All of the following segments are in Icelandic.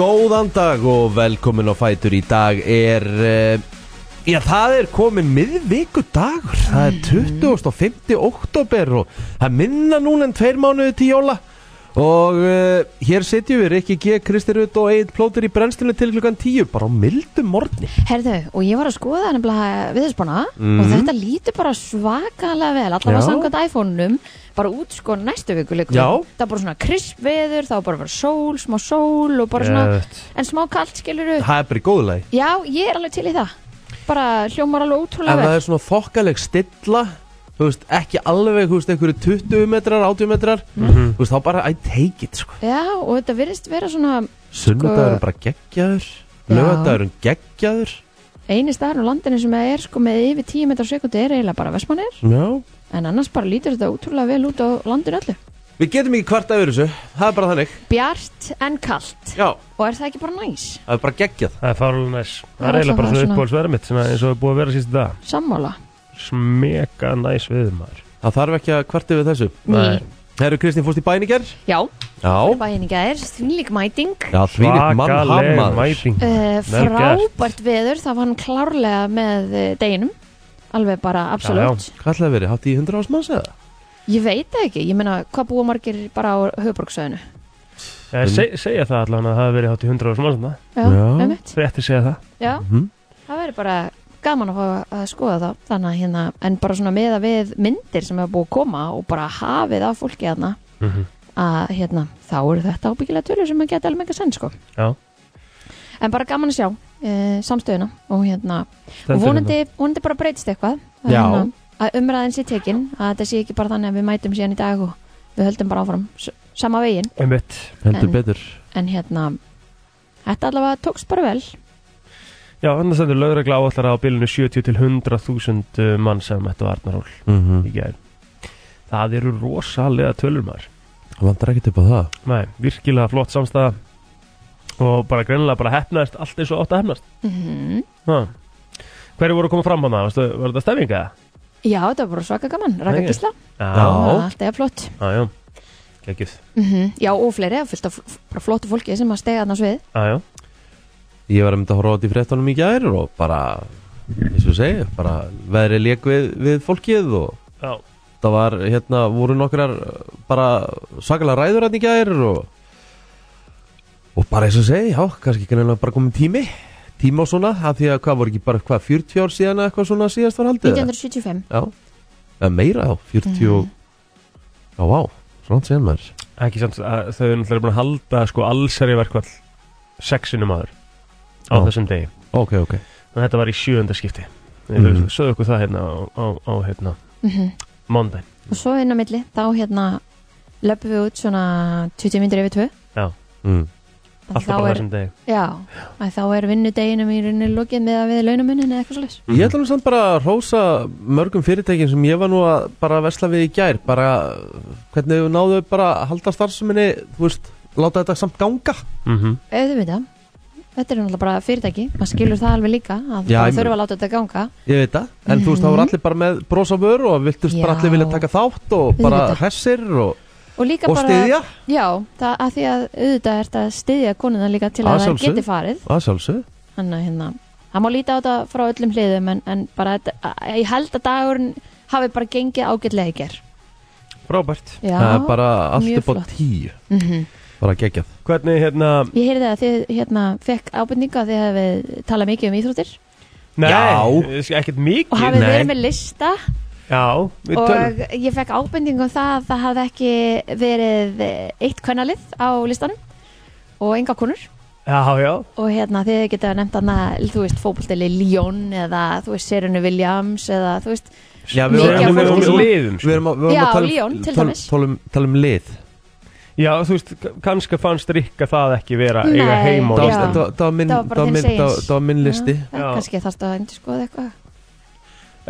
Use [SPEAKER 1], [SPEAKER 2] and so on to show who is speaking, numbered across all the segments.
[SPEAKER 1] Góðan dag og velkomin á Fætur í dag er, eh, já það er komin miðvikudagur, það er 25. oktober og það er minna núna en tveir mánuði til jóla og uh, hér sitjum við Rikki G, Kristi Rutt og Egil Plóter í brennstunni til klukkan 10 bara á mildum morgni.
[SPEAKER 2] Herðu, og ég var að skoða nefnilega viðspána og þetta lítur bara svakalega vel allavega
[SPEAKER 1] Mhm. Já.
[SPEAKER 2] samkvæmt iPhone-num bara út sko næstu viku líka
[SPEAKER 1] Já.
[SPEAKER 2] það er bara svona krisp veður, það var bara að vera sól smá sól og bara svona
[SPEAKER 1] Geðvegt.
[SPEAKER 2] en smá kalt skiluru
[SPEAKER 1] Það er bara í góðulegi.
[SPEAKER 2] já, ég er alveg til í það bara hljómar alveg
[SPEAKER 1] Ef
[SPEAKER 2] ótrúlega
[SPEAKER 1] það
[SPEAKER 2] vel
[SPEAKER 1] er svona þokkaleg stilla, þú veist, ekki alveg, þú veist, einhverju 20 metrar, 80 metrar, þú veist, þá bara I take it, sko.
[SPEAKER 2] já, og þetta virðist vera svona
[SPEAKER 1] Sunnudagurinn bara geggjaður
[SPEAKER 2] Já.
[SPEAKER 1] Lögadagurinn geggjaður
[SPEAKER 2] eini staðar á landinu sem er sko með yfir 10 metrar sekundi er eiginlega bara vestmannir
[SPEAKER 1] Já
[SPEAKER 2] en annars bara lítur þetta ótrúlega vel út á landinu öllu
[SPEAKER 1] Við getum ekki hvart af þessu, það er bara þannig
[SPEAKER 2] bjart en kalt
[SPEAKER 1] Já,
[SPEAKER 2] og er það ekki bara næs?
[SPEAKER 1] það er bara geggjað
[SPEAKER 3] Það er fárlega næs. Það
[SPEAKER 2] Já,
[SPEAKER 3] er eiginlega bara
[SPEAKER 2] það er
[SPEAKER 3] svona
[SPEAKER 2] svona-
[SPEAKER 3] uppbólsverð mitt svona, eins og er búið að vera síðan dag.
[SPEAKER 2] sammála
[SPEAKER 3] Smeka næs við maður.
[SPEAKER 1] Það þarf ekki að hvart yfir þessu
[SPEAKER 2] Ný.
[SPEAKER 1] Herru Kristín fórst í bæningar
[SPEAKER 2] Já,
[SPEAKER 1] Já,
[SPEAKER 2] bæinn í gæðir, þvílík mæting
[SPEAKER 1] Já því líkt mann
[SPEAKER 3] Svakaleg
[SPEAKER 1] hamaður
[SPEAKER 3] mæting.
[SPEAKER 2] uh,
[SPEAKER 3] Vel gert.
[SPEAKER 2] Frábært veður, það var hann klárlega með uh, deginum Alveg bara, absolutt
[SPEAKER 1] Hvað ætlaði að verið, hátt í 100 ás manns eða?
[SPEAKER 2] Ég veit það ekki, ég meina, hvað búa margir bara á höfuborgsöðinu
[SPEAKER 3] Eh, seg- Segja það allan að það hafi verið hátt í 100 ára smáðsuna.
[SPEAKER 2] Já,
[SPEAKER 1] Já.
[SPEAKER 2] einmitt
[SPEAKER 3] Rétti segja það.
[SPEAKER 2] Já,
[SPEAKER 1] Mhm.
[SPEAKER 2] það verður bara gaman að fá að skoða það Þannig að hérna, en bara svona meða við myndir sem hefur búið að koma Og bara hafið af fólki þarna Að hérna, þá eru þetta ábyggilega tölur sem að geta alveg ekki senn sko
[SPEAKER 3] Já.
[SPEAKER 2] En bara gaman að sjá e, samstöðuna og hérna og
[SPEAKER 3] Stendur hérna.
[SPEAKER 2] vonandi, vonandi bara breytist eitthvað að
[SPEAKER 1] Já.
[SPEAKER 2] hérna, að umræðin sé tekin að þetta sé ekki bara þannig að við mætum síðan í dag og við höldum bara áfram s- sama veginn
[SPEAKER 3] Einmitt.
[SPEAKER 1] Heldur
[SPEAKER 2] En-
[SPEAKER 1] betur
[SPEAKER 2] en hérna þetta allavega tókst bara vel
[SPEAKER 3] Já, annars stendur lögregla áallara á bilinu 70 til 100.000 mann sem mættu á Arnarhól
[SPEAKER 1] mm
[SPEAKER 3] í gær. Það eru rosalega tölur maður.
[SPEAKER 1] Vandar ekkert upp á það
[SPEAKER 3] Nei, virkilega flott samstæða og bara greinilega bara hefnaðist allt eins og átt að hefnast.
[SPEAKER 2] mm
[SPEAKER 3] Ha. Hverju voru að koma fram á það? Var þetta stefninga?
[SPEAKER 2] já þetta var bara svaka gaman, Raka
[SPEAKER 3] Nei.
[SPEAKER 2] Gísla
[SPEAKER 1] Já.
[SPEAKER 2] það var alltaf flott
[SPEAKER 3] Já, já, geggjuð
[SPEAKER 2] mm já og fleiri, það er fullt af f- bara flottu fólki sem að stega þarna á svið
[SPEAKER 3] Já, já,
[SPEAKER 1] Ég var að mynda að horfa á þetta í fréttunum í gær og bara eins og segja, bara veðrið lék við, við fólkið og
[SPEAKER 3] já
[SPEAKER 1] það var, hérna, voru nokkrar uh, bara svakalega ræður hann í gær og, og bara eins og segi, já, kannski kannan bara komið tími, tími og svona af því að hvað voru ekki bara, hvað, 40 ár síðan eða eitthvað svona síðast var haldið? eða?
[SPEAKER 2] 1975
[SPEAKER 1] Já, eða meira þá, 40 já, vá, svona séðan maður
[SPEAKER 3] Ekki samt, að þau eru náttúrulega búin að halda sko allsæri verkvall sexinum aður á
[SPEAKER 1] Já.
[SPEAKER 3] þessum degi
[SPEAKER 1] ok, ok,
[SPEAKER 3] og þetta var í sjöunda skipti mm
[SPEAKER 1] Mhm.
[SPEAKER 3] -hmm. Söðu okkur það hérna á, á, á hérna
[SPEAKER 2] mm -hmm.
[SPEAKER 3] Monday
[SPEAKER 2] og svo inn á milli, þá hérna löpum við út svona 20 myndir yfir 2
[SPEAKER 1] mm.
[SPEAKER 3] Alltaf bara á þessum degi
[SPEAKER 2] Já, að þá er vinnudeginum í rauninni lokið með að við launamunin eða eitthvað svolítið.
[SPEAKER 1] Ég ætla nú samt bara að rósa mörgum fyrirtækin sem ég var nú að bara vesla við í gær bara hvernig þau náðu bara að halda starfseminni þú veist, láta þetta samt ganga
[SPEAKER 3] mm
[SPEAKER 1] Mhm.
[SPEAKER 3] -hmm.
[SPEAKER 2] Auðvitað, þetta er náttúrulega bara fyrirtæki, maður skilur það alveg líka að það
[SPEAKER 1] Já, ég meina-
[SPEAKER 2] þurfa að láta þetta ganga.
[SPEAKER 1] Ég veit það, en þú veist, þá voru
[SPEAKER 2] Mhm.
[SPEAKER 1] allir bara með bros á vöru og viltust bara
[SPEAKER 2] Já.
[SPEAKER 1] allir vilja taka þátt og bara
[SPEAKER 2] Auðvitað.
[SPEAKER 1] hressir og,
[SPEAKER 2] Og líka
[SPEAKER 1] og
[SPEAKER 2] bara...
[SPEAKER 1] styðja
[SPEAKER 2] Já, það, að því að auðvitað er þetta að styðja konuna líka til
[SPEAKER 1] Að
[SPEAKER 2] að það
[SPEAKER 1] sjálfsögðu.
[SPEAKER 2] geti farið.
[SPEAKER 1] Það sjálfsög
[SPEAKER 2] Þannig að hérna, það má líta á þetta frá öllum hliðum en, en bara þetta, að- ég held að dagurinn hafi bara gengið ágætlega í ger.
[SPEAKER 3] Frábært
[SPEAKER 2] Já,
[SPEAKER 1] Það er bara allt
[SPEAKER 2] mjög
[SPEAKER 1] upp á
[SPEAKER 2] flott.
[SPEAKER 1] tíu
[SPEAKER 2] mhm.
[SPEAKER 1] Bara geggjað
[SPEAKER 3] Hvernig hérna
[SPEAKER 2] Ég heyrði að þið hérna fekk ábyrninga að þið hefði talað mikið um íþróttir
[SPEAKER 3] Nei,
[SPEAKER 1] Já.
[SPEAKER 3] ekkert mikið
[SPEAKER 2] og hafið
[SPEAKER 1] Nei.
[SPEAKER 2] verið með lista
[SPEAKER 3] Já, við tölum
[SPEAKER 2] og ég fekk ábending um það að það hafði ekki verið eh, eitt kvennalið á listanum og enga konur
[SPEAKER 3] Já, já
[SPEAKER 2] og hérna þið geta nefnt annað þú veist fótboltili Ljón eða þú veist Serenu Williams eða þú veist
[SPEAKER 1] Já,
[SPEAKER 2] Mikið af
[SPEAKER 3] erum-
[SPEAKER 2] fólki
[SPEAKER 3] erum
[SPEAKER 2] sem-
[SPEAKER 3] með liðum sko.
[SPEAKER 1] Við erum að, við erum
[SPEAKER 2] Já,
[SPEAKER 1] að tala, um-
[SPEAKER 2] Lyon, til
[SPEAKER 1] tala,
[SPEAKER 2] dæmis.
[SPEAKER 1] tala, um, tala um lið
[SPEAKER 3] Já, þú veist, kannski fannst Rikka það ekki vera að eiga
[SPEAKER 2] Nei.
[SPEAKER 3] heim á
[SPEAKER 1] Það
[SPEAKER 2] Já.
[SPEAKER 1] var-
[SPEAKER 3] listanum.
[SPEAKER 1] það- það var minn-
[SPEAKER 2] Það var bara
[SPEAKER 1] það var
[SPEAKER 2] þinn
[SPEAKER 1] minn-
[SPEAKER 2] segins.
[SPEAKER 1] það- það var minn listi
[SPEAKER 2] Já,
[SPEAKER 3] Já.
[SPEAKER 2] kannski þarfst að endur skoða eitthvað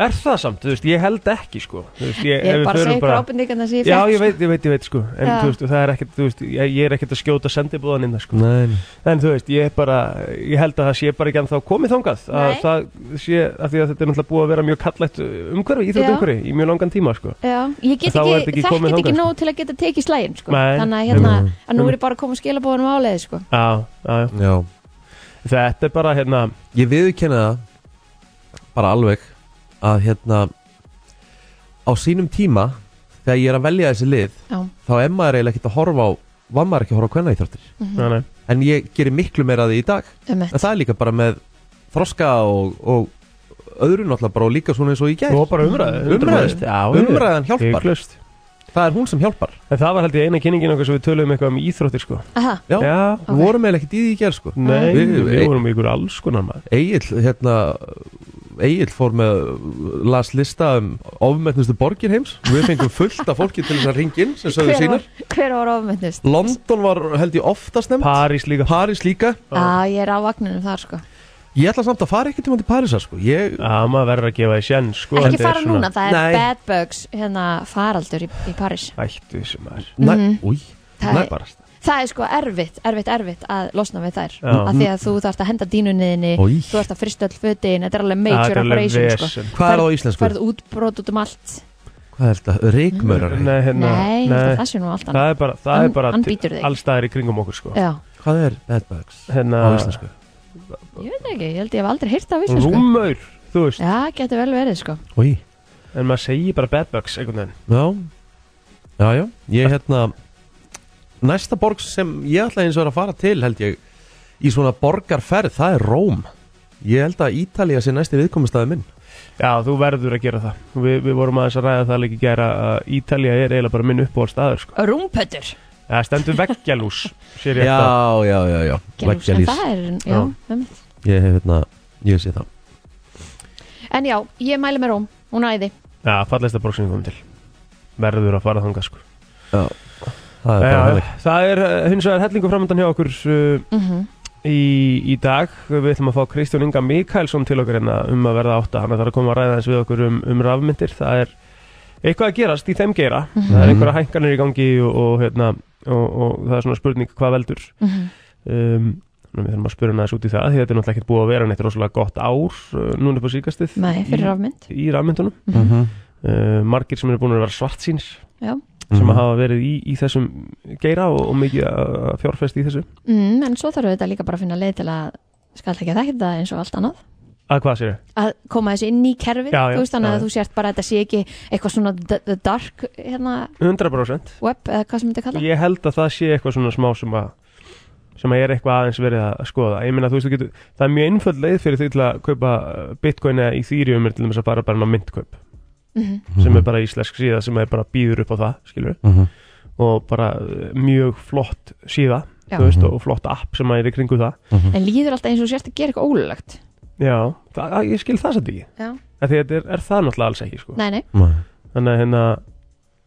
[SPEAKER 3] Er það samt, þú veist, ég held ekki sko Þú veist,
[SPEAKER 2] Ég
[SPEAKER 3] ef
[SPEAKER 2] er
[SPEAKER 3] við
[SPEAKER 2] bara að
[SPEAKER 3] förum
[SPEAKER 2] segja ykkur ábendingarna sem ég
[SPEAKER 3] Já,
[SPEAKER 2] fekk
[SPEAKER 3] ég veit, ég veit, ég veit sko En
[SPEAKER 2] Já.
[SPEAKER 3] þú veist, það er ekkert, þú veist, ég, ég er ekkert að skjóta sendibúðan inn það sko
[SPEAKER 1] Nei,
[SPEAKER 3] En þú veist, ég er bara, ég held að það sé bara ekki ennþá komið þangað að
[SPEAKER 2] Nei.
[SPEAKER 3] það sé, af því að þetta er náttúrulega búið að vera mjög kallætt umhverfi, íþjótt í mjög langan tíma sko
[SPEAKER 2] Já, ég get
[SPEAKER 3] Þá
[SPEAKER 2] ekki,
[SPEAKER 3] er þetta ekki
[SPEAKER 2] þekki
[SPEAKER 3] komið
[SPEAKER 2] þetta ekki
[SPEAKER 3] þangað,
[SPEAKER 2] nóg til að geta tekið slægin sko.
[SPEAKER 3] Nei.
[SPEAKER 2] þannig að, hérna,
[SPEAKER 1] Nei.
[SPEAKER 2] að nú er ég bara að koma að skila bóðanum áleiði sko.
[SPEAKER 3] Já, já, já.
[SPEAKER 1] já
[SPEAKER 3] Þetta er bara, hérna,
[SPEAKER 1] Ég viðurkenna það bara alveg að hérna á sínum tíma þegar ég er að velja þessi lið
[SPEAKER 2] Já,
[SPEAKER 1] þá er maður eiginlega ekkert að horfa á var maður ekki að horfa á hvenna
[SPEAKER 2] Mhm.
[SPEAKER 3] já, nei,
[SPEAKER 1] en ég gerir miklu meira af því í dag
[SPEAKER 2] um
[SPEAKER 1] en það er líka bara með þroska og, og öðru náttúrulega bara og líka svona eins og í gær
[SPEAKER 3] og bara umræði
[SPEAKER 1] Umræður.
[SPEAKER 3] já,
[SPEAKER 1] umræðan hjálpar,
[SPEAKER 3] Klust.
[SPEAKER 1] það er hún sem hjálpar
[SPEAKER 3] En það var held ég eina kynningin okkur sem við töluðum eitthvað um íþróttir sko
[SPEAKER 2] Aha,
[SPEAKER 1] já, já.
[SPEAKER 3] Já,
[SPEAKER 2] Ok.
[SPEAKER 1] vorum eiginlega ekkert í því í gær sko
[SPEAKER 3] nei, við,
[SPEAKER 1] Við- við-
[SPEAKER 3] vorum ykkur alls konar maður
[SPEAKER 1] Egil, hérna Egil fór með las lista um ofmetnustu borgir heims við fengum fullt af fólki til þess að ringa inn sem sögðu
[SPEAKER 2] hver
[SPEAKER 1] sínar
[SPEAKER 2] var, hver var ofmennust?
[SPEAKER 1] London var held ég oftast nefnd
[SPEAKER 3] París líka
[SPEAKER 1] París líka
[SPEAKER 2] Já, ég er á vagninum þar sko.
[SPEAKER 1] Ég ætla samt að fara ekki til mann til Parísar sko Ég,
[SPEAKER 3] Já, maður verður að gefa því sjenn sko
[SPEAKER 2] Ekki
[SPEAKER 3] þetta er
[SPEAKER 2] fara
[SPEAKER 3] svona-
[SPEAKER 2] núna, það er
[SPEAKER 1] Nei.
[SPEAKER 2] bad bugs hérna, faraldur í, í París
[SPEAKER 3] Ættu þessu maður
[SPEAKER 1] næ, új,
[SPEAKER 2] Mhm. Það
[SPEAKER 1] næ,
[SPEAKER 2] er- Það er sko erfitt, erfitt, erfitt að losna við þær
[SPEAKER 3] Já.
[SPEAKER 2] af því að þú þarft að henda dínunniðinni
[SPEAKER 1] Oj.
[SPEAKER 2] þú þarft að frista öll fötin, þetta er alveg
[SPEAKER 3] Það
[SPEAKER 2] major
[SPEAKER 3] er alveg
[SPEAKER 2] operation sko.
[SPEAKER 3] vesen.
[SPEAKER 1] hvað er það á íslensku?
[SPEAKER 2] Færð útbrot út um allt
[SPEAKER 1] Hvað er þetta? Reykmörar
[SPEAKER 3] Nei, hérna,
[SPEAKER 2] Nei,
[SPEAKER 3] nei.
[SPEAKER 2] það sé nú allt annað
[SPEAKER 3] Það er bara, það
[SPEAKER 2] Hann-
[SPEAKER 3] er bara
[SPEAKER 2] hann
[SPEAKER 3] til-
[SPEAKER 2] bítur þig.
[SPEAKER 3] alls staðar í kringum okkur sko
[SPEAKER 2] Já,
[SPEAKER 1] Hvað er bad bugs
[SPEAKER 3] Hérna,
[SPEAKER 1] á íslensku?
[SPEAKER 2] ég veit ekki, ég held ég hef aldrei hýrt af íslensku
[SPEAKER 3] rúmaur, þú veist
[SPEAKER 2] Já, getur vel verið sko
[SPEAKER 1] Új,
[SPEAKER 3] En maður segir bara bad bugs einhvern veginn
[SPEAKER 1] já Já, já, ég hérna Næsta borg sem ég ætla eins og er að fara til held ég Í svona borgarferð, það er Róm Ég held að Ítalía sé næsti viðkomustæði minn
[SPEAKER 3] Já, þú verður að gera það Vi, Við vorum aðeins að ræða það líka gera að Ítalía er eiginlega bara minn uppáhald staður sko
[SPEAKER 2] Rúmpötur
[SPEAKER 3] Það stendur veggjalús sér ég þetta
[SPEAKER 1] Já, já, já, já
[SPEAKER 2] En
[SPEAKER 1] Veggjalýs.
[SPEAKER 2] það er, já,
[SPEAKER 3] Já.
[SPEAKER 2] einmitt.
[SPEAKER 1] Ég hef hérna, ég sé það
[SPEAKER 2] En já, ég mæli með Róm, hún æði
[SPEAKER 3] Já, fallegsta borg sem við komum til Verður að fara þangað sko
[SPEAKER 1] Já, það er bara
[SPEAKER 3] Já,
[SPEAKER 1] þannig
[SPEAKER 3] það er uh, hins vegar hellingu framöndan hjá okkur uh,
[SPEAKER 2] mm -hmm.
[SPEAKER 3] í, í dag Við ætlum að fá Kristján Inga Mikaelsson til okkur hérna um að verða átta Hann þarf að koma að ræða eins við okkur um, um rafmyndir Það er eitthvað að gerast í þeim geira
[SPEAKER 2] mhm,
[SPEAKER 3] Það
[SPEAKER 1] Mhm.
[SPEAKER 3] er einhverja hænkanir í gangi og, og, hérna, og, og það er svona spurning hvað veldur
[SPEAKER 2] mhm.
[SPEAKER 3] um, Nú, Við þurfum að spura hann aðeins út í það Því þetta er náttúrulega ekkert búið að vera neitt rosalega gott ár uh, Núna upp á síkastið
[SPEAKER 2] Nei, fyrir
[SPEAKER 3] í,
[SPEAKER 2] rafmynd
[SPEAKER 3] í rafmyndunum
[SPEAKER 2] Mhm.
[SPEAKER 3] uh, Margir sem eru búin að vera svartsýns
[SPEAKER 2] Já.
[SPEAKER 3] sem
[SPEAKER 1] Mhm.
[SPEAKER 3] hafa verið í, í þessum geira og, og mikið að fjárfest í þessu
[SPEAKER 2] mm, En svo þarf þetta líka bara að finna leið til að skall ekki að þetta eins og allt annað
[SPEAKER 3] Að hvað sér
[SPEAKER 2] að koma þessu inn í kerfið
[SPEAKER 3] Já, já,
[SPEAKER 2] þú veist þannig
[SPEAKER 3] já,
[SPEAKER 2] að
[SPEAKER 3] já.
[SPEAKER 2] þú sért bara að þetta sé ekki eitthvað svona d- the dark hérna,
[SPEAKER 3] 100%
[SPEAKER 2] web eða hvað sem þetta kalla
[SPEAKER 3] Ég held að það sé eitthvað svona smá sem að sem að er eitthvað aðeins verið að skoða ég meina þú veist þú getur, það er mjög einföld leið fyrir því til að kaupa uh, bitcoin eða ethereum er til þess að fara bara inn á myndkaup
[SPEAKER 2] Mhm.
[SPEAKER 3] sem er bara íslensk síða sem er bara býður upp á það skilur
[SPEAKER 1] Mhm.
[SPEAKER 3] og bara uh, mjög flott síða
[SPEAKER 2] Já.
[SPEAKER 3] þú veist, og flott app sem að er í kringu það
[SPEAKER 2] en líður alltaf eins og þú sért að gera eitthvað ólulegt
[SPEAKER 3] Já, það, ég skil það samt ekki
[SPEAKER 2] Já.
[SPEAKER 3] Af Því þetta er, er það náttúrulega alls ekki sko.
[SPEAKER 2] nei, nei,
[SPEAKER 1] Nei.
[SPEAKER 3] Þannig að hérna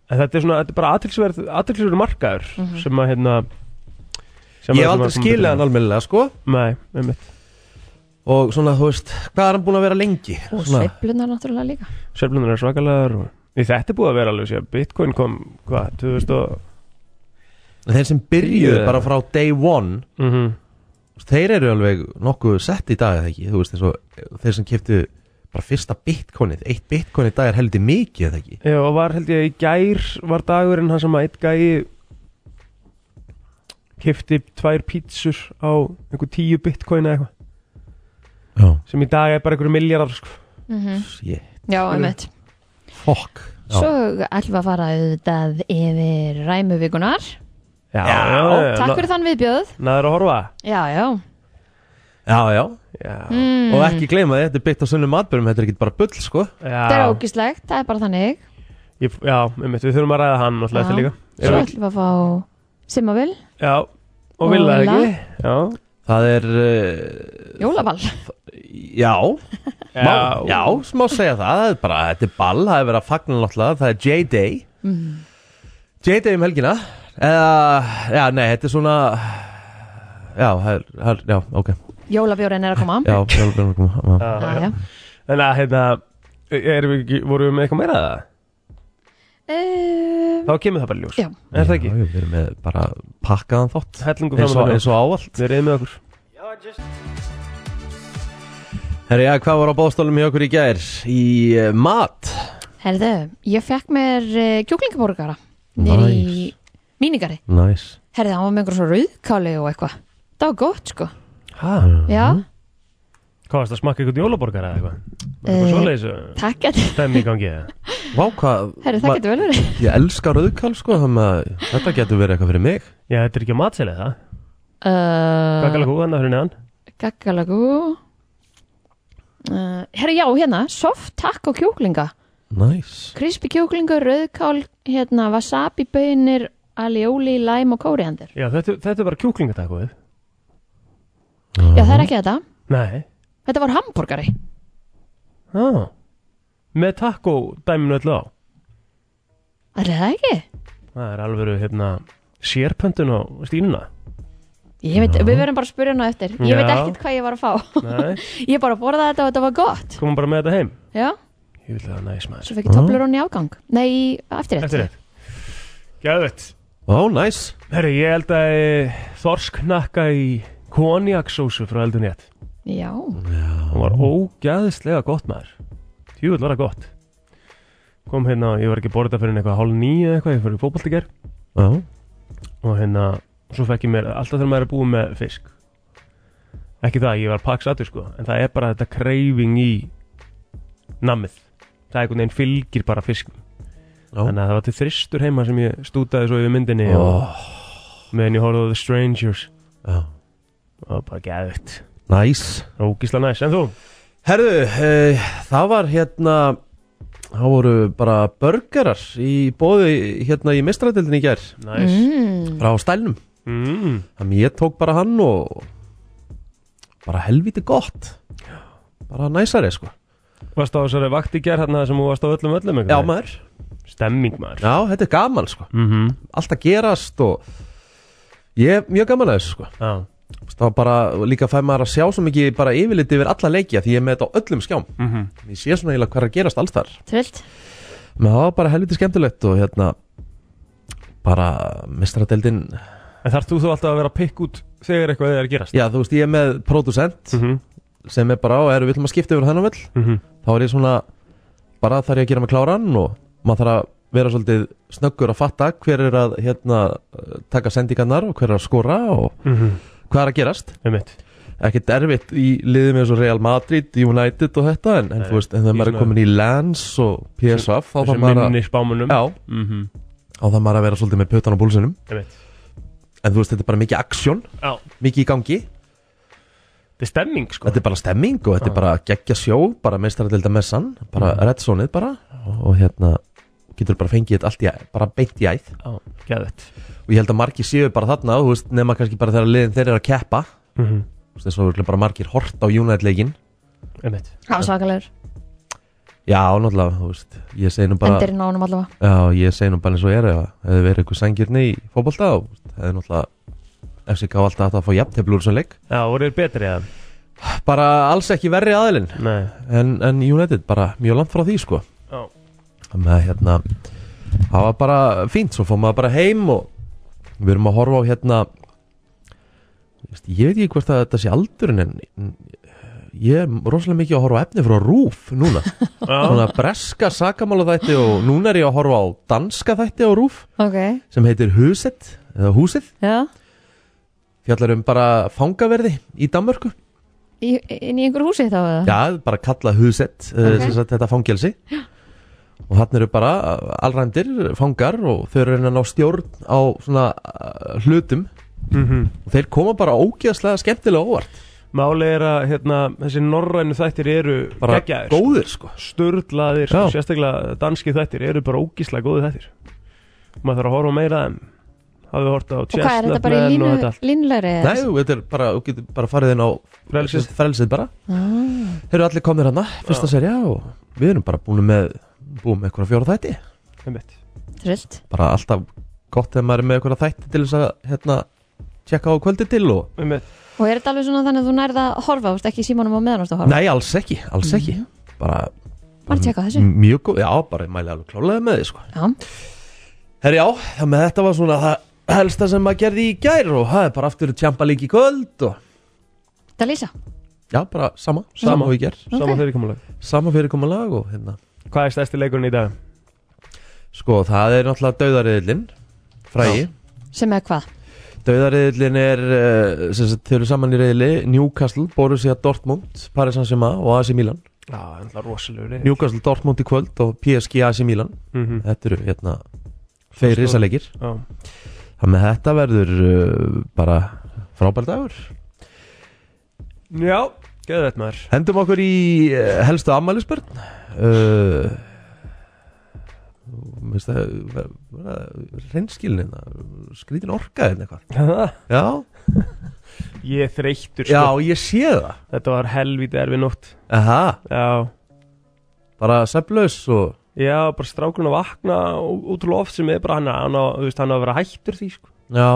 [SPEAKER 3] en Þetta er svona, þetta er bara aðtilsverð, aðtilsverð markaður
[SPEAKER 2] Mhm.
[SPEAKER 3] sem að hérna sem að-
[SPEAKER 1] Ég
[SPEAKER 3] sem
[SPEAKER 1] hef aldrei
[SPEAKER 3] að-
[SPEAKER 1] skilið hann almennilega sko
[SPEAKER 3] Nei, einmitt
[SPEAKER 1] Og svona þú veist, hvað er hann búin að vera lengi?
[SPEAKER 2] og
[SPEAKER 1] Svona-
[SPEAKER 2] sveiflunar náttúrulega líka
[SPEAKER 3] Sveiflunar er svakalegar og Í þetta er búið að vera alveg sér Bitcoin kom, hvað, 2000 og
[SPEAKER 1] Þeir sem byrjuðu
[SPEAKER 3] Byrjuðu.
[SPEAKER 1] bara frá day one
[SPEAKER 3] mm
[SPEAKER 1] Þeir eru alveg nokkuð sett í dag eða ekki Þú veist, eins og þeir sem keftu bara fyrsta bitcoinið Eitt bitcoin í dag er heldur mikið eða ekki
[SPEAKER 3] Já, og var held ég í gær var dagurinn hann sem að eitt gæi kifti tvær pítsur á einhver tíu bitcoin eða eitthvað
[SPEAKER 1] Já
[SPEAKER 3] sem í dag er bara einhverju miljardar sko.
[SPEAKER 1] Yeah,
[SPEAKER 2] Mhm. já, einmitt
[SPEAKER 1] fuck Já.
[SPEAKER 2] svo ætlum við að fara auðvitað yfir ræmuvíkunar
[SPEAKER 3] Já,
[SPEAKER 2] takk fyrir þann viðbjöð
[SPEAKER 3] Naður að horfa
[SPEAKER 2] já, já,
[SPEAKER 1] já, já
[SPEAKER 3] Já,
[SPEAKER 2] mm.
[SPEAKER 1] Og ekki gleyma því, þetta er byggt á sunnum atbyrjum Þetta er ekki bara bull sko
[SPEAKER 2] þetta er
[SPEAKER 3] já,
[SPEAKER 2] ógislegt, það er bara þannig
[SPEAKER 3] ég, já einmitt, við þurfum að ræða hann náttúrulega eftir
[SPEAKER 2] Já.
[SPEAKER 3] líka
[SPEAKER 2] svo
[SPEAKER 3] Erum við-
[SPEAKER 2] ætlum við að fá Simmavil,
[SPEAKER 3] Já, og vil það
[SPEAKER 2] Óla.
[SPEAKER 3] ekki Já,
[SPEAKER 1] Það er, uh,
[SPEAKER 2] Jólavall
[SPEAKER 1] já, má, já, smá segja það, það er bara, þetta er ball, það er verið að fagna náttúrulega, það er J-Day
[SPEAKER 2] mm.
[SPEAKER 1] J-Day um helgina eða, já, nei, þetta er svona já, það er, það er já, ok
[SPEAKER 2] Jólabjórin er að koma
[SPEAKER 1] já, jólabjörnum
[SPEAKER 3] já,
[SPEAKER 2] já,
[SPEAKER 3] já.
[SPEAKER 2] já.
[SPEAKER 3] En að hérna erum við ekki, vorum við með eitthvað meira að það?
[SPEAKER 2] Um,
[SPEAKER 3] Þá kemur það bara í ljós
[SPEAKER 2] Já.
[SPEAKER 3] Er það ekki?
[SPEAKER 1] Já, já, við erum með bara pakkaðan þátt
[SPEAKER 3] Hellingu
[SPEAKER 1] eins og,
[SPEAKER 3] fram
[SPEAKER 1] eins og áallt
[SPEAKER 3] Við reyðum með okkur
[SPEAKER 1] Herri, já, hvað var á bóðstólum hjá okkur í gær? Í uh, mat
[SPEAKER 2] Herðu, ég fekk mér uh, kjúklingaborgara Nýr í
[SPEAKER 1] Nice.
[SPEAKER 2] míningari
[SPEAKER 1] Næs
[SPEAKER 2] Herðu, hann var með einhver svo rauðkáli og eitthvað Það var gott sko
[SPEAKER 3] Hæ?
[SPEAKER 2] Já,
[SPEAKER 3] Hvað varst að smakka ykkur jólaborgara eða eitthvað? Var eitthvað
[SPEAKER 2] Eh.
[SPEAKER 3] svoleiðis
[SPEAKER 2] það getur
[SPEAKER 3] stemmi í gangi eða?
[SPEAKER 1] Vá, hvað
[SPEAKER 2] hérna. Herðu, hérna, það
[SPEAKER 1] ma-
[SPEAKER 2] getur vel verið
[SPEAKER 1] Ég elska rauðkál, sko Þannig að þetta getur verið eitthvað fyrir mig
[SPEAKER 3] Já, þetta er ekki á matselið það
[SPEAKER 2] Ah. uh,
[SPEAKER 3] Kakalakú, þannig að fyrir neðan
[SPEAKER 2] Gaggalagú uh, Herðu, já, hérna Soft taco kjúklinga
[SPEAKER 1] Næs
[SPEAKER 2] Krispi kjúklingur, rauðkál Hérna, wasabi bönir Alioli, lime og kóriandir
[SPEAKER 3] Já, þetta, þetta er bara kjúklingatakkuð
[SPEAKER 2] Já,
[SPEAKER 3] Mhm.
[SPEAKER 2] það er ekki þetta
[SPEAKER 3] Nei
[SPEAKER 2] Þetta var hambúrgari
[SPEAKER 3] ah. Með takku dæminu öllu á
[SPEAKER 2] Er það ekki?
[SPEAKER 3] Það er alveg hérna sérpöntun á stínuna
[SPEAKER 2] Ég veit, við verðum bara að spyrja hana eftir Ég veit
[SPEAKER 3] Já.
[SPEAKER 2] ekkert hvað ég var að fá
[SPEAKER 3] Nei,
[SPEAKER 2] Ég bara borðaði þetta og þetta var gott
[SPEAKER 3] komum bara með þetta heim
[SPEAKER 2] Já,
[SPEAKER 3] Ég vil það næs maður
[SPEAKER 2] svo fekk ég Toblerone í afgang Nei, í eftirrétt
[SPEAKER 3] Eftir þetta Gæðvett
[SPEAKER 1] Vá, næs
[SPEAKER 3] Herri, ég held að þorsknakka í konjaksósu frá eldun rétt
[SPEAKER 2] Já,
[SPEAKER 3] Það var ógæðislega gott maður Júvel var það gott Kom hérna, ég var ekki borðið fyrir eitthvað hálf nýja eitthvað, ég fyrir fótbolt í ger
[SPEAKER 1] Já
[SPEAKER 3] og hérna, svo fekk ég mér alltaf þegar maður er búið með fisk ekki það, ég var paksatur sko en það er bara þetta kreifing í nammið það er einhvern veginn fylgir bara fisk
[SPEAKER 1] Já.
[SPEAKER 3] þannig að það var til þristur heima sem ég stútaði svo yfir myndinni
[SPEAKER 1] Ó, Oh.
[SPEAKER 3] og meðan ég horfði á The Strangers
[SPEAKER 1] já.
[SPEAKER 3] og bara geðvitt
[SPEAKER 1] Næs
[SPEAKER 3] ógísla næs, en þú?
[SPEAKER 1] Herðu, uh, það var hérna Það voru bara börgarar í bóði hérna í mistrætildinni í gær
[SPEAKER 3] næs
[SPEAKER 2] mm,
[SPEAKER 1] frá stælnum
[SPEAKER 3] mm.
[SPEAKER 1] Þannig ég tók bara hann og bara helviti gott bara næsari sko
[SPEAKER 3] varst á þessari vakt í gerð hérna sem þú varst á öllum öllum
[SPEAKER 1] Já maður,
[SPEAKER 3] stemming maður
[SPEAKER 1] já þetta er gaman sko
[SPEAKER 3] mm -hmm.
[SPEAKER 1] allt að gerast og ég er mjög gaman að þessu sko
[SPEAKER 3] já,
[SPEAKER 1] það var bara líka fæ maður að sjá svo mikið bara yfirlit yfir alla leikja því ég er með þetta á öllum skjám
[SPEAKER 3] mm
[SPEAKER 1] ég sé svona eiginlega hvað er að gerast alls þar
[SPEAKER 2] trillt
[SPEAKER 1] Men það var bara helviti skemmtilegt og hérna bara mistradeldin
[SPEAKER 3] en þarf þú þú alltaf að vera að pikk út þegar eitthvað er að gerast
[SPEAKER 1] já þú veist ég er með producent
[SPEAKER 3] -hmm.
[SPEAKER 1] sem er bara á erum við ætlum að skipta yfir þennan vel
[SPEAKER 3] Mm
[SPEAKER 1] þá er ég svona bara þarf ég að gera mig kláran og maður þarf að vera svolítið snöggur að fatta hver er að hérna, eh, taka sendingarnar og hver er að skora og
[SPEAKER 3] -hmm.
[SPEAKER 1] hvað er að gerast
[SPEAKER 3] Einmitt.
[SPEAKER 1] ekkert erfitt í liðum eins og Real Madrid, United og þetta en, en
[SPEAKER 3] Nei,
[SPEAKER 1] þú veist, en þegar
[SPEAKER 3] í
[SPEAKER 1] maður er
[SPEAKER 3] svona-
[SPEAKER 1] komin í Lens og PSV þá þarf
[SPEAKER 3] þessum
[SPEAKER 1] maður að
[SPEAKER 3] minni spámunum
[SPEAKER 1] já,
[SPEAKER 3] mm -hmm.
[SPEAKER 1] þá þarf maður að vera svolítið með pötan á búlsinum
[SPEAKER 3] Einmitt.
[SPEAKER 1] en þú veist, þetta er bara mikið aksjón,
[SPEAKER 3] Já,
[SPEAKER 1] mikið í gangi
[SPEAKER 3] þetta er stemming sko
[SPEAKER 1] þetta er bara stemming og þetta er
[SPEAKER 3] Já.
[SPEAKER 1] bara geggja sjó bara meistaradelda messan, bara mm. reddsonið bara og, og hérna getur bara fengið þetta allt í, æ- bara beint í æð
[SPEAKER 3] Já, geðvett
[SPEAKER 1] og ég held að margir séu bara þarna þú veist, nema kannski bara þegar liðin þeir eru að keppa
[SPEAKER 3] mm -hmm.
[SPEAKER 1] þú veist, þess að örugglega bara margir hort á United-leikin
[SPEAKER 3] Einmitt
[SPEAKER 2] Það var svakalegur,
[SPEAKER 1] já, náttúrulega, þú veist, ég segi nú bara
[SPEAKER 2] endirinn á honum allavega
[SPEAKER 1] já, ég segi nú bara eins og er eða eða verið eitthvað sangirni í fótbolta og þú veist, það er náttúrulega FCK á alltaf að fá jafnteflur úr sem leik
[SPEAKER 3] Já, voru þér betri eða?
[SPEAKER 1] bara alls ekki verri aðilinn
[SPEAKER 3] Nei
[SPEAKER 1] en, en United bara mjög langt frá því sko
[SPEAKER 3] Já
[SPEAKER 1] með hérna það var bara fínt, svo fór maður bara heim og við erum að horfa á hérna þú veist, ég veit ekki hvort að þetta sé aldurinn en en ég er rosalega mikið að horfa á efni frá Rúf núna,
[SPEAKER 3] Já,
[SPEAKER 1] svona breska sakamála þætti og núna er ég að horfa á danska þætti á Rúf
[SPEAKER 2] Ok,
[SPEAKER 1] sem heitir Huset eða Húsið,
[SPEAKER 2] já
[SPEAKER 1] fjallar um bara fangaverði í Danmörku,
[SPEAKER 2] í, Inn í einhver húsi þá eða?
[SPEAKER 1] já, bara kalla Huset okay.
[SPEAKER 2] Ok.
[SPEAKER 1] sem sagt þetta fangelsi og hann eru bara allrændir fangar og þau eru að reyna að ná stjórn á svona uh, hlutum
[SPEAKER 3] mhm
[SPEAKER 1] og þeir koma bara ógeðslega skemmtilega á óvart
[SPEAKER 3] Máli er að hérna, þessi norrænu þættir eru
[SPEAKER 1] bara
[SPEAKER 3] geggjaðir sko.
[SPEAKER 1] góðir sko
[SPEAKER 3] Sturlaðir, sko,
[SPEAKER 1] Já.
[SPEAKER 3] sérstaklega danski þættir eru bara ógíslega góði þættir Maður þarf að horfa á meira en hafið hort á
[SPEAKER 2] Og hvað er þetta bara í
[SPEAKER 3] Chestnut Men og
[SPEAKER 2] línu,
[SPEAKER 3] þetta allt.
[SPEAKER 2] línulegri?
[SPEAKER 1] Nei, þú, þetta er bara, þú getur bara farið inn á
[SPEAKER 3] Frelsið.
[SPEAKER 1] frelsið bara
[SPEAKER 2] Ah,
[SPEAKER 1] Þeir eru allir komnir hana, fyrsta serja og við erum bara búin með búin með eitthvað fjóra þætti
[SPEAKER 3] Einmitt.
[SPEAKER 2] trillt
[SPEAKER 1] bara alltaf gott þegar maður er með eitthvað þætti til þess að hérna, tjekka á kvöldi til og
[SPEAKER 3] Einmitt.
[SPEAKER 2] Og er þetta alveg svona þannig að þú nærða að horfa, þú veist ekki í símanum á meðan þú ert að horfa?
[SPEAKER 1] Nei, Mm. alls ekki, alls ekki Bara
[SPEAKER 2] bara að tjekka á þessu
[SPEAKER 1] M- Mjög góð, já, bara ég mæli alveg klálega með þið sko
[SPEAKER 2] já,
[SPEAKER 1] Herri já, já, með þetta var svona það helsta sem maður gerði í gær og það er bara aftur tjampa lík í kvöld og
[SPEAKER 2] Dalísa,
[SPEAKER 1] já, bara sama, sama og í gær
[SPEAKER 3] Sama
[SPEAKER 2] Ok.
[SPEAKER 3] fyrirkomulag
[SPEAKER 1] sama fyrirkomalag og hérna
[SPEAKER 3] Hvað er stærsti leikurinn í dag?
[SPEAKER 1] sko, það er náttúrulega dauðariðlinn frægi,
[SPEAKER 2] sem er hvað
[SPEAKER 1] dauðariðlinn er uh, sem sagt, þau eru saman í reyðli Newcastle, Borussia Dortmund Paris Saint-Germain og AC Milan
[SPEAKER 3] Já, ennlega rosalegu leik
[SPEAKER 1] Newcastle, Dortmund í kvöld og PSG AC Milan
[SPEAKER 3] Mhm.
[SPEAKER 1] þetta eru hérna
[SPEAKER 3] Stór.
[SPEAKER 1] fyrir risalegir
[SPEAKER 3] Já.
[SPEAKER 1] þannig að þetta verður uh, bara frábær dagur
[SPEAKER 3] Já, geður þetta maður
[SPEAKER 1] hendum okkur í uh, helstu ammælisbörn uh, minnst það reynskilin eh, skrítin orka eða eitthvað já,
[SPEAKER 3] Ég er þreyttur sko
[SPEAKER 1] já, ég sé það
[SPEAKER 3] Þetta var helvítið erfið nótt
[SPEAKER 1] Aha,
[SPEAKER 3] Já,
[SPEAKER 1] bara seflaus og
[SPEAKER 3] já bara strákurinn að vakna ú- útrúlega oft sem er bara hann að, hann að, þú veist, hann á að vera hættur því sko
[SPEAKER 1] já,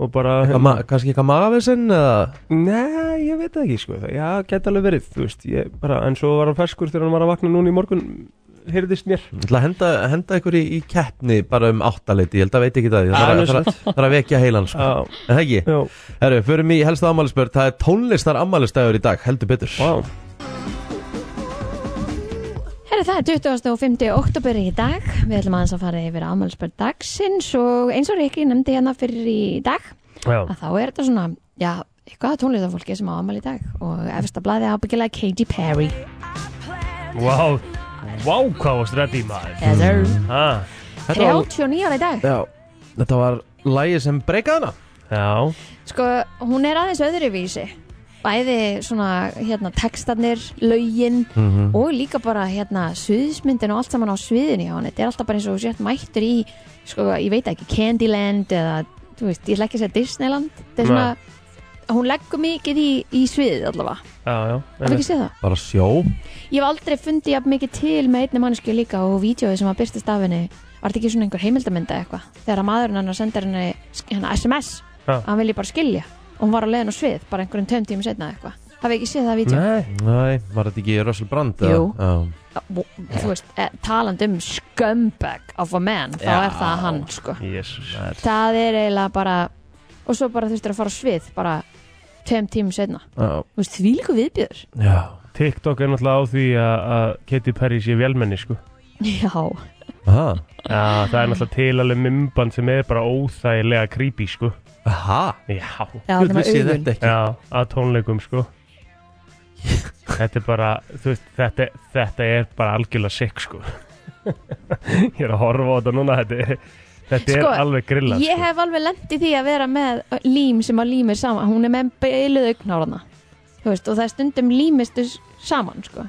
[SPEAKER 3] Og bara hérna,
[SPEAKER 1] eitthvað ma- kannski eitthvað magavesen eða
[SPEAKER 3] Nei, ég veit það ekki sko það, Já, geta alveg verið, þú veist ég, bara, En svo var hann ferskur þegar hann var að vakna núna í morgun Heyrðist mér
[SPEAKER 1] Ég ætla að henda, henda ykkur í, í keppni bara um áttaleiti, ég held að veit ekki það ég
[SPEAKER 3] Ah,
[SPEAKER 1] þarf að-
[SPEAKER 3] nú
[SPEAKER 1] þarf að- þarf að vekja heilan sko.
[SPEAKER 3] Já,
[SPEAKER 1] Er Það ekki?
[SPEAKER 3] já,
[SPEAKER 1] Herru, förum í helsta afmælisbörn, það er tónlistar afmælisdagur í dag, heldur betur
[SPEAKER 3] vá
[SPEAKER 2] Herri, það er 25. oktober í dag. Við ætlum aðeins að fara yfir afmælspörn dagsins og eins og Rikki nefndi hérna fyrir í dag
[SPEAKER 3] Já,
[SPEAKER 2] að þá er þetta svona, já, eitthvað að tónlistafólki sem á afmæl í dag og efsta blaði ábyggilega Katy Perry.
[SPEAKER 3] vá Vá, hvað varst reddi maður
[SPEAKER 2] Yes, sir.
[SPEAKER 3] ha,
[SPEAKER 1] Þetta var-
[SPEAKER 2] 39 ára í dag.
[SPEAKER 1] Já, þetta var lægi sem breykaði hana
[SPEAKER 3] Já,
[SPEAKER 2] Sko, hún er aðeins öðruvísi. Bæði svona, hérna, textarnir, lögin og líka bara, hérna, suðismyndin og allt saman á sviðinu hjá hann. Þetta er alltaf bara eins og þú sért mættur í, sko, ég veit ekki, Candyland eða, þú veist, ég ætla ekki að segja Disneyland. Þetta er svona, hún leggur mikið í, í sviðið allavega.
[SPEAKER 3] já, já
[SPEAKER 2] Það ekki séð það.
[SPEAKER 1] Bara sjó
[SPEAKER 2] Ég hef aldrei fundið jafn mikið til með einni mannsku líka og vídjóið sem að byrstist af henni var þetta ekki svona einhver heimildamynda eitthvað þegar að maðurinn hennar sendir henni sk- hérna, SMS
[SPEAKER 3] Já.
[SPEAKER 2] að hann vilji bara skilja og hún var á leiðin á svið bara einhverjum tveim tímum setna eða eitthvað hafið ekki séð það vídjó
[SPEAKER 3] Nei,
[SPEAKER 1] Nei, var þetta ekki Russell Brand? eða?
[SPEAKER 2] Jú.
[SPEAKER 1] Já.
[SPEAKER 2] þú veist, e, talandi um scumbag of a man þá
[SPEAKER 1] Já.
[SPEAKER 2] er það hann sko
[SPEAKER 3] jésus
[SPEAKER 2] það er eiginlega bara og svo bara þurftir að fara á svið bara tveim tímum setna
[SPEAKER 1] Já.
[SPEAKER 2] þú veist, því líka viðbjör
[SPEAKER 1] Já.
[SPEAKER 3] TikTok er náttúrulega á því að að Katy Perry sé velmenni sko
[SPEAKER 2] já,
[SPEAKER 1] Aha.
[SPEAKER 3] Já, það er náttúrulega til alveg mymband sem er bara óþægilega creepy sko
[SPEAKER 1] Aha.
[SPEAKER 3] Já,
[SPEAKER 2] já
[SPEAKER 1] Guð,
[SPEAKER 2] með
[SPEAKER 1] vissi ég
[SPEAKER 2] augun.
[SPEAKER 1] þetta ekki
[SPEAKER 3] já, að tónleikum sko Þetta er bara, þú veist, þetta, þetta er bara algjörlega sick sko Ég er að horfa á þetta núna, þetta, er- þetta er
[SPEAKER 2] Sko,
[SPEAKER 3] alveg grillað
[SPEAKER 2] Ég
[SPEAKER 3] sko.
[SPEAKER 2] hef alveg lent í því að vera með lím sem að límir saman, hún er með beiluð augnárana Þú veist, og það er stundum límistu s- saman sko.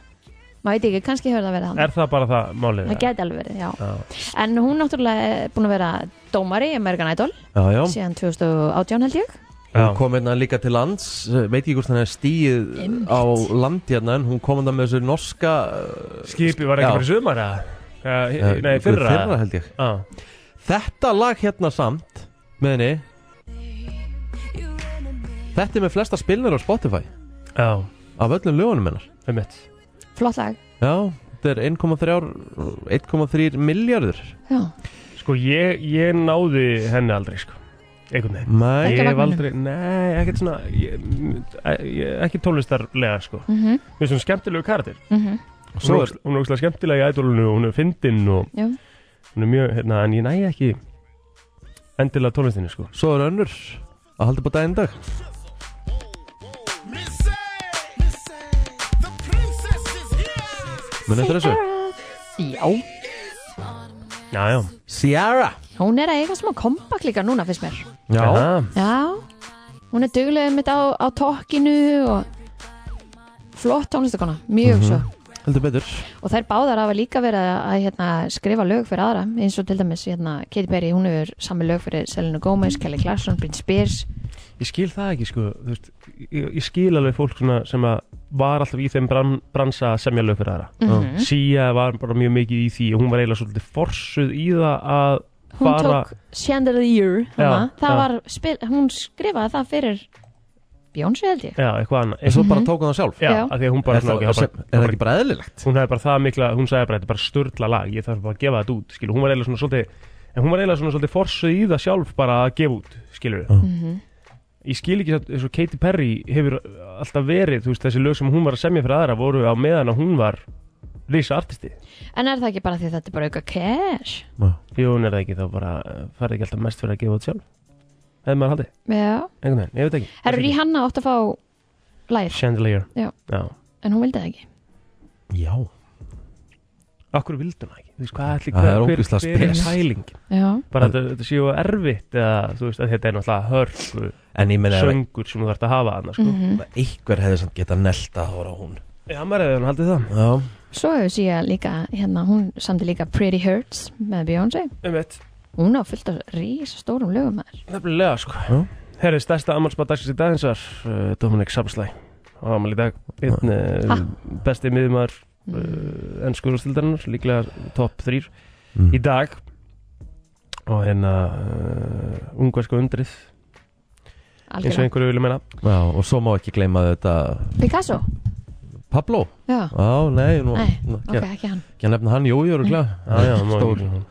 [SPEAKER 2] maður veit ekki, kannski hefur það verið hann
[SPEAKER 3] Er það bara það málið?
[SPEAKER 2] það geti alveg verið, já
[SPEAKER 3] Já.
[SPEAKER 2] en hún náttúrulega er búin að vera dómari í American Idol
[SPEAKER 1] Já, já,
[SPEAKER 2] síðan 2018 held ég
[SPEAKER 1] hún kom hérna líka til lands eh, veit ekki hvort hann er stíð
[SPEAKER 2] Einmitt.
[SPEAKER 1] á landi hérna en hún kom hérna með þessu norska eh,
[SPEAKER 3] Skipi var
[SPEAKER 1] Já.
[SPEAKER 3] ekki fyrir sumar eða? Ja, nei,
[SPEAKER 1] eh,
[SPEAKER 3] fyrra,
[SPEAKER 1] fyrra held ég
[SPEAKER 3] Já,
[SPEAKER 1] Þetta lag hérna samt með henni Þetta er með flesta spilnir á Spotify
[SPEAKER 3] já,
[SPEAKER 1] af öllum lögunum hennar
[SPEAKER 3] um mitt
[SPEAKER 2] flott lag,
[SPEAKER 1] Já, þetta er 1,3 1,3 miljardur
[SPEAKER 2] já,
[SPEAKER 3] Sko, ég, ég náði henni aldrei sko Einhvern veginn
[SPEAKER 1] Mæ,
[SPEAKER 2] Ekki
[SPEAKER 3] Ég hef
[SPEAKER 2] vagninum?
[SPEAKER 3] aldrei, nei, ekkert svona ég, ég, ekki tónlistarlega sko
[SPEAKER 2] mhm, mhm
[SPEAKER 3] Við erum skemmtilegu karakter Hún er
[SPEAKER 1] svo er
[SPEAKER 3] ógeðslega- hún er ógstlega skemmtilega í ædolunu og hún er fyndin og
[SPEAKER 2] Já.
[SPEAKER 3] hún er mjög, hérna, en ég næ ekki endilega tónlistinni sko
[SPEAKER 1] Svo er önnur að halda bara daginn dag Munið eftir þessu
[SPEAKER 2] já,
[SPEAKER 3] Já, já
[SPEAKER 1] Ciara
[SPEAKER 2] hún er að eiga smá kompakt líka núna fyrst mér
[SPEAKER 1] Já,
[SPEAKER 3] Aha.
[SPEAKER 2] Já, hún er duglega mitt á, á tokkinu og flott tónlistakona, mjög svo
[SPEAKER 1] heldur betur
[SPEAKER 2] og þær báðar hafa líka verið að, að hérna, skrifa lög fyrir aðra eins og til dæmis hérna, Katy Perry, hún hefur sami lög fyrir Selena Gomez, Kelly Clarkson, Britney Spears
[SPEAKER 3] Ég skil það ekki sko þú veist, ég, ég skil alveg fólk svona sem að var alltaf í þeim bran, bransa að semja lög fyrir aðra
[SPEAKER 1] Mm.
[SPEAKER 2] Mhm.
[SPEAKER 3] Sia var bara mjög mikið í því og hún var eiginlega svolítið forsuð í það að
[SPEAKER 2] hún
[SPEAKER 3] fara
[SPEAKER 2] tók Chandelier
[SPEAKER 3] Já,
[SPEAKER 2] hana, það
[SPEAKER 3] já.
[SPEAKER 2] var spil, hún skrifaði það fyrir Bjónsi held ég
[SPEAKER 3] Já, eitthvað annað
[SPEAKER 1] En svo bara tók hún það sjálf
[SPEAKER 3] Mhm. Já,
[SPEAKER 2] Já.
[SPEAKER 3] af því að hún bara
[SPEAKER 1] er, það,
[SPEAKER 3] svona, ok, það
[SPEAKER 1] sem,
[SPEAKER 3] bara-
[SPEAKER 1] er það ekki bara eðlilegt?
[SPEAKER 3] hún hefði bara það mikla, hún sagði bara þetta er bara sturla lag, ég þarf bara að gefa þetta út skilur, hún var eiginlega svona svolítið en hún var eiginlega svona svolítið forsuð í það sjálf bara að gefa út skilur við ég skil ekki samt, eins og Katy Perry hefur alltaf verið, þú veist, þessi lög sem hún var að semja fyrir aðra voru á meðan að hún var risa artisti,
[SPEAKER 2] En er það ekki bara því að þetta er bara auka cash
[SPEAKER 3] því hún er það ekki þá bara eh, færði ekki alltaf mest fyrir að gefa út sjálf hefði maður haldið,
[SPEAKER 2] Já
[SPEAKER 3] einhvern veginn, ég veit ekki
[SPEAKER 2] Herru Rihanna átt að fá live
[SPEAKER 3] Chandelier
[SPEAKER 2] Já.
[SPEAKER 3] Já.
[SPEAKER 2] En hún vildi það ekki
[SPEAKER 1] Já
[SPEAKER 3] Akkur vildi hún það ekki, þú veist, hvað ætli
[SPEAKER 1] Það er
[SPEAKER 3] hver-
[SPEAKER 1] ógeðslega
[SPEAKER 3] hver er
[SPEAKER 1] spes.
[SPEAKER 3] pæling
[SPEAKER 2] Já
[SPEAKER 3] bara þetta, þetta séu erfitt eða þú veist að þetta er náttúrulega hörku
[SPEAKER 1] En ég meina ef
[SPEAKER 3] söngur sem þú þarfst að hafa annars sko.
[SPEAKER 1] Mhm.
[SPEAKER 3] mm
[SPEAKER 2] Mhm.
[SPEAKER 3] -hmm.
[SPEAKER 1] einhver hefði samt getað nelta að voru hún
[SPEAKER 3] Já, maður hefði hann haldið það
[SPEAKER 1] Já
[SPEAKER 2] Svo hefur síðan líka hérna Hún samdi líka Pretty Hurts með Bjónsi
[SPEAKER 3] um eitt,
[SPEAKER 2] Hún á fullt af rísa stórum lögum þar
[SPEAKER 3] nefnilega sko
[SPEAKER 1] Já.
[SPEAKER 3] Herri, stærsta ammalsbað dagsins í dag eins og uh, Dominik Sapslæ á ammal í dag einn
[SPEAKER 1] Ah.
[SPEAKER 2] Ha.
[SPEAKER 3] uh, besti miðumar uh, ennskur úrstildarinnar líklega topp þrýr í
[SPEAKER 1] mm.
[SPEAKER 3] dag og hérna uh, ungversku undrið eins og
[SPEAKER 2] Algjörlega
[SPEAKER 3] einhverju vilja meina
[SPEAKER 1] Já, og svo má ekki gleyma þetta
[SPEAKER 2] Picasso
[SPEAKER 1] Pablo
[SPEAKER 2] Já
[SPEAKER 1] Já, nei, nú,
[SPEAKER 2] Nei,
[SPEAKER 1] nú
[SPEAKER 2] Ok, ekki hann
[SPEAKER 1] ekki að nefna hann, jú, ég eru
[SPEAKER 3] Já, já, má
[SPEAKER 1] Stór
[SPEAKER 3] ekki-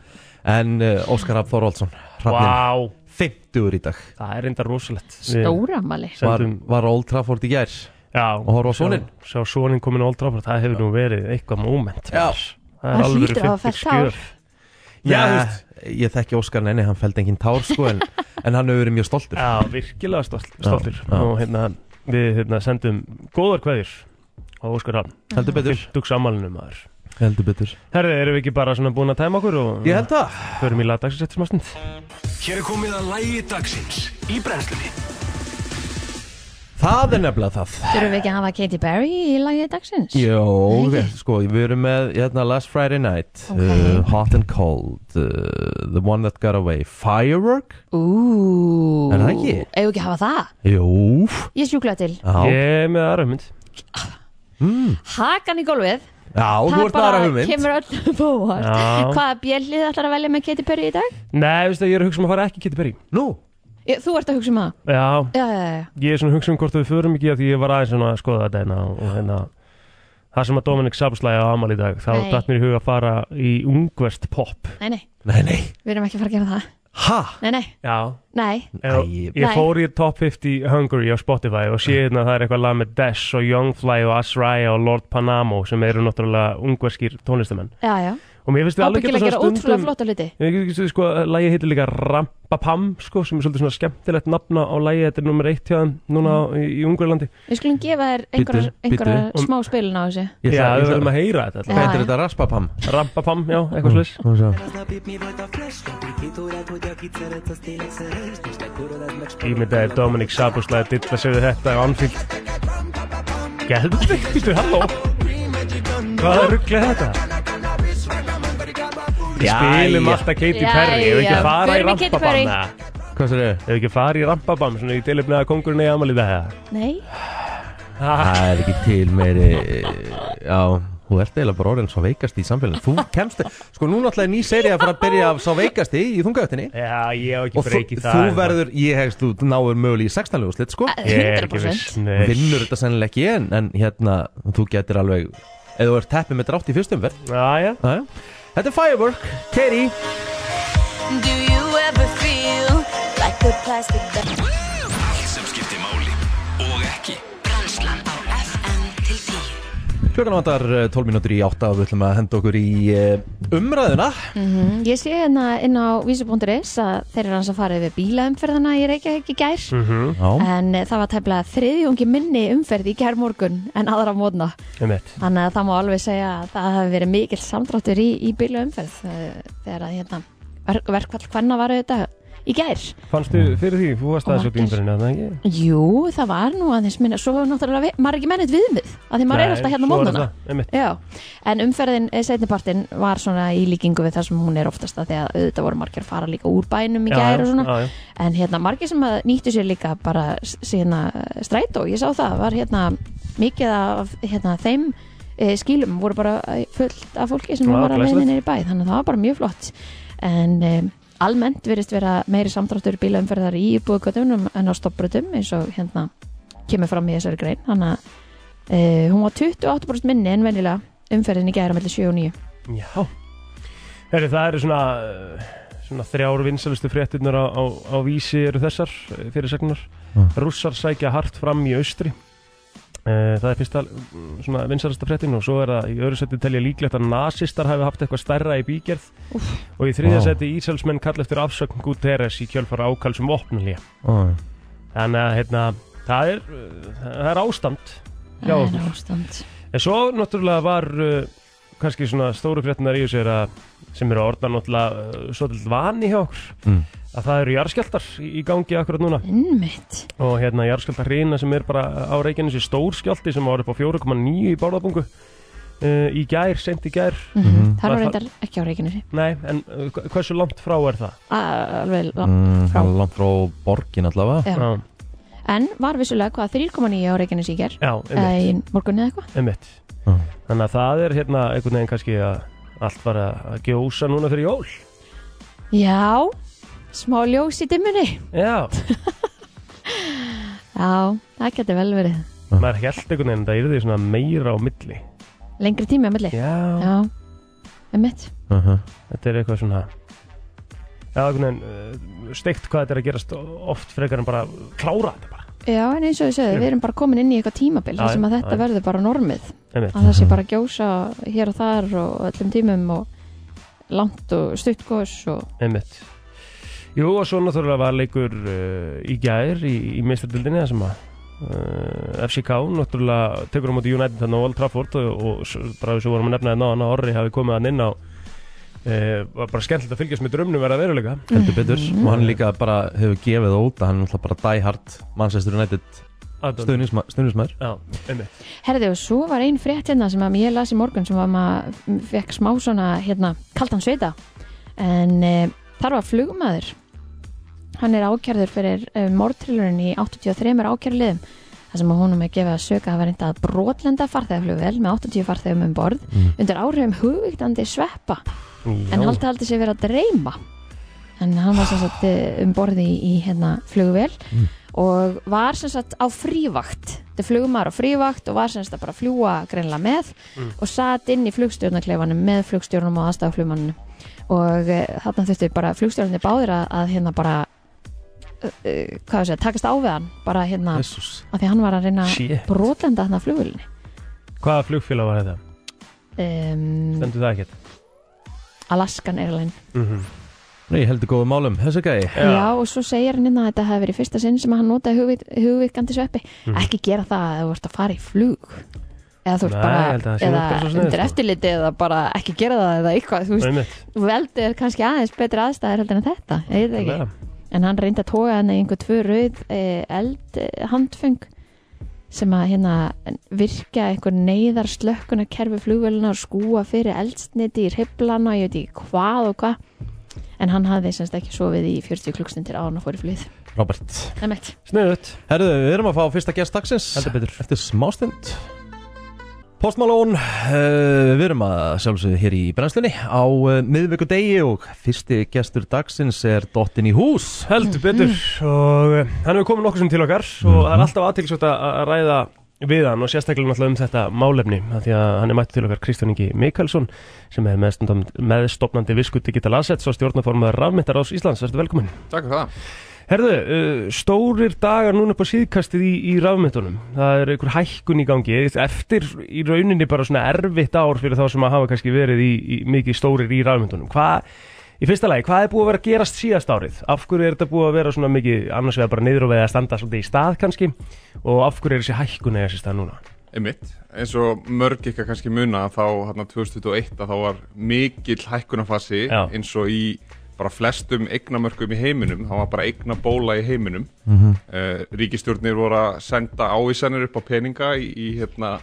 [SPEAKER 1] En uh, Óskar Rapp Þorvaldsson Hrafnin,
[SPEAKER 3] Vá,
[SPEAKER 1] 50 í dag
[SPEAKER 3] það er enda rosalegt Við
[SPEAKER 2] Stóramali
[SPEAKER 1] var,
[SPEAKER 3] sendum-
[SPEAKER 1] var á Old Trafford í gær
[SPEAKER 3] Já,
[SPEAKER 1] Og horfa á soninn.
[SPEAKER 3] Sjá, sjá soninn komin á Old Trafford, það hefur nú verið eitthvað moment
[SPEAKER 1] Já.
[SPEAKER 3] Það
[SPEAKER 2] Hann
[SPEAKER 3] er alveg
[SPEAKER 2] hlýtur að hafa
[SPEAKER 3] 50
[SPEAKER 2] fellt tár.
[SPEAKER 3] skjör Já, þú
[SPEAKER 1] Nei,
[SPEAKER 3] veist.
[SPEAKER 1] Ég þekki Óskar, nei, nei, hann fældi engin tár sko En, en hann hefur verið mjög stoltur
[SPEAKER 3] Já, virkilega stolt, stoltur
[SPEAKER 1] já.
[SPEAKER 3] Og hérna, við hérna, sendum góðar kveðir á Óskar Hall
[SPEAKER 1] Heldur betur
[SPEAKER 3] Dugsa ammálinu maður
[SPEAKER 1] Heldur betur
[SPEAKER 3] Herði, erum við ekki bara svona búin að tæma okkur og
[SPEAKER 1] Ég held það
[SPEAKER 3] förum í lagdagsins eftir smástund
[SPEAKER 4] Hér er komið að lægi dagsins í brennslunni
[SPEAKER 1] Það er nefnilega það
[SPEAKER 2] Þurfum við ekki að hafa Katy Perry í lagið dagsins?
[SPEAKER 1] Jó,
[SPEAKER 2] Nei, ekki.
[SPEAKER 1] sko, við erum með hérna, Last Friday Night
[SPEAKER 2] Ok.
[SPEAKER 1] uh, Hot and Cold uh, The One That Got Away Firework
[SPEAKER 2] Ú
[SPEAKER 1] Er það ekki?
[SPEAKER 2] Eigum við ekki að hafa það?
[SPEAKER 1] Jú
[SPEAKER 2] Ég sjúkla til
[SPEAKER 1] Já,
[SPEAKER 3] Ég er með aðra mynd
[SPEAKER 2] Hakan í gólfið
[SPEAKER 1] Já þú ert með aðra hugmynd
[SPEAKER 2] kemur öllum á óvart
[SPEAKER 3] Já.
[SPEAKER 2] Hvaða bjellið ætlar að velja með Katy Perry í dag?
[SPEAKER 3] Nei, veistu, ég er að hugsa um að fara ekki Kitty Perry
[SPEAKER 1] Nú,
[SPEAKER 2] Ég, þú ert að hugsa um það
[SPEAKER 3] Já,
[SPEAKER 2] Já, já, já,
[SPEAKER 3] ég er svona að hugsa um hvort við förum ekki að því ég var aðeins svona að skoða þetta hérna og, og hérna Það sem að Dominic Sabslæði á Amal í dag, þá
[SPEAKER 2] Nei.
[SPEAKER 3] datt mér í huga að fara í ungverst pop.
[SPEAKER 2] nei, nei,
[SPEAKER 1] nei, nei
[SPEAKER 2] við erum ekki að fara að gera það
[SPEAKER 1] Ha,
[SPEAKER 2] Nei, nei,
[SPEAKER 3] Já,
[SPEAKER 2] nei,
[SPEAKER 3] Já,
[SPEAKER 1] Æi.
[SPEAKER 3] ég
[SPEAKER 2] Nei.
[SPEAKER 3] fór í top 50 Hungary á Spotify og sé hérna að það er eitthvað lag með Dash og Youngfly og Azraya og Lord Panamo sem eru náttúrulega ungverskir tónlistamenn
[SPEAKER 2] já, já
[SPEAKER 3] og mér finnst við alveg
[SPEAKER 2] Ábyggilega að gera
[SPEAKER 3] svona
[SPEAKER 2] ótrúlega
[SPEAKER 3] stundum
[SPEAKER 2] flotta hluti
[SPEAKER 3] Ég veit ekki, sko, lagið heitir líka Rampapam, sko, sem er svolítið svona skemmtilegt nafna á lagið, þetta er nummer eitt hjá þeim
[SPEAKER 2] Mm.
[SPEAKER 3] núna á- í, í Ungverlandi.
[SPEAKER 2] Við skulum gefa þér einhverjar
[SPEAKER 1] Bíddu,
[SPEAKER 2] einhverjar
[SPEAKER 3] Um-
[SPEAKER 1] bíddu.
[SPEAKER 2] smá spilin á þessu
[SPEAKER 3] Já,
[SPEAKER 1] ég
[SPEAKER 3] við
[SPEAKER 1] ætla,
[SPEAKER 3] verðum
[SPEAKER 1] ég ætla
[SPEAKER 3] að heyra þetta
[SPEAKER 1] Hvað
[SPEAKER 3] alltaf.
[SPEAKER 2] Já,
[SPEAKER 1] heitir
[SPEAKER 2] já.
[SPEAKER 1] þetta raspapam?
[SPEAKER 3] Rampapam, já, eitthvað slis.
[SPEAKER 1] Nú sjá.
[SPEAKER 3] Ímyndaði Dominic Sabuslæði að dilla sig við þetta á Anfield. Gæðvig, býttu, halló. Hvaða ruggli er þetta?
[SPEAKER 1] Já,
[SPEAKER 3] spilum
[SPEAKER 1] já.
[SPEAKER 3] alltaf Katy
[SPEAKER 2] Jæja,
[SPEAKER 3] Perry ef við ekki að fara í
[SPEAKER 2] förum í Katy
[SPEAKER 3] rampabam
[SPEAKER 2] Perry.
[SPEAKER 3] eða?
[SPEAKER 1] Hvað sér þau?
[SPEAKER 3] ef við ekki að fara í rampabam svona í tilöfni að kongurinn eigi amal í dag eða?
[SPEAKER 2] Nei,
[SPEAKER 1] Það er ekki til meiri Já, þú ert eiginlega bara orðin svo veikasti í samfélaginu Þú kemst, sko núna alltaf er ný seri að fara að byrja af svo veikasti í þungaöftinni
[SPEAKER 3] já ég hef ekki
[SPEAKER 1] Og þú,
[SPEAKER 3] breykið það
[SPEAKER 1] þú verður, ég hegst, þú náður mögulega í 16 úrslit, sko
[SPEAKER 2] eh,
[SPEAKER 3] ég er ekki
[SPEAKER 2] 100%
[SPEAKER 3] viss Nei.
[SPEAKER 1] Vinnur þetta sennilega ekki en, en hérna, þú getur alveg Ef þú ert teppið með drátt í fyrstum verð
[SPEAKER 3] já já
[SPEAKER 1] Þetta er Firework, Kerry
[SPEAKER 5] Do you ever feel like a plastic bag?
[SPEAKER 4] Allt sem skiptir máli og ekki
[SPEAKER 5] Brænslan á FM til 10
[SPEAKER 1] Klukkan vantar eh, 12 mínútur í 8 og við ætlum að henda okkur í eh, umræðuna
[SPEAKER 2] Mm, Ég sé hérna inn á vísu.is að þeir eru hans að fara yfir bílaumferðina í Reykjavík í gær
[SPEAKER 1] Já,
[SPEAKER 2] en eh, það var tefnilega þriðjungi minni umferð í gær morgun en aðra mótna
[SPEAKER 3] um eitt
[SPEAKER 2] þannig að það má alveg segja að það hafi verið mikill samdráttur í, í bílaumferð eh, þegar að hérna verk, verkvall hvenna var þetta í gær
[SPEAKER 3] fannstu fyrir því þú varst aðeins upp í
[SPEAKER 2] Margir.
[SPEAKER 3] umfyririnu að það ekki
[SPEAKER 2] Jú, það var nú aðeins minna svo hefur náttúrulega vi- maður ekki mennit viðmið að því maður er
[SPEAKER 3] Nei,
[SPEAKER 2] alltaf hérna
[SPEAKER 3] svo er
[SPEAKER 2] mótnana
[SPEAKER 3] það, einmitt.
[SPEAKER 2] Já, en umferðin setnipartin var svona í líkingu við það sem hún er oftast að því að auðvitað voru margir að fara líka úr bænum í
[SPEAKER 3] Já,
[SPEAKER 2] gær
[SPEAKER 3] já,
[SPEAKER 2] og svona
[SPEAKER 3] já, já.
[SPEAKER 2] en hérna margir sem að nýttu sér líka bara s- sína strætó, ég sá það var hérna mikið af hérna, þeim e, skýlum voru bara eh, fullt af fólki sem
[SPEAKER 3] Já,
[SPEAKER 2] var að
[SPEAKER 3] glæsilegt.
[SPEAKER 2] leiðinni í bæ þannig að það var bara mjög flott en e, almennt virðist vera meiri samdráttur bílaumferðar í búðgötunum en á stoppbrutum eins og hérna kemur fram í þessari grein þannig að uh, hún var 28% minni en venjulega umferðin í gæra mellir 7 og 9
[SPEAKER 3] Já Heri, Það eru svona, eh, svona þrjár vinsalustu fréttinnar á, á, á vísi eru þessar fyrirsegnar
[SPEAKER 1] Mm.
[SPEAKER 3] Rússar sækja hart fram í austri Eh, Það er fyrsta mm, svona vinsalasta fréttin og svo er það í öðru seti telja líklegt að nasistar hafi haft eitthvað stærra í bígerð og í þriðja
[SPEAKER 1] Vá.
[SPEAKER 3] seti ísælsmenn kalla eftir afsögn Guterres í kjölfara ákalsum vopnulíja
[SPEAKER 1] Ó,
[SPEAKER 3] Þannig að hérna, það er, eh, það er ástand hjá
[SPEAKER 2] Það
[SPEAKER 3] okkur.
[SPEAKER 2] er ástand
[SPEAKER 3] En svo náttúrulega var uh, kannski svona stóru fréttinar í þessu er að sem eru að orða náttúrulega uh, svolítið vani hjá okkur
[SPEAKER 1] Mm.
[SPEAKER 3] að það eru jarðskjaldar í, í gangi akkurat núna
[SPEAKER 2] Innmitt
[SPEAKER 3] og hérna jarðskjaldar reyna sem er bara á reikinu þessi stór skjaldi sem var upp á 4,9 í bárðabungu uh, í gær, seint í gær
[SPEAKER 2] mm Það var
[SPEAKER 3] Var Mhm. það-
[SPEAKER 2] reyndar ekki á reikinu
[SPEAKER 3] Nei, en uh, hva- hversu langt frá er það?
[SPEAKER 2] Alveg langt
[SPEAKER 1] mm,
[SPEAKER 2] frá.
[SPEAKER 1] það er langt frá borgin allavega
[SPEAKER 2] Já. En var vissulega hvað 3,9 á reikinu síkjar
[SPEAKER 3] Já,
[SPEAKER 2] eða
[SPEAKER 3] einmitt,
[SPEAKER 2] í morgunni eða eitthvað
[SPEAKER 3] einmitt
[SPEAKER 1] Já.
[SPEAKER 3] Þannig að það er hérna einhvern veginn kannski að allt var að að gjósa núna fyrir jól
[SPEAKER 2] Já, smá ljós í dimmunni
[SPEAKER 3] Já,
[SPEAKER 2] Já, það getur vel verið
[SPEAKER 3] maður held einhvern veginn að það yrði svona meira á milli
[SPEAKER 2] Lengri tími að milli
[SPEAKER 3] Já,
[SPEAKER 2] Já, einmitt
[SPEAKER 1] uh -huh.
[SPEAKER 3] þetta er eitthvað svona Já, einhvern veginn uh, steikt hvað þetta er að gerast oft frekar en bara klára þetta bara
[SPEAKER 2] Já, en eins og ég segið, við erum bara komin inn í eitthvað tímabil
[SPEAKER 3] Já,
[SPEAKER 2] þar sem að þetta
[SPEAKER 3] já. Mhm.
[SPEAKER 2] verður bara normið
[SPEAKER 3] Einmitt.
[SPEAKER 2] að það sé bara að gjósa hér og þar og öllum tímum og langt og stutt gos og
[SPEAKER 3] Einmitt Jú, og svo náttúrulega var leikur uh, í gær í, í meistardildinni það sem að uh, FCK náttúrulega tekur á móti United þannig á Old Trafford og, og s- bara þess að vorum að nefna þetta náðan að Orri hafi komið hann inn á uh, var bara skemmtilegt að fylgjast með drömnum verða veruleika
[SPEAKER 1] heldur betur og hann líka bara hefur gefið óta hann er náttúrulega bara die hard Manchester United
[SPEAKER 3] Aðdáun.
[SPEAKER 1] stuðnisma- stuðnismæður
[SPEAKER 3] Já, einmitt
[SPEAKER 2] Herði og svo var ein frétt hérna sem að ég las í morgun sem var maður fekk smá svona hérna kaldan sveita en e, þar var flugmaður hann er ákjærður fyrir e, mórtrilurinn í 83 ákjærliðum þar sem að honum er gefið að söka að hafa reynda að brotlenda farþegaflugvel með 80 farþegum um borð undir áhrifum hugvíktandi sveppa en haldi haldi sér verið að dreyma en hann var sem sagt eh, um borði í, í hérna flugvél og var sem sagt á frívakt þetta flugumar á frívakt og var sem sagt að bara fljúa greinlega með og satt inn í flugstjórnarkleifanum með flugstjórnum og aðstafaflugmanninu og e, þarna þurftu bara flugstjórnarnir báðir að, að hérna bara e, e, hvað sé, takast á við hann bara hérna,
[SPEAKER 1] Jesus
[SPEAKER 2] af því að hann var að reyna að
[SPEAKER 3] Shit.
[SPEAKER 2] brotlenda þarna flugvölinni
[SPEAKER 3] Hvaða flugfélag var þetta?
[SPEAKER 2] um,
[SPEAKER 3] Stendur það ekkert?
[SPEAKER 2] Alaskan Airlines
[SPEAKER 3] Mm
[SPEAKER 1] Nei, heldur góðum málum, þessu gæi
[SPEAKER 2] Já. og svo segir hann innan að þetta hafi verið fyrsta sinn sem hann notaði hugvit, hugvikandi sveppi.
[SPEAKER 3] Mhm.
[SPEAKER 2] Ekki gera það að þú vart að fara í flug. Eða þú ert
[SPEAKER 3] Nei, ég
[SPEAKER 2] bara,
[SPEAKER 3] held að það sé
[SPEAKER 2] eða
[SPEAKER 3] nú bara svo sniðugt,
[SPEAKER 2] undir
[SPEAKER 3] sko.
[SPEAKER 2] eftirliti eða bara ekki gera það eða eitthvað. Þú veist,
[SPEAKER 3] Einmitt
[SPEAKER 2] veldið er kannski aðeins betri aðstæðir heldur en þetta. Ég veit það ekki. En hann reyndi að toga hann í einhver tvö rauð eh, eld eh, handföng sem að hérna virka einhver neyðar slökkuna kerfi flugvelina og skúa fyrir eldsniti í hreiflana og ég veit ekki hvað og hvað en hann hafði semst ekki sofið í 40 klukkstundir á hann að fóri flýð
[SPEAKER 1] Robert
[SPEAKER 2] Emmett
[SPEAKER 3] Sniðut
[SPEAKER 1] Herðu, við erum að fá fyrsta gest dagsins
[SPEAKER 3] Heldur betur.
[SPEAKER 1] Eftir smástund Post Malone, uh, við erum að sjálfsögðu hér í brennslunni á uh, miðvikudegi og fyrsti gestur dagsins er Dottin í hús
[SPEAKER 3] Heldur betur og eh, hann hefur komið nokkuð sem til okkar og það er alltaf aðtilsvægt að að ræða við hann og sérstaklega náttúrulega um þetta málefni af því að hann er mættu til okkar Kristján Ingi Mikkelsson sem er meðstofnandi- meðstofnandi visku Digital Assets og stjórnaformaður rafmyndarás Íslands, verður velkominn
[SPEAKER 6] Takk fyrir það.
[SPEAKER 3] Herðu, uh, stórir dagar núna upp á síðkastið í, í rafmyndunum það er einhver hækkun í gangi eftir í rauninni bara svona erfitt ár fyrir þá sem að hafa kannski verið í, í mikið stórir í rafmyndunum hvað, í fyrsta lagi, hvað er búið að vera að gerast síðast árið af hverju er þetta búið að vera svona mikið annars vegar bara niður og veið að standa svolítið í stað kannski og af hverju er þessi hækkun eða þessi stað núna
[SPEAKER 6] Einmitt, eins og mörg ykkar kannski muna þá hérna 2021 að þá var mikill hækkunarfasi
[SPEAKER 3] Já.
[SPEAKER 6] eins og í bara flestum eignamörkum í heiminum, það var bara eignabóla í heiminum. Mm ríkistjórnir voru að senda ávísanir upp á peninga í, í hérna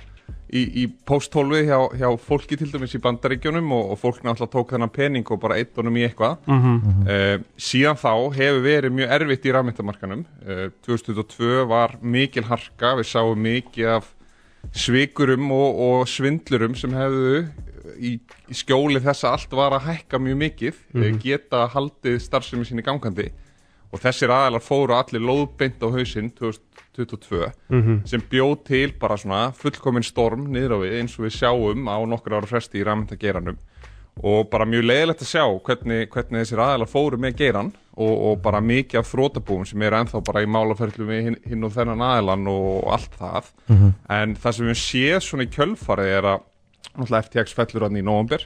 [SPEAKER 6] í, í pósthólfi hjá, hjá fólki til dæmis í bandaríkjunum og, og fólk náttúrulega tók þennan pening og bara eitt honum í eitthvað uh, síðan þá hefur verið mjög erfitt í rafmyndamarkanum uh, 2002 var mikil harka við sáum mikið af svikurum og, og svindlurum sem hefðu í, í skjóli þess að allt var að hækka mjög mikið mm geta haldið starfsemi sinni gangandi og þessir aðalar fóru allir lóðbeint á hausinn 2000 2022 sem bjóð til bara svona fullkominn storm niður á við eins og við sjáum á nokkur ára fresti í rafmyndageranum og bara mjög leiðilegt að sjá hvernig, hvernig þessir aðeila fóru með geran og, og bara mikið af þrótabúum sem eru ennþá bara í málaferðlu með hinn, hinn og þennan aðeilan og allt það
[SPEAKER 3] Mhm.
[SPEAKER 6] en það sem við séð svona í kjölfarið er að náttúrulega FTX fellur hann í nóvambir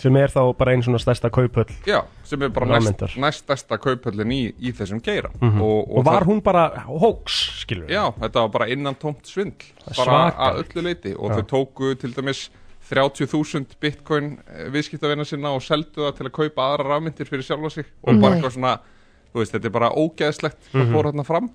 [SPEAKER 3] sem er þá bara einn svona stærsta kaupöll
[SPEAKER 6] já, sem er bara
[SPEAKER 3] Rafmyntar.
[SPEAKER 6] næst, næst stærsta kaupöllin í, í þessum geira og,
[SPEAKER 3] Mhm. og var
[SPEAKER 6] það-
[SPEAKER 3] hún bara hóks, skilur
[SPEAKER 6] Já, þetta var bara innan tómt svindl
[SPEAKER 3] er
[SPEAKER 6] bara að
[SPEAKER 3] svakalegt.
[SPEAKER 6] öllu leiti og þau tóku til dæmis 30.000 bitcoin eh, viðskiptavina sinna og seldu það til að kaupa aðra rafmyndir fyrir sjálfa sig og bara
[SPEAKER 2] Nei.
[SPEAKER 6] eitthvað svona þú veist, þetta er bara ógeðslegt hvað fór hérna fram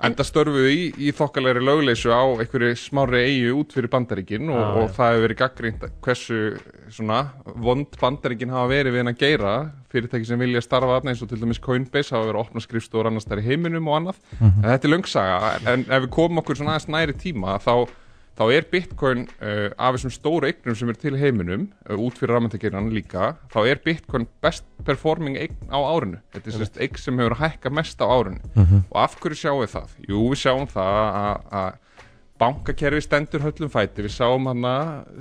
[SPEAKER 6] enda störfuðu í, í þokkalegri lögleysu á einhverju smári eigu út fyrir bandaríkin og, og það hefur verið gaggrínt hversu svona vond bandaríkin hafa verið við henn að geira fyrirtæki sem vilja starfa þarna eins og til dæmis Coinbase hafa verið að opna skrifstóra annars þar í heiminum og annað en þetta er löngsaga en ef við komum okkur svona aðeins næri tíma þá þá er bitcoin uh, af þessum stóru eignum sem er til í heiminum uh, út fyrir rafmyndagerðan líka þá er bitcoin best performing eign á árinu þetta er sérst eign sem hefur hækka mest á árinu og af hverju sjáum við það? Jú, við sjáum það að- að bankakerfi stendur höllum fæti við sáum hana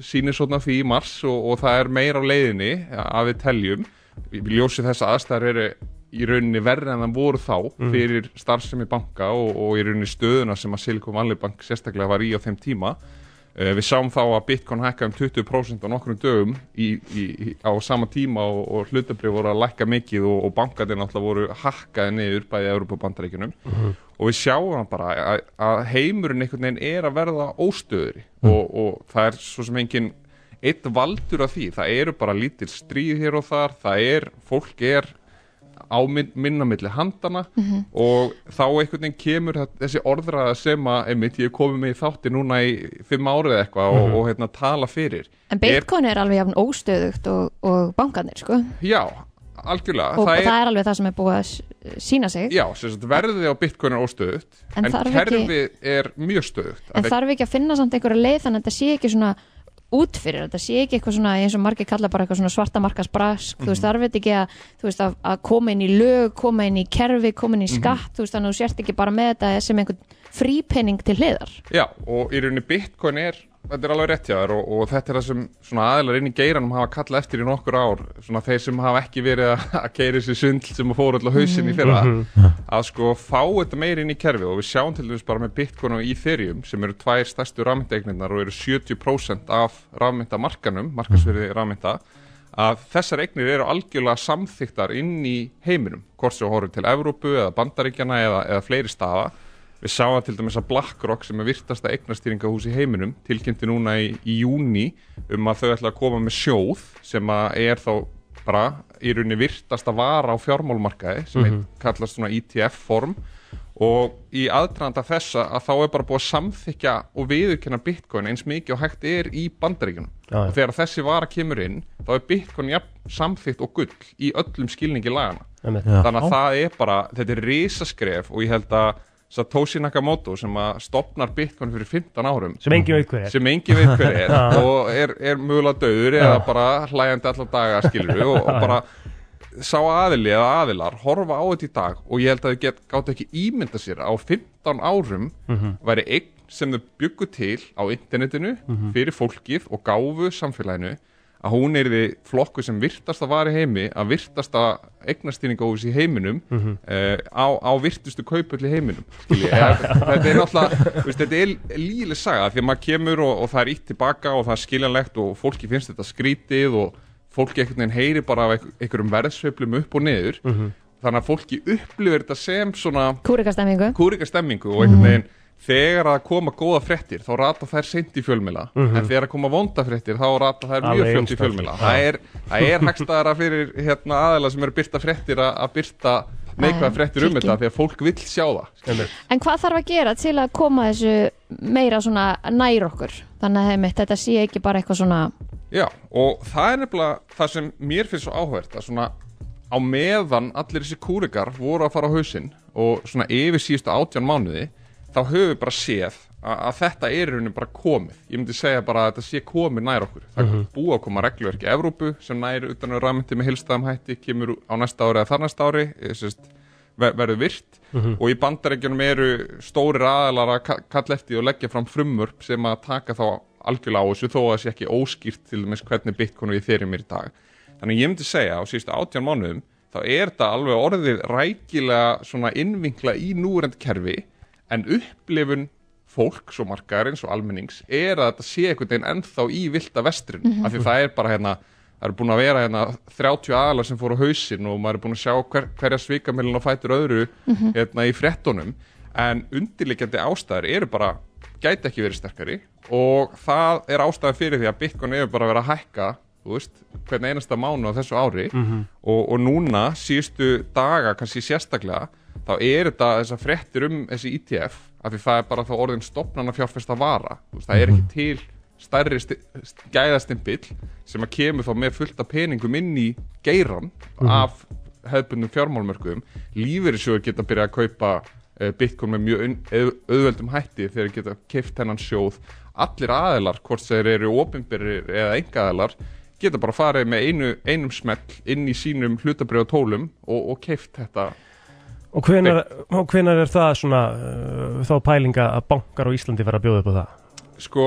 [SPEAKER 6] sínisotna því í mars og, og það er meira á leiðinni að við teljum við við ljósið þess að aðstæðar eru í rauninni verri en það voru þá fyrir starfsemi banka og, og í rauninni stöðuna sem að Silicon Valley Bank sérstaklega var í á þeim tíma Eh, Við sáum þá að Bitcoin hækka um 20% á nokkrum dögum í, í, í, á sama tíma og, og hlutabrið voru að lækka mikið og, og bankarnir náttúrulega voru hakkaði niður bæði Európa bandaríkjunum og við sjáum það bara að, að heimurinn einhvern veginn er að verða óstöðuri og, og það er svo sem enginn eitt valdur af því, það eru bara lítil stríð hér og þar, það er, fólk er á min- minna milli handana
[SPEAKER 2] Mhm.
[SPEAKER 6] og þá einhvern veginn kemur þa- þessi orðræða sem að einmitt ég er komið með í þátti núna í fimm árið eitthvað og, og hérna tala fyrir
[SPEAKER 2] En Bitcoin er alveg jafn óstöðugt og, og bankanir sko og
[SPEAKER 6] er, Já, algjörlega
[SPEAKER 2] það
[SPEAKER 6] það
[SPEAKER 2] er,
[SPEAKER 6] er,
[SPEAKER 2] alveg það sem er búið að s- sína sig
[SPEAKER 6] Já, sem sagt verðið á Bitcoin er óstöðugt
[SPEAKER 2] En
[SPEAKER 6] en,
[SPEAKER 2] þarf ekki-
[SPEAKER 6] kerfið er mjög stöðugt
[SPEAKER 2] En þarf ekki að finna samt einhverja leið þannig að þetta sé ekki svona út fyrir, þetta sé ekki eitthvað svona eins og margir kalla bara eitthvað svona svarta markasbrask þú veist þarf þetta ekki að, þú veist, að, að koma inn í lög, koma inn í kerfi, koma inn í skatt þú veist þannig að þú sért ekki bara með þetta sem einhvern frípenning til hliðar
[SPEAKER 6] Já, og í rauninni Bitcoin er, þetta er alveg rétt hjá þér og, og þetta er það sem svona aðilar inn í geiranum hafa kallað eftir í nokkur ár, svona þeir sem hafa ekki verið að- að keiri sér sundl sem að fóru alltaf hausinn í fyrra, að sko fá þetta meir inn í kerfið og við sjáum til dæmis bara með Bitcoin og Ethereum sem eru tvær stærstu rafmyndaegnirnar og eru 70% af rafmyndamarkanum, markasverði rafmynda, að þessar eignir eru algjörlega samþyktar inn í heiminum, hvort sem horfum til Evrópu eða Bandaríkjana eða, eða fleiri staða. Við sáum til dæmis að BlackRock sem er virtasta eignastýringahús í heiminum tilkynnti núna í, í júni um að þau ætla að koma með sjóð sem að er þá bara í rauninni virtasta vara á fjármálmarkaði
[SPEAKER 3] Mhm.
[SPEAKER 6] sem mm kallast svona ETF form og í aðdraðanda þessa að þá er bara búið að samþykja og viðurkenna bitcoin eins mikið og hægt er í bandaríkjunum
[SPEAKER 3] Já, já.
[SPEAKER 6] og þegar þessi vara kemur inn þá er bitcoin jafn samþykt og gull í öllum skilningi lagana
[SPEAKER 3] Já.
[SPEAKER 6] þannig að það er bara, þetta er risaskref og ég held að Satoshi Nakamoto sem að stopnar bitcoin fyrir 15 árum
[SPEAKER 3] sem engin veit hver er
[SPEAKER 6] sem engin veit hver er og er, er mögulega döður eða bara hlæjandi allar daga skilur og, og bara sá aðili eða aðilar horfa á þetta í dag og ég held að þau get, gátt ekki ímynda sér að á 15 árum væri eign sem þau byggu til á internetinu fyrir fólkið og gáfu samfélaginu að hún er því flokku sem virtast að vara í heimi að virtast að eignastýringa í heiminum mm á, á virtustu kaupull í heiminum skilji, eða, þetta er náttúrulega þú veist, þetta er líðileg saga því að maður kemur og, og það er ítt tilbaka og það er skiljanlegt og fólki finnst þetta skrítið og fólki einhvern veginn heyri bara af einhver- einhverjum verðsveiflum upp og niður þannig að fólki upplifir þetta sem svona
[SPEAKER 2] Kúrikastemmingu
[SPEAKER 6] kúrika stemmingu og einhvern veginn þegar að koma góða fréttir þá rata þær seint í fjölmila en þegar að koma vonda fréttir þá rata þær mjög
[SPEAKER 3] Alveg
[SPEAKER 6] fljótt í
[SPEAKER 3] einstaklega.
[SPEAKER 6] fjölmila það er, það er hagstæðara fyrir hérna, aðeila sem eru að byrta fréttir að að byrta neikvæða
[SPEAKER 2] Ah,
[SPEAKER 6] fréttir um
[SPEAKER 2] fylgin.
[SPEAKER 6] þetta því að fólk vill sjá það
[SPEAKER 2] En hvað þarf að gera til að koma þessu meira svona nær okkur þannig að heimitt, þetta sé ekki bara eitthvað svona
[SPEAKER 6] Já, og það er nefnilega það sem mér finnst svo áhvert að svona á meðan allir þessi kúrikar voru að fara á hausinn og svona yfir síðustu átján mánuði þá höfum við bara séð að, að þetta er í rauninni bara komið ég myndi segja bara að þetta sé komið nær okkur það er búið að koma regluverki um Evrópu sem nær utan að ramyndi með heilstæðum hætti kemur á næsta ári eða þar næsta ári eh, sem sagt, ver, verður virt og í bandarækjunum eru stóri aðalar að ka- kalla eftir því og leggja fram frumvörp sem að taka þá algjörlega á þessu þó að það sé ekki óskýrt til dæmis hvernig Bitcoin og Ethereum er í dag þannig að ég myndi segja á síðustu 18 mánuðum þá er þetta alveg orðið rækilega svona innvinkla í núrend kerfi en upplifun fólks og markaðarins og almennings er að þetta sé einhvern veginn ennþá í vilda vestrin af því það er bara hérna það eru búin að vera hérna 30 aðalar sem fóru á hausinn og maður er búin að sjá hver, hverja svikamilin og fætur öðru hérna í frettunum en undirliggjandi ástæður eru bara gæti ekki verið sterkari og það er ástæður fyrir því að Bitcoin hefur bara verið að hækka þú veist, hvern einasta mánu á þessu ári og, og núna síðustu daga kannski sérstaklega þá er þetta þessar fréttir um þessi ETF af því það er bara þá orðin stopnana fjárfesta vara Þú veist, það er ekki til stærri sti- st- gæðastimpill sem að kemur þá með fullta peningum inn í geiran af hefðbundum fjármálmörkuðum lífeyrissjóður geta byrjað að kaupa eh, bitcoin með mjög un- auð- auðveldum hætti þegar þeir geta keift hennan sjóð allir aðilar, hvort sem þeir eru opinberir eða engaðilar geta bara farið með einu, einum smell inn í sínum hlutabrið og tólum og, og keift þetta
[SPEAKER 3] Og hvenar, og hvenar er það svona uh, þá pælinga að bankar á Íslandi fara að bjóða upp á það?
[SPEAKER 6] sko,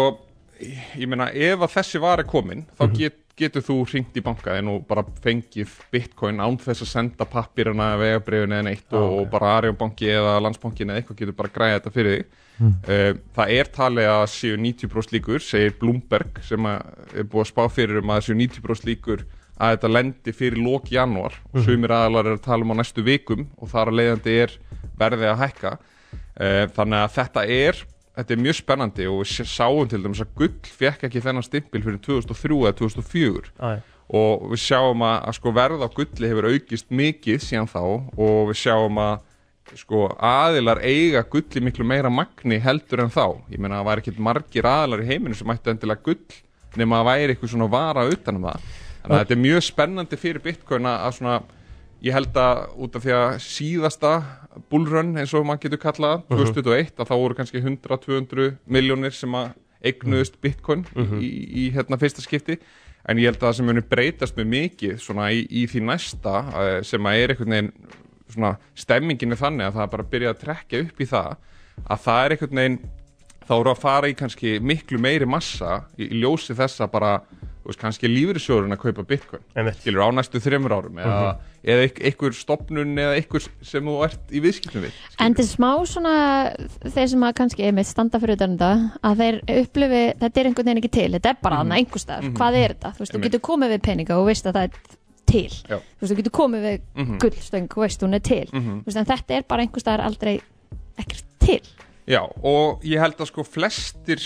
[SPEAKER 6] ég ég meina ef að þessi var er komin þá get, getur þú hringt í bankaðin og bara fengið bitcoin án þess að senda pappirina eða vegabriðin eða neitt og, og bara Arjónbanki eða landsbankin eða eitthvað getur bara græða þetta fyrir þig uh, það er talið að séu 90% líkur segir Bloomberg sem að er búið að spá fyrir um að séu 90% líkur að þetta lendi fyrir lók janúar og sumir aðalar eru að tala um á næstu vikum og þar að leiðandi er verðið að hækka Eh, þannig að þetta er þetta er mjög spennandi og við s- sáum til dæmis að gull fekk ekki þennan stimpil fyrir 2003 eða 2004
[SPEAKER 3] Æ.
[SPEAKER 6] og við sjáum að, að sko verð á gulli hefur aukist mikið síðan þá og við sjáum að sko aðilar eiga gulli miklu meira magni heldur en þá ég meina það var ekkert margir aðilar í heiminu sem ættu endilega gull nema að væri eitthvað svona vara utan um það þannig að þetta er mjög spennandi fyrir bitcoin að að svona ég held að út af því að síðasta bullrun eins og maður getur kallað 2001 að þá voru kannski 100-200 miljónir sem að eignuðust bitcoin í, í hérna fyrsta skipti en ég held að það sem muni breytast með mikið svona í, í því næsta eh, sem að er einhvern veginn svona stemmingin er þannig að það er bara að byrja að trekja upp í það að það er einhvern veginn þá eru að fara í kannski miklu meiri massa í, í ljósi þessa bara þú veist, kannski lífyrirsjóðurinn að kaupa bitcoin
[SPEAKER 3] Einmitt.
[SPEAKER 6] skilur á næstu þreymur árum eða, eða eik- einhver stopnun eða einhver sem þú ert í viðskiptum við skilurðu.
[SPEAKER 2] En þetta er smá svona þeir sem að kannski einmitt standa fyrir utan þetta að þeir upplifi, þetta er einhvern veginn ekki til þetta er bara þarna einhvers staðar, hvað er þetta? Þú veist, þú
[SPEAKER 6] Mhm. Einmitt.
[SPEAKER 2] getur komið við peninga og veist að það er til
[SPEAKER 6] Já. Mhm.
[SPEAKER 2] þú veist, þú getur komið við gullstöng og veist hún er til, þú veist, en þetta er bara einhvers staðar aldrei ekkert til
[SPEAKER 6] Já, og ég held að sko flestir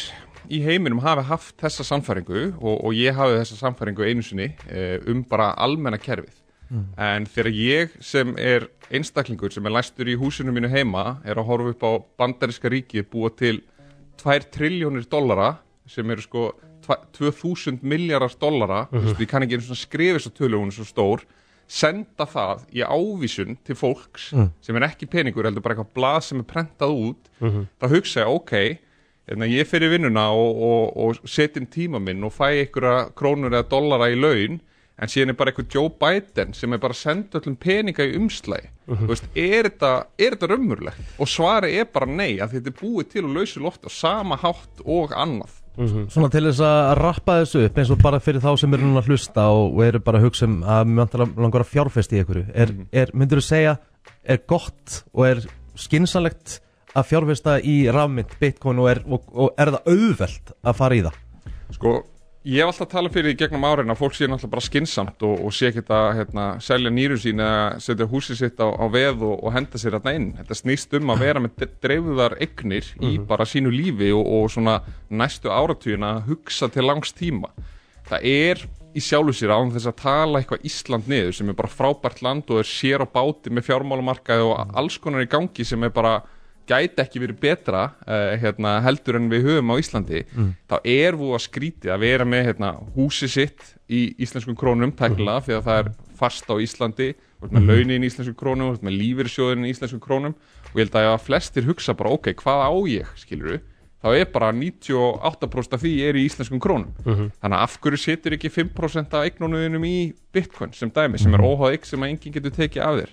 [SPEAKER 6] í heiminum hafi haft þessa samfæringu og, og ég hafi þessa samfæringu einu sinni eh, um bara almenna kerfið en þegar ég sem er einstaklingur sem er læstur í húsinu mínu heima er að horfa upp á bandariska ríkið búa til 2 triljónir dollara sem eru sko tva- 2000 miljardar dollara þú veist, ég kann ekki einu svona skrifa þess að tölugun er svo stór senda það í ávísun til fólks sem er ekki peningur heldur bara eitthvað blað sem er prentað út þá hugsa ég, ok hérna, ég fer í vinnuna og, og, og setja inn tíma minn og fæ einhverja krónur eða dollara í laun en síðan er bara eitthvað Joe Biden sem er bara að senda öllum peninga í umslæg þú veist, er þetta, er þetta raumurlegt og svarið er bara nei að þetta er búið til að lausa loft á sama hátt og annað
[SPEAKER 1] Svona til þess að rappa þessu upp eins og bara fyrir þá sem eru núna að hlusta og, og eru bara að hugsa um að mér vantar að- langar að fjárfesta í einhverju er, er, myndir þú segja, er gott og er skinsalegt að fjárfesta í rafmynd, bitcoin og er, og, og er það auðvelt að fara í það?
[SPEAKER 6] Sko, ég hef alltaf talað fyrir í gegnum árin að fólk sé náttúrulega bara skinsamt og, og sé ekki að hérna, selja nýru sín eða setja húsið sitt á, á veð og, og henda sér hérna inn. Þetta snýst um að vera með de- dreifðar egnir í bara sínu lífi og, og svona næstu áratugina að hugsa til langs tíma. Það er í sjálfu sér án þess að tala eitthvað Ísland niður sem er bara frábært land og er sér á báti með fjármálamarkaði og alls konar í gangi sem er bara gæti ekki verið betra uh, hérna, heldur en við höfum á Íslandi þá er þú að skrítið að vera með hérna, húsi sitt í íslenskum krónum tækla því að það er fast á Íslandi þú ert með launin í íslenskum krónum þú ert með lífyrsjóðin í íslenskum krónum og ég held að flestir hugsa bara ok, hvað á ég skilur þá er bara 98% af því er í íslenskum krónum þannig að af hverju setur ekki 5% af eignónuðinum í bitcoin sem dæmi sem er óháð eign sem að enginn getur tekið af þér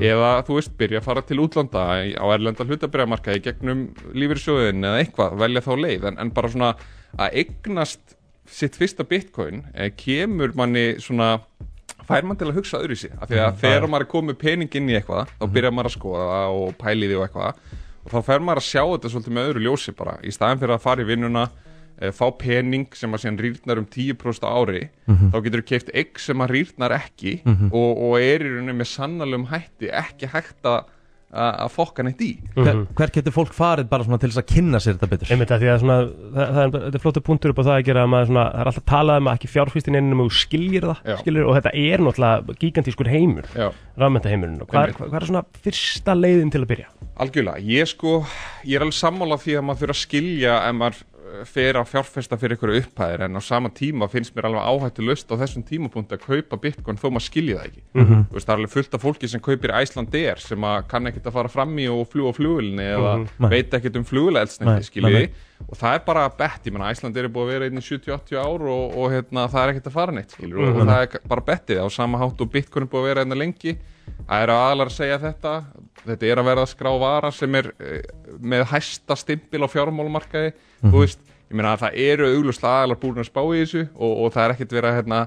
[SPEAKER 6] eða þú veist byrja að fara til útlanda í- á erlenda hlutabriðamarkaði gegnum lífyrsjóðin eða eitthvað velja þá leið en, en bara svona að eignast sitt fyrsta bitcoin eh, kemur manni svona fær mann til að hugsa öðru sér af því að þegar maður er komið pening inn í eitthvað þá byrjar maður að skoða það og pæli því og eitthvað og þá fær maður að sjá þetta svolítið með öðru ljósi bara í staðin fyrir að fara í vinnuna eh, fá pening sem að síðan rýrnar um 10% á ári þá getur þú keift egg sem að rýrnar ekki og, og er í rauninni með sannalum hætti ekki hægt að að að fokka neitt í
[SPEAKER 1] hver, hver getur fólk farið bara svona til þess að kynna sér þetta betur
[SPEAKER 3] Einmitt að því að svona, það, það er, þetta er flóttu punktur upp á það að gera að maður svona, það er alltaf talað um að ekki fjárfýstin inn um að þú skiljir
[SPEAKER 6] Já.
[SPEAKER 3] það, skiljir, og þetta er náttúrulega gigantískur heimur,
[SPEAKER 6] Já.
[SPEAKER 3] rafmyndaheimurinn og hvað,
[SPEAKER 6] Einmitt.
[SPEAKER 3] hvað, hvað er svona fyrsta leiðin til að byrja?
[SPEAKER 6] Algjörlega, ég sko, ég er alveg sammála því að maður fyrir að skilja ef maður eh, fer að fjárfesta fyrir einhverju upphæðir en á sama tíma finnst mér alveg áhættu löst á þessum tímapunkti að kaupa bitcoin þó maður skilji það ekki.
[SPEAKER 1] Mhm.
[SPEAKER 6] Þú veist, það er alveg fullt af fólki sem kaupir Icelandair sem að kann ekkert að fara fram í og fljúa flugulni eða
[SPEAKER 1] Mhm. Nei.
[SPEAKER 6] veit ekkert um
[SPEAKER 1] Nei,
[SPEAKER 6] flugulegsnetti,
[SPEAKER 1] nei,
[SPEAKER 6] skiljiði.
[SPEAKER 1] nei.
[SPEAKER 6] Og það er bara bett, ég menna Icelandair er búið að vera einn í 70-80 ár og, og hérna, það er ekkert að fara neitt, skiljiði. Og það er k- bara bettið á sama hátt og bitcoin er búið að vera einna lengi Það eru aðlar að segja þetta Þetta er að verða að skrá vara sem er eh, með hæsta stimpil á fjármálumarkaði Þú veist, ég meina að það eru auglust aðlar búin að spá í þessu og, og það er ekkert verið að hérna,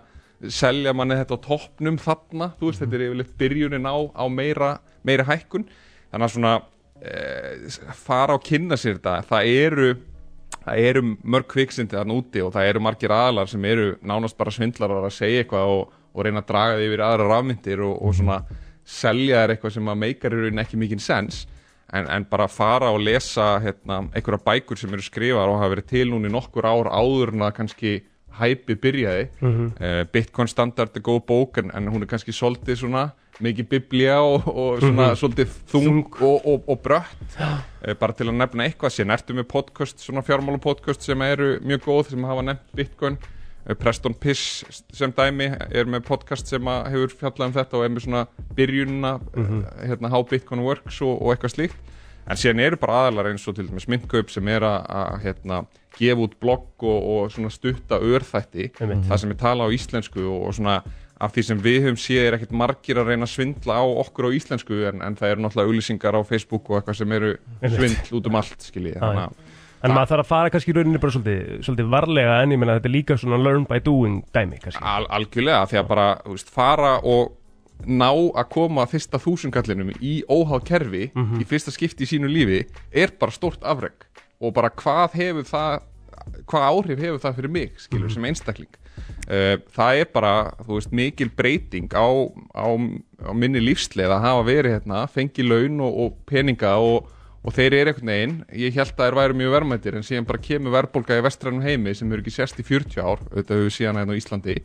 [SPEAKER 6] selja manni þetta á toppnum þarna Þú veist, þetta er yfirleitt byrjunin á, á meira, meira hækkun Þannig að svona eh, fara og kynna sér þetta Það eru það eru mörg kviksindi þarna úti og það eru margir aðlar sem eru nánast bara svindlarar að segja eitthvað og, og reyna að draga því yfir aðra rafmyndir og, og svona selja þér eitthvað sem að meikar í rauninni ekki mikinn sens en, en bara fara og lesa hérna, einhverja bækur sem eru skrifar og hafa verið til núna í nokkur ár áður en að kannski hæpi byrjaði Eh, Bitcoin Standard er góð bók en, en hún er kannski svolítið svona mikið biblía og, og svona svolítið þung, og, og, og brött Eh, bara til að nefna eitthvað síðan ertu með podcast, svona fjármála podcast sem eru mjög góð, sem hafa nefnt Bitcoin Eh, Preston Piss sem dæmi er með podcast sem að hefur fjallað um þetta og er með svona byrjunina hérna How Bitcoin Works og, og eitthvað slíkt en síðan eru bara aðalar eins og til dæmis myndkaup sem er að, að hérna, gefa út blogg og, og svona stutta örþætti,
[SPEAKER 3] Einmitt.
[SPEAKER 6] það sem er tala á íslensku og, og svona af því sem við höfum séð er ekkert margir að reyna að svindla á okkur á íslensku en, en það eru náttúrulega auglýsingar á Facebook og eitthvað sem eru
[SPEAKER 3] Einmitt.
[SPEAKER 6] svindl út um allt skiljið, þannig að
[SPEAKER 3] En maður þarf að fara kannski í rauninni bara svolítið, svolítið varlega en ég meina þetta er líka svona learn by doing dæmi kannski.
[SPEAKER 6] Al algjörlega, því að bara þú veist, fara og ná að koma að fyrsta þúsungallinum í óháð kerfi í fyrsta skipti í sínu lífi er bara stórt afreg og bara hvað hefur það hvað áhrif hefur það fyrir mig skilur sem einstakling uh, það er bara, þú veist, mikil breyting á, á, á minni lífsleið að hafa verið hérna, fengi laun og, og peninga og, og þeir eru einhvern veginn, ég held að þeir væru mjög verðmættir en síðan bara kemur verðbólga í vestrænum heimi sem eru ekki sérst í 40 ár auðvitað höfum við síðan hérna á Íslandi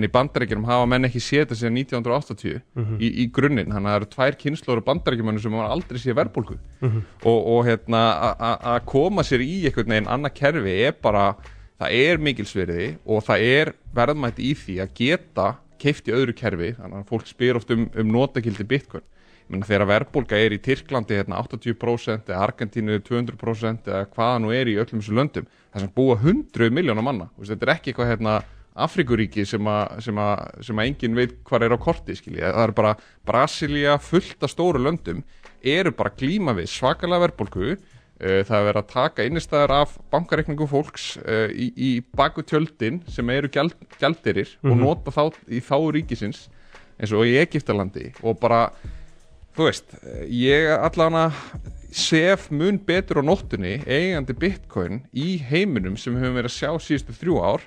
[SPEAKER 6] en í bandaríkjunum hafa menn ekki séð þetta síðan 1980 í, í grunninn þannig að það eru tvær kynnslóður bandaríkjumennu sem hafa aldrei séð verðbólgu og, og hérna a- a- að koma sér í einhvern veginn annað kerfi er bara það er mikilsverði og það er verðmætt í því að geta keift í öðru kerfi, þannig að fólk spyr oft um, um notakildi bitcoin Ég meina, þegar verðbólga er í Tyrklandi hérna 80% eða Argentínu 200% eða hvaða nú er í öllum þessu löndum þar sem búa 100 miljónar manna Þú veist, þetta er ekki eitthvað hérna Afrikuríki sem að, sem að, sem að engin veit hvað er á korti skilji. það er bara Brasilia fullt af stóru löndum eru bara glíma við svakalega verðbólgu Eh, Það er verið að taka innistæðar af bankareikningum fólks eh, í, í baku tjöldin sem eru gjald, gjaldirir og nota þá í þá ríkisins eins og í Egiptalandi og bara, þú veist, eh, ég allan að sef mun betur á nóttunni eigandi bitcoin í heiminum sem við höfum verið að sjá síðustu þrjú ár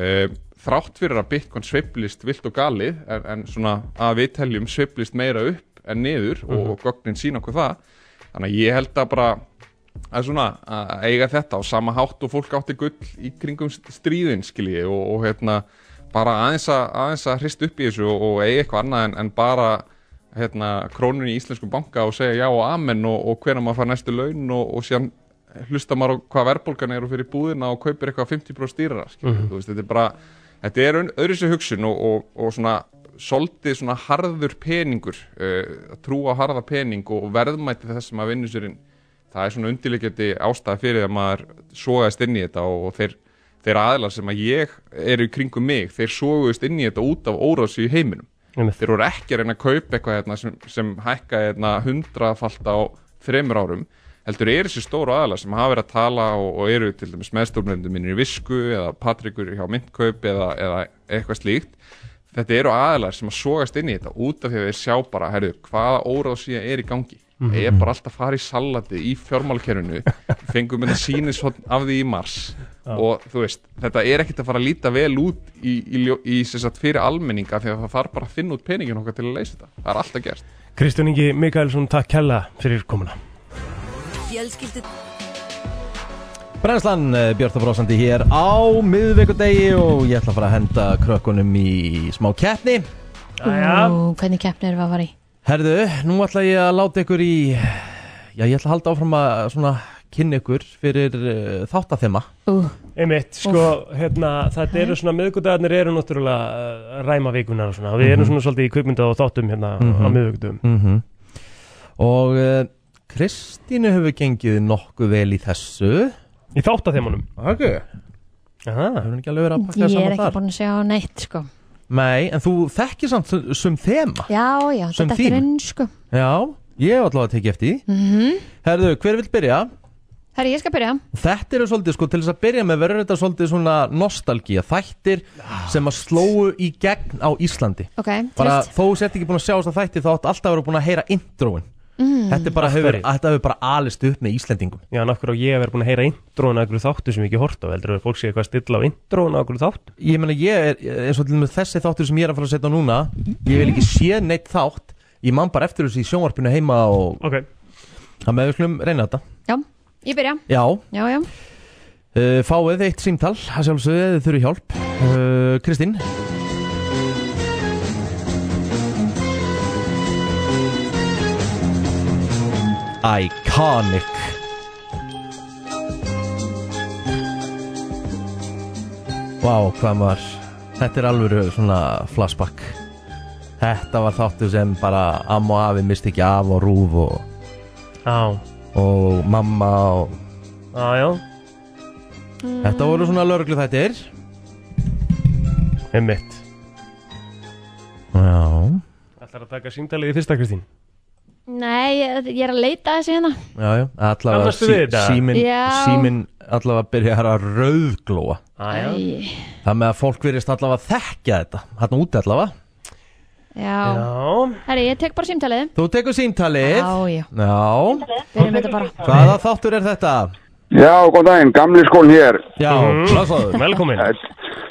[SPEAKER 6] Eh, þrátt fyrir að bitcoin sveiflist vilt og galið en, en svona að við teljum sveiflist meira upp en niður og, og gögnin sína okkur það þannig að ég held að bara að svona að eiga þetta á sama hátt og fólk átti gull í kringum stríðin skilji og, og hérna bara aðeins að, aðeins að hrist upp í þessu og, og eiga eitthvað annað en, en bara hérna krónun í íslenskum banka og segja já og amen og, og hvernig maður fær næstu laun og, og síðan hlusta maður á hvað verðbólgan eru fyrir búðina og kaupir eitthvað 50% stýrara skilji, þú veist, þetta er bara þetta er öðru sér hugsun og, og, og svona svolítið svona eh, harður peningur uh, að trúa á harða pening og verðmæti þess sem að vinnu sér inn það er svona undirleikjandi ástæða fyrir að maður sogaðist inn í þetta og, og þeir, þeir aðlar sem að ég eru í kringum mig, þeir soguðist inn í þetta út af órási í heiminum
[SPEAKER 3] Einmitt.
[SPEAKER 6] þeir voru ekki að reyna að kaupa eitthvað hérna, sem, sem hækkaði hérna, hundrafalt á þremur árum heldur eru þessi stóru aðalega sem hafa verið að tala og, og eru til dæmis meðstofnendur mínir í Visku eða Patrikur hjá Myndkaup eða, eða eitthvað slíkt þetta eru aðalega sem að sogast inn í þetta út af því að þeir sjá bara herðu, hvaða óráð síðan er í gangi ég er bara alltaf að fara í salatið í fjármálkerfinu fengum minna sýnishotn af því í mars og þú veist, þetta er ekkert að fara að líta vel út í, í, ljó- í, í sem sagt, fyrir almenninga því að það þarf bara að finna út peningin okkar til að leysa þetta, það er alltaf gert
[SPEAKER 3] Kristján Ingi Mikaelsson, takk kella fyrir komuna
[SPEAKER 5] Fjölskyldu
[SPEAKER 1] Brennslan eh, Björn Þófrósandi hér á miðvikudegi og ég ætla að fara að henda krökkunum í smá keppni
[SPEAKER 3] Jæja,
[SPEAKER 2] Ú, hvernig keppni erum við að fara í?
[SPEAKER 1] Herðu, nú ætla ég að láta ykkur í Já, ég ætla að halda áfram að svona kynna ykkur fyrir uh, þáttathema
[SPEAKER 2] Ú,
[SPEAKER 3] einmitt, sko, hérna, þetta eru svona miðgudagarnir eru náttúrulega uh, ræma vikunar og svona, við erum svona svolítið í kvikmynda og þáttum hérna á miðgudum
[SPEAKER 1] mm Og uh, Kristínu hefur gengið nokkuð vel í þessu
[SPEAKER 3] Í þáttathemunum
[SPEAKER 1] Ok
[SPEAKER 3] Aha.
[SPEAKER 1] Hefur hún ekki alveg verið að pakka
[SPEAKER 2] ég er
[SPEAKER 1] saman
[SPEAKER 2] ekki
[SPEAKER 1] þar
[SPEAKER 2] búin að sjá neitt sko
[SPEAKER 1] Nei, en þú þekkir samt sum- sum þema
[SPEAKER 2] Já, já,
[SPEAKER 1] Sem
[SPEAKER 2] þetta
[SPEAKER 1] þín?
[SPEAKER 2] er inn sko
[SPEAKER 1] Já, ég hef allavega að tekið eftir því
[SPEAKER 2] Mhm.
[SPEAKER 1] Herðu, hver vill byrja?
[SPEAKER 2] Herri, ég skal byrja
[SPEAKER 1] Þetta eru svolítið, sko, til þess að byrja með verður þetta svolítið svona nostalgía, þættir sem að slóu í gegn á Íslandi.
[SPEAKER 2] Ok,
[SPEAKER 1] Bara
[SPEAKER 2] trist
[SPEAKER 1] þó þú sért ekki búin að sjá þess að þætti þá átt alltaf að vera búin að heyra introin. Þetta er bara hefur,
[SPEAKER 3] hverju?
[SPEAKER 1] þetta hefur bara alist upp með Íslandingum.
[SPEAKER 3] Já, en af hverju á ég að vera búin að heyra introinu að einhverju þáttu sem ég ekki hort á, heldur að fólk sé eitthvað að stilla á introinu að einhverju þáttu
[SPEAKER 1] Ég meina ég er, eins og til með þessi þáttur sem ég er að fara að setja á núna, ég vil ekki sé neitt þátt, ég man bara eftir þessu í sjónvarpinu heima og
[SPEAKER 3] Ok
[SPEAKER 1] það með við slum reyna þetta.
[SPEAKER 2] Já, ég byrja
[SPEAKER 1] Já,
[SPEAKER 2] Já, já,
[SPEAKER 1] uh, fáið eitt símtal, það sjálfsögðu eða þið þurfi hjálp. Uh, Kristín, Iconic Vá, hvað maður Þetta er alveg svona flashback Þetta var þáttu sem bara Amma og afi misti ekki af og rúf og,
[SPEAKER 3] Á,
[SPEAKER 1] og mamma og
[SPEAKER 3] á, já,
[SPEAKER 1] Þetta voru svona lörglu þættir
[SPEAKER 3] einmitt
[SPEAKER 1] Já
[SPEAKER 3] Ætlar að taka símtalið í fyrsta Kristín
[SPEAKER 2] nei, ég ég er að leita að þessu hérna
[SPEAKER 1] Já, já, allavega
[SPEAKER 3] Kannastu við þetta?
[SPEAKER 1] símin,
[SPEAKER 2] Já.
[SPEAKER 1] símin allavega byrjar að rauðglóa
[SPEAKER 3] Æja
[SPEAKER 2] Æ,
[SPEAKER 1] Það með að fólk virðist allavega þekkja þetta Þarna úti allavega
[SPEAKER 2] Já,
[SPEAKER 3] Já,
[SPEAKER 2] herri, ég tek bara símtalið
[SPEAKER 1] Þú tekur símtalið
[SPEAKER 2] Já, já,
[SPEAKER 1] Já,
[SPEAKER 2] byrjum þetta bara
[SPEAKER 1] hvaða þáttur er þetta?
[SPEAKER 7] Já, góðan daginn, gamli skólinn hér.
[SPEAKER 1] Já,
[SPEAKER 3] Mhm.
[SPEAKER 1] blessaður
[SPEAKER 3] velkomin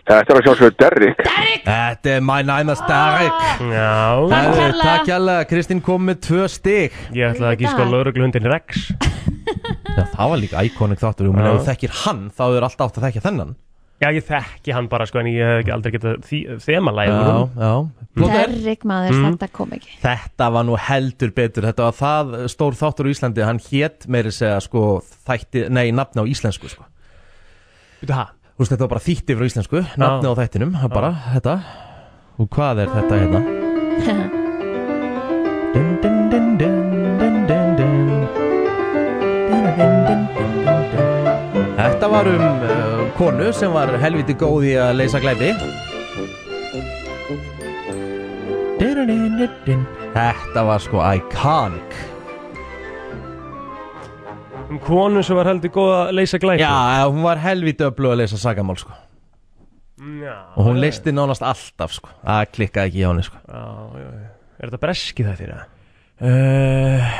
[SPEAKER 7] Þetta er að sjálfsögur Derrik.
[SPEAKER 1] Þetta er my name is Derek
[SPEAKER 3] Já,
[SPEAKER 2] Ah, Takk
[SPEAKER 1] Herðu,
[SPEAKER 2] kærlega.
[SPEAKER 1] Takk hérlega, Kristín kom með tvö stig
[SPEAKER 3] ég ætlaði að gíska á laurugluhundin Rex
[SPEAKER 1] Já, það var líka íkonik þáttur Ég meina,
[SPEAKER 3] Já.
[SPEAKER 1] ef þú þekkir hann, þá er alltaf átt að þekkja þennan
[SPEAKER 3] Já, ég þekki hann bara sko en ég hef ekki aldrei getað þemalæg
[SPEAKER 1] Já, já Blóter.
[SPEAKER 2] Derrik maður,
[SPEAKER 1] Mm.
[SPEAKER 2] þetta kom ekki
[SPEAKER 1] Þetta var nú heldur betur Þetta var það stór þáttur á Íslandi Hann hét meiri segja sko þætti Nei, nafni á íslensku sko
[SPEAKER 3] Býtu hæ?
[SPEAKER 1] Þú veist, þetta var bara þýtti frá íslensku Nafni á þættinum, það bara, þetta Og hvað er þetta hérna? Dun, dun, dun, dun, dun, dun, dun. Dun, dun, dun, dun, dun, dun. Þetta var um uh, konu sem var helviti góð í að leysa glæði Þetta var sko iconic
[SPEAKER 3] Um konu sem var heldur góð að leysa glæpi
[SPEAKER 1] Já, hún var helviti öflug að leysa sagamál sko
[SPEAKER 3] Já,
[SPEAKER 1] Og hún leysti nánast alltaf sko Það klikkaði ekki hjá henni sko
[SPEAKER 3] já, já, já. Er þetta breski það þér?
[SPEAKER 1] Uh,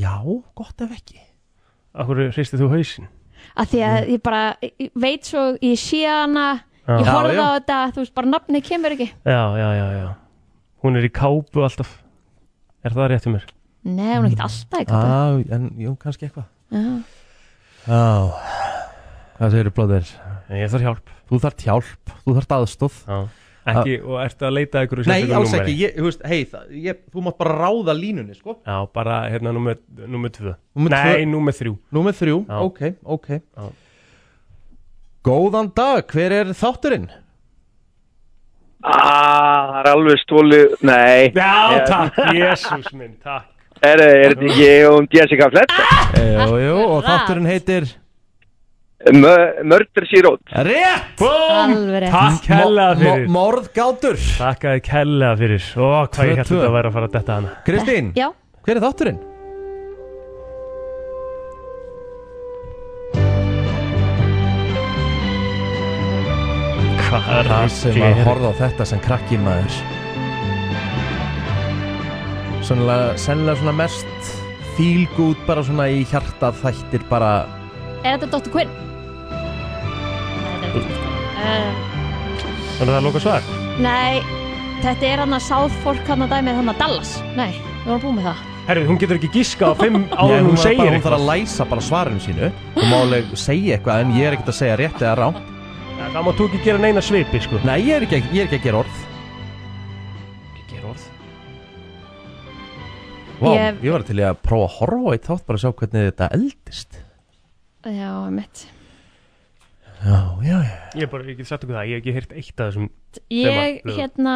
[SPEAKER 1] já, gott ef ekki
[SPEAKER 3] Akkur hristið þú hausinn?
[SPEAKER 2] að því að ég bara ég veit svo, ég sé hana ég
[SPEAKER 1] Já,
[SPEAKER 2] horfði
[SPEAKER 1] já.
[SPEAKER 2] á þetta, þú veist bara nafni kemur ekki
[SPEAKER 3] Já, já, já, já Hún er í kápu alltaf Er það rétt um mér?
[SPEAKER 2] nei, hún er ekkert alltaf ekki ah.
[SPEAKER 1] Já, en jú, kannski eitthvað Já Hvað segirðu blóðir?
[SPEAKER 3] Ég þarf hjálp
[SPEAKER 1] Þú þart hjálp, þú þart aðstóð
[SPEAKER 3] já. Ekki, og ertu að leita að einhverju
[SPEAKER 1] Ah. Nei,
[SPEAKER 3] sérstöku
[SPEAKER 1] alls
[SPEAKER 3] númeri?
[SPEAKER 1] ekki, ég, þú veist, hei, það- ég, þú mátt bara ráða línunni, sko
[SPEAKER 3] Já, bara hérna nummer, nummer tvö
[SPEAKER 1] Númer
[SPEAKER 3] Nei,
[SPEAKER 1] tvö.
[SPEAKER 3] nummer þrjú
[SPEAKER 1] Númer þrjú,
[SPEAKER 3] Já.
[SPEAKER 1] ok, ok
[SPEAKER 3] Já.
[SPEAKER 1] Góðan dag, hver er þátturinn?
[SPEAKER 8] Ah, það er alveg stóli, nei,
[SPEAKER 3] Já, takk, jésús minn, takk
[SPEAKER 8] Er, er þetta ekki um Jessica Fletcher?
[SPEAKER 1] Jú, jú, og þátturinn heitir
[SPEAKER 8] Mö- Murder She Wrote.
[SPEAKER 1] Rétt!
[SPEAKER 2] Alveg rétt.
[SPEAKER 3] Takk hella fyrir
[SPEAKER 1] Morðgátur
[SPEAKER 3] Takk að þið kella fyrir Ó, hvað ég
[SPEAKER 1] Tvö,
[SPEAKER 3] held
[SPEAKER 1] tvö.
[SPEAKER 3] þetta að væri að fara að detta hana
[SPEAKER 1] Kristín,
[SPEAKER 2] Já,
[SPEAKER 1] hver er þátturinn?
[SPEAKER 3] Hvað er
[SPEAKER 1] Það
[SPEAKER 3] það
[SPEAKER 1] sem að horfa á þetta sem krakki maður Svonlega, sennilega svona mest feel good bara svona í hjarta þættir bara
[SPEAKER 2] er þetta Dr. Quinn? Nei, þetta er ekki Dr. Quinn. Um,
[SPEAKER 3] Þannig að það er loka svar
[SPEAKER 2] Nei, þetta er hann að South Fork hann að dæmið hann að Dallas Nei, við vorum búin með það
[SPEAKER 3] Herru, hún getur ekki giska á fimm
[SPEAKER 1] Nei,
[SPEAKER 3] áður en
[SPEAKER 1] hún,
[SPEAKER 3] hún
[SPEAKER 1] var
[SPEAKER 3] segir
[SPEAKER 1] bara, hún þarf
[SPEAKER 3] eitthvað
[SPEAKER 1] að læsa bara svarum sínu Hún má alveg segja eitthvað en ég er ekkert að segja rétt eða rá
[SPEAKER 3] Það má þú ekki gera neina svipi, sko
[SPEAKER 1] Nei, ég er ekki, ég er ekki að gera orð Ekki að gera orð Vá,
[SPEAKER 2] Ég-
[SPEAKER 1] ég var til í að prófa að horfa á eitt þátt bara að sjá hvernig þetta eldist
[SPEAKER 2] Já, mitt
[SPEAKER 1] Já, já, já
[SPEAKER 3] Ég er bara, ég get sagt okkur það, ég hef ekki heyrt eitt af þessum
[SPEAKER 2] Ég,
[SPEAKER 3] Þema,
[SPEAKER 2] hérna,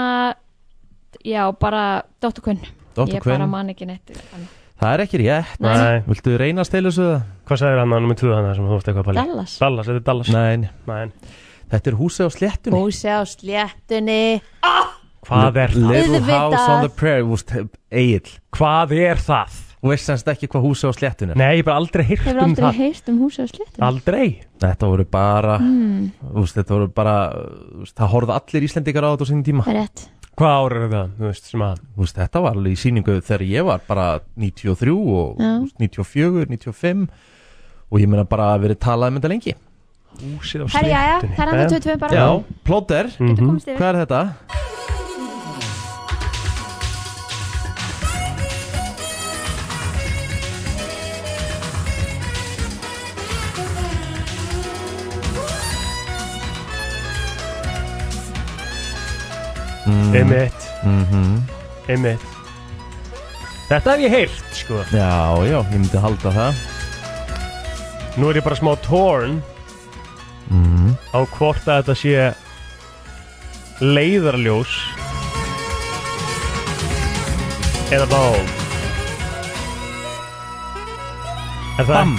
[SPEAKER 2] já, bara Dr. Quinn
[SPEAKER 1] Dr.
[SPEAKER 2] Ég
[SPEAKER 1] Quinn.
[SPEAKER 2] bara man ekki neitt um annað.
[SPEAKER 1] Það er ekki rétt
[SPEAKER 3] Nei.
[SPEAKER 1] Viltu reyna að stela þessu það?
[SPEAKER 3] Hvað sagðir hann að nummer 2 hann sem þú vorst eitthvað að pæla í?
[SPEAKER 2] Dallas
[SPEAKER 3] Dallas, þetta er Dallas
[SPEAKER 1] Nei, nei.
[SPEAKER 3] Nei,
[SPEAKER 1] þetta er húsið á sléttunni
[SPEAKER 2] Húsi á sléttunni
[SPEAKER 3] Hvað er það?
[SPEAKER 1] Little
[SPEAKER 2] Auðvitað.
[SPEAKER 1] House on the Prairie Þú veist, Egil
[SPEAKER 3] Hvað er það?
[SPEAKER 1] Þú veist semst ekki hvað húsið á sléttunni er.
[SPEAKER 3] Nei, ég hef bara aldrei heyrt
[SPEAKER 2] Hefur
[SPEAKER 3] um
[SPEAKER 2] aldrei
[SPEAKER 3] það
[SPEAKER 2] heyrt um húsi á sléttunni
[SPEAKER 3] Aldrei
[SPEAKER 1] Þetta voru bara
[SPEAKER 2] Mm.
[SPEAKER 1] þú veist, Þetta voru bara þú veist, Það horfðu allir Íslendingar á þetta á sinni tíma
[SPEAKER 2] Það er rétt
[SPEAKER 3] Hvað ára er það? Þú veist, sem að
[SPEAKER 1] Þú veist, Þetta var alveg í síningu þegar ég var bara 93 og
[SPEAKER 2] Já.
[SPEAKER 1] þú veist, 94, 95 og ég meina bara að verið talað um þetta lengi
[SPEAKER 3] Húsið á
[SPEAKER 2] Herri, já, já,
[SPEAKER 3] sléttunni Mhm.
[SPEAKER 2] það er hann að 22 bara
[SPEAKER 1] Já, plóter
[SPEAKER 2] Getur komist
[SPEAKER 1] Hvað
[SPEAKER 2] yfir
[SPEAKER 1] er þetta?
[SPEAKER 3] Einmitt
[SPEAKER 1] Mhm.
[SPEAKER 3] Einmitt Þetta hef ég heyrt, sko
[SPEAKER 1] Já, já, ég myndi halda það
[SPEAKER 3] Nú er ég bara smá torn Á hvort að þetta sé Leiðarljós Eða bá Er það?
[SPEAKER 1] Bam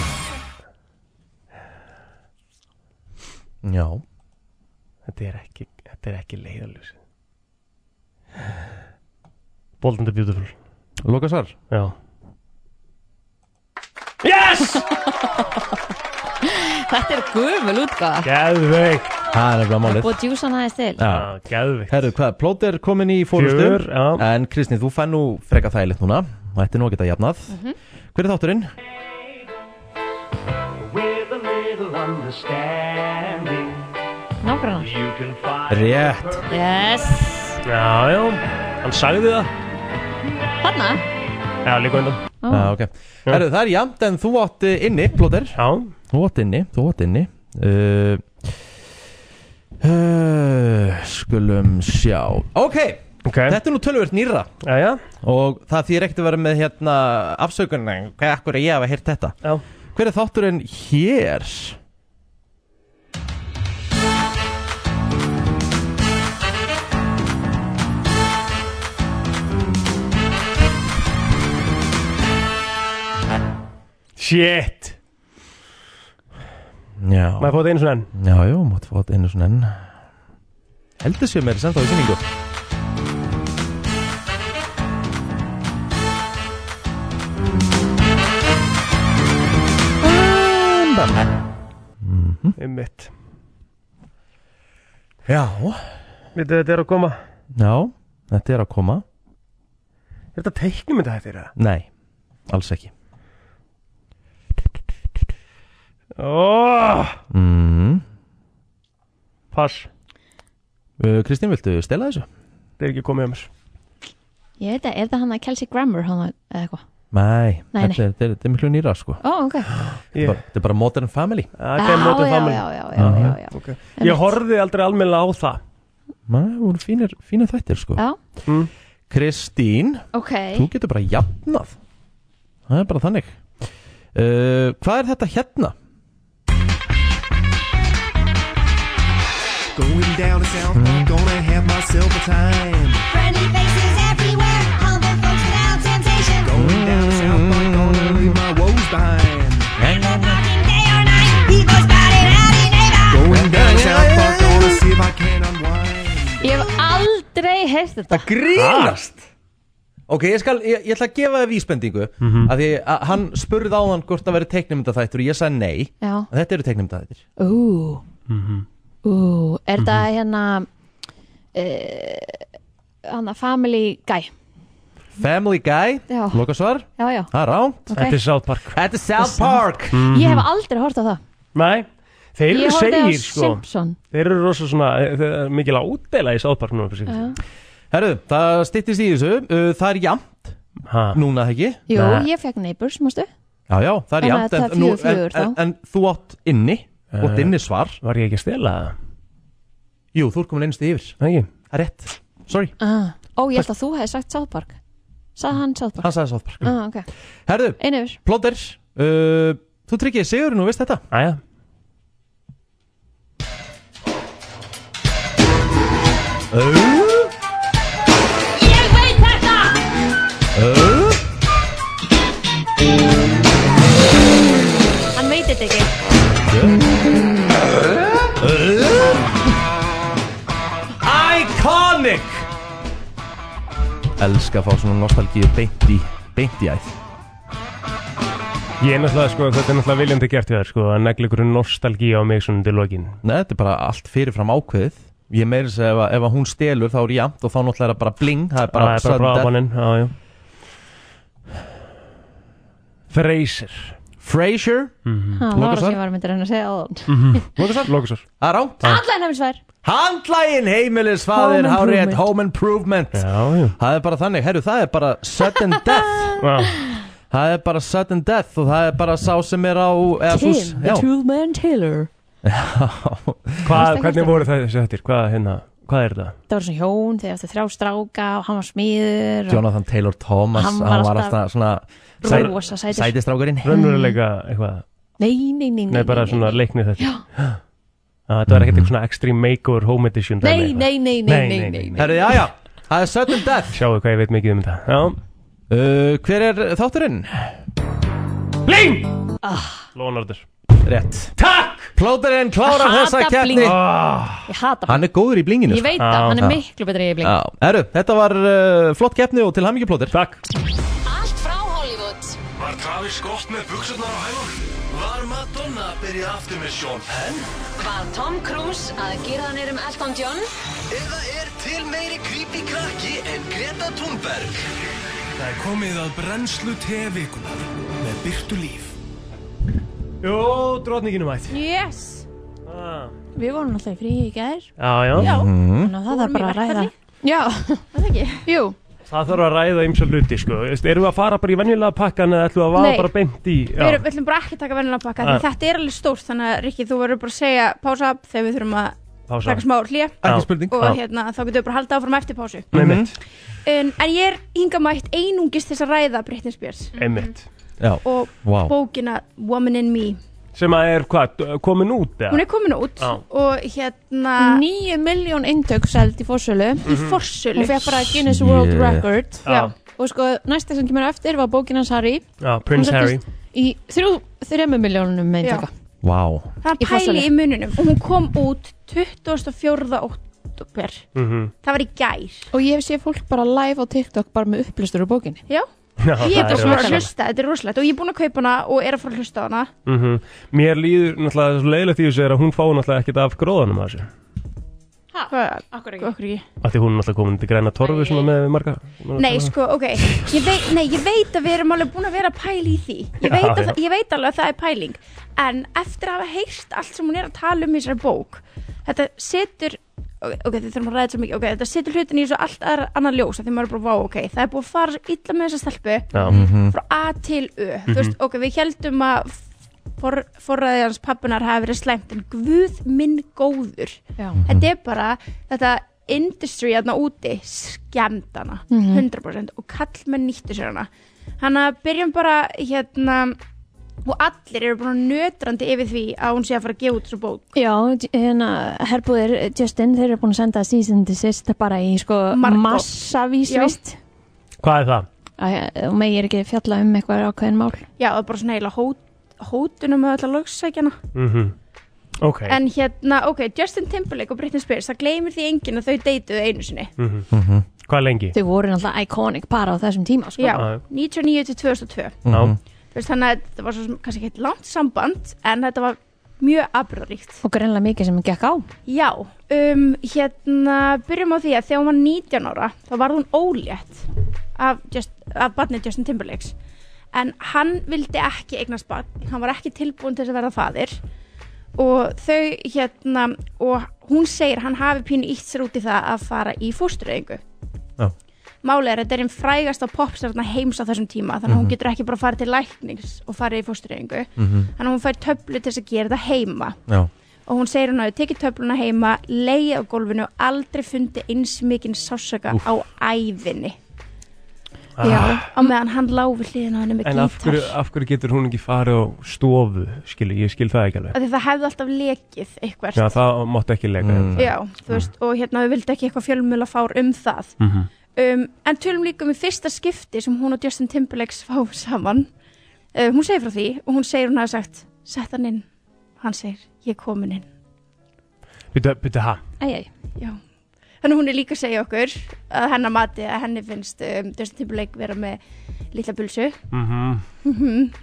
[SPEAKER 1] Já
[SPEAKER 3] Þetta er ekki, þetta er ekki leiðarljós Bold and the Beautiful
[SPEAKER 1] Loka svar
[SPEAKER 3] Já Yes!
[SPEAKER 2] Þetta er gumul útgáða
[SPEAKER 3] Geðveik
[SPEAKER 1] Það er nefnilega málið
[SPEAKER 2] Og djúsan aðeins til
[SPEAKER 1] Já
[SPEAKER 3] Já, geðveik
[SPEAKER 1] Herru, hvað, plót er komin í
[SPEAKER 3] Fjör,
[SPEAKER 1] fórustu
[SPEAKER 3] já
[SPEAKER 1] En Kristi, þú fær nú freka þægilegt núna Þetta er nú að geta jafnað Hver er þátturinn?
[SPEAKER 2] Nágrannar
[SPEAKER 1] Rétt
[SPEAKER 2] Yes
[SPEAKER 3] Já, já, hann sagði það
[SPEAKER 2] Hanna
[SPEAKER 3] Já, líka undan
[SPEAKER 1] ah, okay. Herru, það er jafnt en þú átt eh, inni, plóter
[SPEAKER 3] Já,
[SPEAKER 1] Þú átt inni, þú átt inni uh, uh, Skulum sjá Ok,
[SPEAKER 3] ok
[SPEAKER 1] þetta er nú tölvöld nýra
[SPEAKER 3] Já, já,
[SPEAKER 1] Og það þýr ekkert að vera með hérna afsökunning Hvað akkur er ég að hafa heyrt þetta
[SPEAKER 3] já
[SPEAKER 1] Hver er þátturinn hér?
[SPEAKER 3] Shit
[SPEAKER 1] Já
[SPEAKER 3] Má ég fá þetta einu svona enn
[SPEAKER 1] Já, já, mátt fá þetta einu svona enn Heldur séu meira samt á í kynningu
[SPEAKER 3] Einmitt
[SPEAKER 1] Já
[SPEAKER 3] Vitið þetta er að koma
[SPEAKER 1] Já, þetta er að koma
[SPEAKER 3] Er þetta teiknum þetta hættir það?
[SPEAKER 1] Nei, alls ekki
[SPEAKER 3] Oh,
[SPEAKER 1] mm.
[SPEAKER 3] pass
[SPEAKER 1] uh, Kristín, viltu stela þessu?
[SPEAKER 3] Þetta er ekki komið hjá mér
[SPEAKER 2] Ég veit að, er það hann að Kelsey Grammer hann að, eða eitthvað?
[SPEAKER 1] Nei,
[SPEAKER 2] Nei, nei.
[SPEAKER 1] Þetta, er, þetta, er, þetta er miklu nýra sko
[SPEAKER 2] Ó, ok.
[SPEAKER 1] yeah.
[SPEAKER 3] Ég-
[SPEAKER 1] Þetta er bara Modern Family
[SPEAKER 3] Þetta er mótið
[SPEAKER 2] já,
[SPEAKER 3] family
[SPEAKER 2] já, já, já, já, já.
[SPEAKER 3] Ok. Ég horfði aldrei almennilega á það
[SPEAKER 1] Nei, það voru fínir, fínir þættir sko
[SPEAKER 2] Já,
[SPEAKER 1] Kristín,
[SPEAKER 2] ok.
[SPEAKER 1] þú getur bara jafnað Það er bara þannig uh, Hvað er þetta hérna?
[SPEAKER 9] Going down to South
[SPEAKER 10] Hmm?
[SPEAKER 9] Park, gonna have myself a time.
[SPEAKER 5] Friendly faces everywhere, all the folks without temptation.
[SPEAKER 9] Going down to South
[SPEAKER 2] aldrei heyrst þetta
[SPEAKER 1] Það grínast Ok, ég, skal, ég, ég ætla að gefa þér vísbendingu mm -hmm. Því að hann spurði á hann hvort það veri teiknumynda þættur og ég sagði nei
[SPEAKER 2] Já,
[SPEAKER 1] En Þetta eru teiknumynda þættir
[SPEAKER 2] ú
[SPEAKER 3] Mhm.
[SPEAKER 2] Ú, er það hérna uh, Hanna Family Guy
[SPEAKER 1] Family Guy,
[SPEAKER 2] Já.
[SPEAKER 1] lokasvar
[SPEAKER 2] Já, já,
[SPEAKER 1] Það er ránt
[SPEAKER 3] Þetta er Mhm. South Park
[SPEAKER 1] Þetta er South Park
[SPEAKER 2] ég hef aldrei hort á það
[SPEAKER 3] Nei, þeir
[SPEAKER 2] Ég
[SPEAKER 3] eru
[SPEAKER 2] horfði á
[SPEAKER 3] segir sko
[SPEAKER 2] Simpson
[SPEAKER 3] Þeir eru rosa svona, eh, þeir eru mikil ádela í South Park núna fyrir sig
[SPEAKER 1] Herru, það styttist í þessu uh, Það er jamt
[SPEAKER 3] Ha,
[SPEAKER 1] núna, ekki?
[SPEAKER 2] Jú,
[SPEAKER 3] Nei.
[SPEAKER 2] ég fekk Neighbors, mástu
[SPEAKER 1] Já, já, það er
[SPEAKER 2] Þannig
[SPEAKER 1] jamt
[SPEAKER 2] að það er
[SPEAKER 1] nú-
[SPEAKER 2] fjögur, fjögur
[SPEAKER 1] en, en,
[SPEAKER 2] þá.
[SPEAKER 1] en þú átt inni Þú átt inni svar
[SPEAKER 3] Var ég ekki að stela það?
[SPEAKER 1] Jú, þú ert komin einustu yfir
[SPEAKER 3] Nei, Ekki
[SPEAKER 1] Það er rétt Sorry,
[SPEAKER 2] ah. Ó, ég held að þú hefði sagt South Park Sað hann South Park
[SPEAKER 1] hann sagði South Park
[SPEAKER 2] ah, okay.
[SPEAKER 1] Herru,
[SPEAKER 2] Einu yfir
[SPEAKER 1] Plotter uh, Þú tryggir sigurinn og veist þetta
[SPEAKER 3] Æja
[SPEAKER 2] Hann veit þetta ekki
[SPEAKER 1] Iconic Elskar að fá svona nostalgíu beint í Beint í æð
[SPEAKER 3] Ég er náttúrulega sko, þetta er náttúrulega viljandi gert við þér sko að negla ykkur nostalgí á mig svona til lokin
[SPEAKER 1] Nei, þetta er bara allt fyrirfram ákveðið Ég meiri þess að ef, að- ef að hún stelur þá er jamt og þá náttúrulega er það bara bling Það
[SPEAKER 3] Það
[SPEAKER 1] er
[SPEAKER 3] er
[SPEAKER 1] bara
[SPEAKER 3] bara
[SPEAKER 1] sudden death.
[SPEAKER 3] brafaninn, já, já Freyser
[SPEAKER 1] Frasier
[SPEAKER 2] Það var það
[SPEAKER 1] Lokasvar?
[SPEAKER 2] sem ég var að mynda að reyna að segja á þann
[SPEAKER 3] Lókusar Lókusar
[SPEAKER 1] Það er rámt
[SPEAKER 2] Allan hefði svar
[SPEAKER 1] Handlægin heimilisfaðir
[SPEAKER 2] Home
[SPEAKER 1] Hárið
[SPEAKER 2] Improvement.
[SPEAKER 1] Home Improvement
[SPEAKER 3] Já, já
[SPEAKER 1] Það er bara þannig, herru það er bara sudden death
[SPEAKER 3] Já,
[SPEAKER 1] Það er bara sudden death og það er bara sá sem er á eða sú-
[SPEAKER 2] Tim,
[SPEAKER 1] já.
[SPEAKER 2] the two man Taylor
[SPEAKER 3] Hvað,
[SPEAKER 2] ekki
[SPEAKER 3] hvernig
[SPEAKER 2] eftir
[SPEAKER 3] voru þessi þettir? Hvað, hérna, hvað er þetta?
[SPEAKER 2] Það var svona hjón, þegar þetta þrjá stráka og hann var smiður og
[SPEAKER 1] Jonathan Taylor Thomas
[SPEAKER 2] Hann
[SPEAKER 1] Hann
[SPEAKER 2] var
[SPEAKER 1] var,
[SPEAKER 2] alltaf
[SPEAKER 1] alltaf svona
[SPEAKER 2] rosa sætur
[SPEAKER 1] sætistrákurinn
[SPEAKER 3] Raunveruleika eitthvað
[SPEAKER 2] Nei, nei, nei, nei
[SPEAKER 3] Nei, bara
[SPEAKER 2] nei,
[SPEAKER 3] svona
[SPEAKER 2] nei.
[SPEAKER 3] leikni þetta Já Það var ekkert eitthvað svona extreme makeover home edition dæmi
[SPEAKER 2] Nei,
[SPEAKER 3] eitthvað.
[SPEAKER 2] nei, nei, nei, nei, nei, nei.
[SPEAKER 1] Herru, já, já, það er sudden death
[SPEAKER 3] Sjáu hvað ég veit mikið um þetta Já
[SPEAKER 1] uh, Hver er þátturinn?
[SPEAKER 3] Bling!
[SPEAKER 2] Ah.
[SPEAKER 3] Lónordur
[SPEAKER 1] Rétt Takk! Plóterinn klárar
[SPEAKER 2] Hata
[SPEAKER 1] þessa keppni
[SPEAKER 2] bling. Ég hata hann
[SPEAKER 1] Hann Ah. er góður í blinginu
[SPEAKER 2] Ég veit
[SPEAKER 3] Já,
[SPEAKER 2] það, hann er
[SPEAKER 1] já.
[SPEAKER 2] miklu betri í bling
[SPEAKER 1] Já, herru, þetta var uh, flott keppni og til hamingju plóter
[SPEAKER 3] Takk
[SPEAKER 5] Allt frá Hollywood
[SPEAKER 4] Var Travis Scott með buksurnar á hælunum? Var Madonna að byrja aftur með Sean Penn?
[SPEAKER 5] Var Tom Cruise að gera hann erum Elton John?
[SPEAKER 4] Eða er til meiri creepy krakki en Greta Thunberg? Það er komið að brennslu tevikunar með Byrtu Líf.
[SPEAKER 3] Jó, drotninginu mætt
[SPEAKER 11] Yes
[SPEAKER 3] ah.
[SPEAKER 11] Við vorum alltaf í frí í gær
[SPEAKER 3] Já, já,
[SPEAKER 11] Já,
[SPEAKER 2] Þannig að það
[SPEAKER 11] vorum
[SPEAKER 2] er bara
[SPEAKER 11] í
[SPEAKER 2] að ræða
[SPEAKER 11] verkfalli.
[SPEAKER 2] Já,
[SPEAKER 11] það ekki
[SPEAKER 2] jú
[SPEAKER 3] það þarf að ræða ymsa hluti, sko Þú veist, Erum við að fara bara í venjulega pakkan eða ætlum við að vaða
[SPEAKER 11] Nei.
[SPEAKER 3] bara beint í
[SPEAKER 11] Við erum- við ætlum bara ekki að taka vennilega pakka því
[SPEAKER 3] Ah.
[SPEAKER 11] Þetta er alveg stórt þannig að Rikki þú verður bara að segja pása upp þegar við þurfum að
[SPEAKER 3] pása
[SPEAKER 11] taka smá hlýja
[SPEAKER 1] Ekki spurning
[SPEAKER 11] og
[SPEAKER 3] Já.
[SPEAKER 11] hérna þá getum við bara að halda áfram eftir pásu
[SPEAKER 3] Einmitt,
[SPEAKER 11] en, en ég er hinga mætt einungis til þess að ræða Britney Spears
[SPEAKER 3] einmitt
[SPEAKER 1] Já,
[SPEAKER 11] og
[SPEAKER 1] Vá.
[SPEAKER 11] bókina Woman in Me
[SPEAKER 3] Sem að er hvað, komin út eða?
[SPEAKER 11] Hún er komin út
[SPEAKER 3] Já.
[SPEAKER 11] og hérna
[SPEAKER 2] 9 miljón eintök seld í fórsölu
[SPEAKER 11] í forsölu
[SPEAKER 2] Hún fekk bara Guinness World
[SPEAKER 1] Shit.
[SPEAKER 2] Record
[SPEAKER 3] Mhm. Já.
[SPEAKER 2] Og sko, næsta sem kemur á eftir var bókin hans Harry
[SPEAKER 3] Já, Prince
[SPEAKER 2] Hún
[SPEAKER 3] Harry
[SPEAKER 2] seldist Í þrjú, þremmu miljónum eintaka
[SPEAKER 1] vá
[SPEAKER 11] Það
[SPEAKER 2] í
[SPEAKER 11] er pæli
[SPEAKER 2] forsölu.
[SPEAKER 11] í mununum og hún kom út 24. oktober
[SPEAKER 3] mm
[SPEAKER 11] Það var í gær
[SPEAKER 2] Og ég hef séð fólk bara live á TikTok bara með upplustur úr bókinni
[SPEAKER 11] Já,
[SPEAKER 3] Já,
[SPEAKER 11] ég er
[SPEAKER 3] það
[SPEAKER 11] bara
[SPEAKER 3] er
[SPEAKER 11] svona að
[SPEAKER 3] rosalegt.
[SPEAKER 11] hlusta, þetta er rosalegt og ég er búin að kaupa hana og er að fara að hlusta á hana
[SPEAKER 3] Mhm. Mér líður náttúrulega svo leiðilegt í þessu er að hún fái náttúrulega ekkert af gróðanum að þessu
[SPEAKER 11] Hvað, akkur ekki?
[SPEAKER 3] Af því hún er náttúrulega komin til græna torfu svona með marga
[SPEAKER 11] Nei, sko, ok ég veit, Nei, ég veit að við erum alveg búin að vera að pæla í því Ég veit, að,
[SPEAKER 3] Já, já.
[SPEAKER 11] það- ég veit alveg að það er pæling En eftir að hafa heyrt allt sem hún er að tala um í þessari bók Þetta setur Ok, okay þið þurfum að ræða þetta svo mikið Ok, þetta setur hlutin í svo allt aðra annað ljós af Því maður er bara, vá, ok, það er búið að fara svo illa með þessa stelpu
[SPEAKER 3] Já, Mhm.
[SPEAKER 11] Frá A til Ö Þú veist, ok, við heldum að for, Forræði hans pappunar hafi verið slæmt En guð minn góður
[SPEAKER 2] Já.
[SPEAKER 11] þetta er bara þetta industry aðna úti skemmt hana, 100% og kallmenn nýttu sér hana þannig að byrjum bara hérna og allir eru bara nötrandi yfir því að hún sé að fara að gefa út þessu bók
[SPEAKER 2] Já, j- hérna, herbúðir Justin, þeir eru búin að senda season to sist bara í sko
[SPEAKER 11] Margot.
[SPEAKER 2] massavís
[SPEAKER 11] Já.
[SPEAKER 2] vist
[SPEAKER 3] hvað er það?
[SPEAKER 2] Æ, og megið er ekki fjalla um eitthvað ákveðin mál
[SPEAKER 11] já, það er bara svona heila hót, hótunum með alla lögsækjana
[SPEAKER 3] Mm Ok.
[SPEAKER 11] en hérna, ok, Justin Timberlake og Britney Spears það gleymir því enginn að þau deytuðu einu sinni
[SPEAKER 3] Mhm. Hvað lengi?
[SPEAKER 2] Þau voru náttúrulega iconic bara á þessum tíma sko.
[SPEAKER 11] já, 99 til 2002
[SPEAKER 3] Já.
[SPEAKER 11] Þú veist, þannig að þetta var svo sem kannski ekki langt samband en þetta var mjög afbröðríkt
[SPEAKER 2] Og greinlega mikið sem gekk á
[SPEAKER 11] já, um, hérna byrjum á því að þegar hún var 19 ára þá var hún ólétt af, just, af barnið Justin Timberlakes en hann vildi ekki eignast barn hann var ekki tilbúin til þess að verða fadir og þau hérna og hún segir hann hafi pínu ítt sér út í það að fara í fóstureyðingu
[SPEAKER 1] Já.
[SPEAKER 11] Málið er að þetta er einn frægasta popstjarna heims á þessum tíma þannig að hún
[SPEAKER 2] Mhm.
[SPEAKER 11] getur ekki bara farið til læknings og farið í fóstureyðingu
[SPEAKER 2] Mhm.
[SPEAKER 11] þannig að hún fær töflu til þess að gera þetta heima
[SPEAKER 1] Já.
[SPEAKER 11] og hún segir hún að þau tekið töfluna heima leið á gólfinu og aldrei fundi eins mikinn sásöka
[SPEAKER 3] Úff.
[SPEAKER 11] á æðinni
[SPEAKER 3] Ah.
[SPEAKER 11] á meðan hann lá við hliðina á henni með
[SPEAKER 3] En af
[SPEAKER 11] gítar
[SPEAKER 3] hverju, af hverju getur hún ekki farið á stofu, skilu, ég skil það ekki alveg.
[SPEAKER 11] af því það hefði alltaf lekið eitthvað
[SPEAKER 3] Já, það mátt ekki leika. Mm.
[SPEAKER 11] Já, þú veist, og hérna við vildi ekki eitthvað fjölmjöla fár um það
[SPEAKER 3] Mhm.
[SPEAKER 11] um, En tölum líka um í fyrsta skipti sem hún og Justin Timberlake fá saman uh, Hún segir frá því og hún segir hún hafi sagt Sett hann inn, hann segir, ég er komin inn
[SPEAKER 3] Býtu, býtu, ha?
[SPEAKER 2] Æj, æj
[SPEAKER 11] Já Þannig hún er líka að segja okkur að hennar mati að henni finnst um, Justin Timberlake vera með litla bulsu
[SPEAKER 3] Mhm.
[SPEAKER 11] Mhm.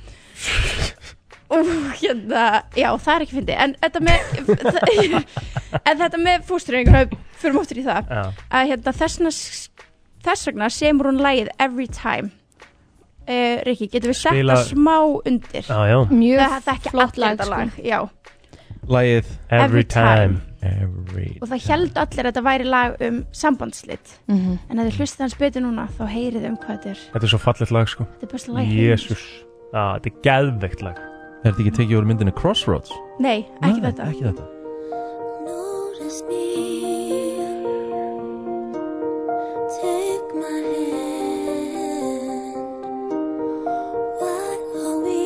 [SPEAKER 11] Ú, hérna, já, það er ekki fyndi En þetta með En þetta með fóstureyðinguna Fyrir móttur í það
[SPEAKER 3] Já.
[SPEAKER 11] að, hérna, þess, vegna, þess vegna semur hún lægið Every time uh, Riki, getum við sett
[SPEAKER 1] Spila-
[SPEAKER 11] það smá undir
[SPEAKER 1] Já, já.
[SPEAKER 2] Mjög
[SPEAKER 11] það, það ekki
[SPEAKER 2] flott
[SPEAKER 11] allir
[SPEAKER 2] lag,
[SPEAKER 11] þetta
[SPEAKER 2] sko.
[SPEAKER 11] lag Já,
[SPEAKER 1] Lagið
[SPEAKER 11] Every Time.
[SPEAKER 1] Every
[SPEAKER 11] og það held allir að þetta væri lag um sambandslit
[SPEAKER 2] Mhm.
[SPEAKER 11] En að þið hlustið hans betur núna Þá heyrið þið um hvað þetta er
[SPEAKER 3] Þetta er svo fallet lag, sko.
[SPEAKER 11] Þetta er besta lag í heiminum.
[SPEAKER 3] Jésús. Já, þetta er geðveikt lag.
[SPEAKER 1] Er þetta ekki tekið úr myndinu Crossroads?
[SPEAKER 11] Nei, ekki þetta
[SPEAKER 1] Ekki þetta
[SPEAKER 5] Take my hand. Why are we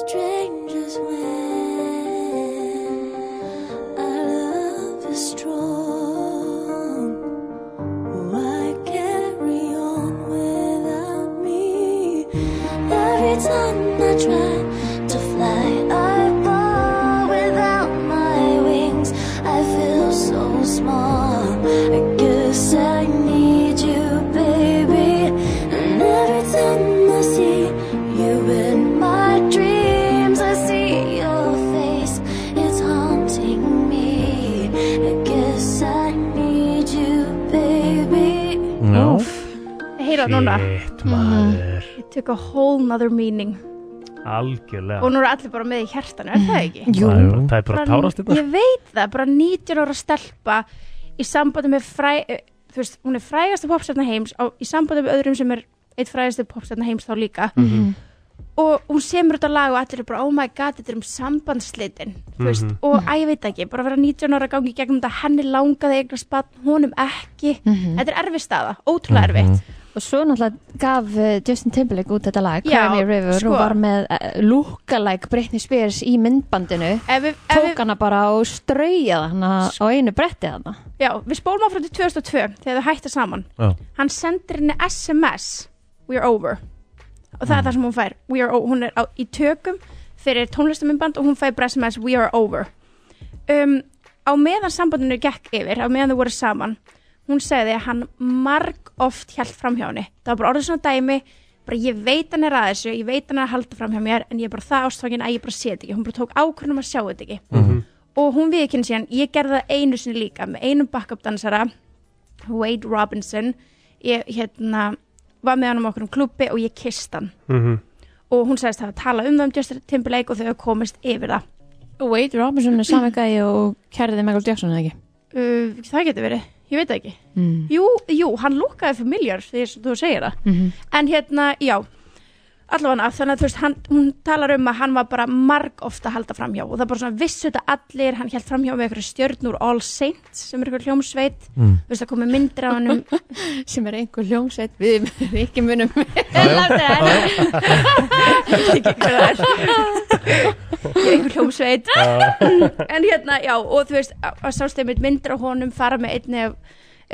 [SPEAKER 5] strangers when our love is strong? Why carry on without me? Every time I try to fly, I fall without my wings. I feel so small. I guess I need you, baby. And every time I see you in my dreams, I see your face. It's haunting me. I guess I need you, baby.
[SPEAKER 1] No.
[SPEAKER 11] Heyra núna Mhm.
[SPEAKER 3] Shit, maður.
[SPEAKER 11] It took a whole nother meaning
[SPEAKER 3] Algjörlega.
[SPEAKER 11] Og nú eru allir bara með í hjertanu, er það ekki?
[SPEAKER 3] Jú. Það er- það er bara tárast hérna.
[SPEAKER 11] Ég veit það, bara 19 ára stelpa í sambandi með fræ eh, þú veist, hún er frægasta popstjarnar heims á, í sambandi með öðrum sem er eitt frægasti popstjarnar heims þá líka
[SPEAKER 5] Mhm.
[SPEAKER 11] og hún semur þetta lag og allir er bara oh my god, þetta er um sambandslitin þú veist,
[SPEAKER 5] Mhm.
[SPEAKER 11] og að ég veit það ekki, bara vera 19 ára gangi í gegnum þetta, henni langaði eignast spann, honum ekki,
[SPEAKER 2] Mhm.
[SPEAKER 11] þetta er erfið staða ótrúlega erfitt
[SPEAKER 3] Mhm.
[SPEAKER 2] Og svo náttúrulega gaf eh, Justin Timberlake út þetta lag
[SPEAKER 11] Já,
[SPEAKER 2] Cry Me a River
[SPEAKER 11] sko.
[SPEAKER 2] og var með uh, lookalike Britney Spears í myndbandinu Tók hana bara og straujaði hana á einu bretti hana
[SPEAKER 11] Já, við spólum áfram til 2002 þegar þau hætta saman
[SPEAKER 2] Já.
[SPEAKER 11] Hann sendir henni SMS We're over Og það er það sem hún fær We are, o- Hún er á, í tökum fyrir tónlistaminband og hún fær bara SMS We are over um, Á meðan sambandinu gekk yfir á meðan þau voru saman hún segði að hann marg oft hjælt fram hjá henni það var bara orðið svona dæmi bara ég veit hann er að þessu, ég veit hann er að halda fram hjá mér en ég er bara það ástfangin að ég bara sé þetta ekki hún bara tók ákvörðum að sjá þetta ekki
[SPEAKER 5] Mhm.
[SPEAKER 11] og hún viðkynni síðan, ég gerði það einu sinni líka með einum backup dansara Wade Robinson ég hérna var með hann um okkur um klubbi og ég kist hann
[SPEAKER 3] Mhm.
[SPEAKER 11] og hún sagðist það að tala um það um Justin Timberlake og þau hafa komist yfir það
[SPEAKER 2] Wade Robinson er sami gæi og kærði Michael Jackson eða ekki
[SPEAKER 11] uh, það getur verið, ég veit það ekki
[SPEAKER 2] Mm.
[SPEAKER 11] jú, jú, hann lúkaði familjar þegar þú segir það
[SPEAKER 2] Mhm.
[SPEAKER 11] en hérna, já allavega þannig að þú veist, hann, hún talar um að hann var bara marg ofta að halda framhjá og það er bara svona vissu þetta allir, hann held framhjá með einhverju stjörn úr All Saints sem er einhver hljómsveit
[SPEAKER 2] Mm.
[SPEAKER 11] þú veist, það komið myndir af hann
[SPEAKER 2] sem er einhver hljómsveit við ekki munum
[SPEAKER 11] ég er einhver hljómsveit
[SPEAKER 5] Já.
[SPEAKER 11] en hérna, já, og þú veist að- að sást einmitt myndir á honum fara með einni af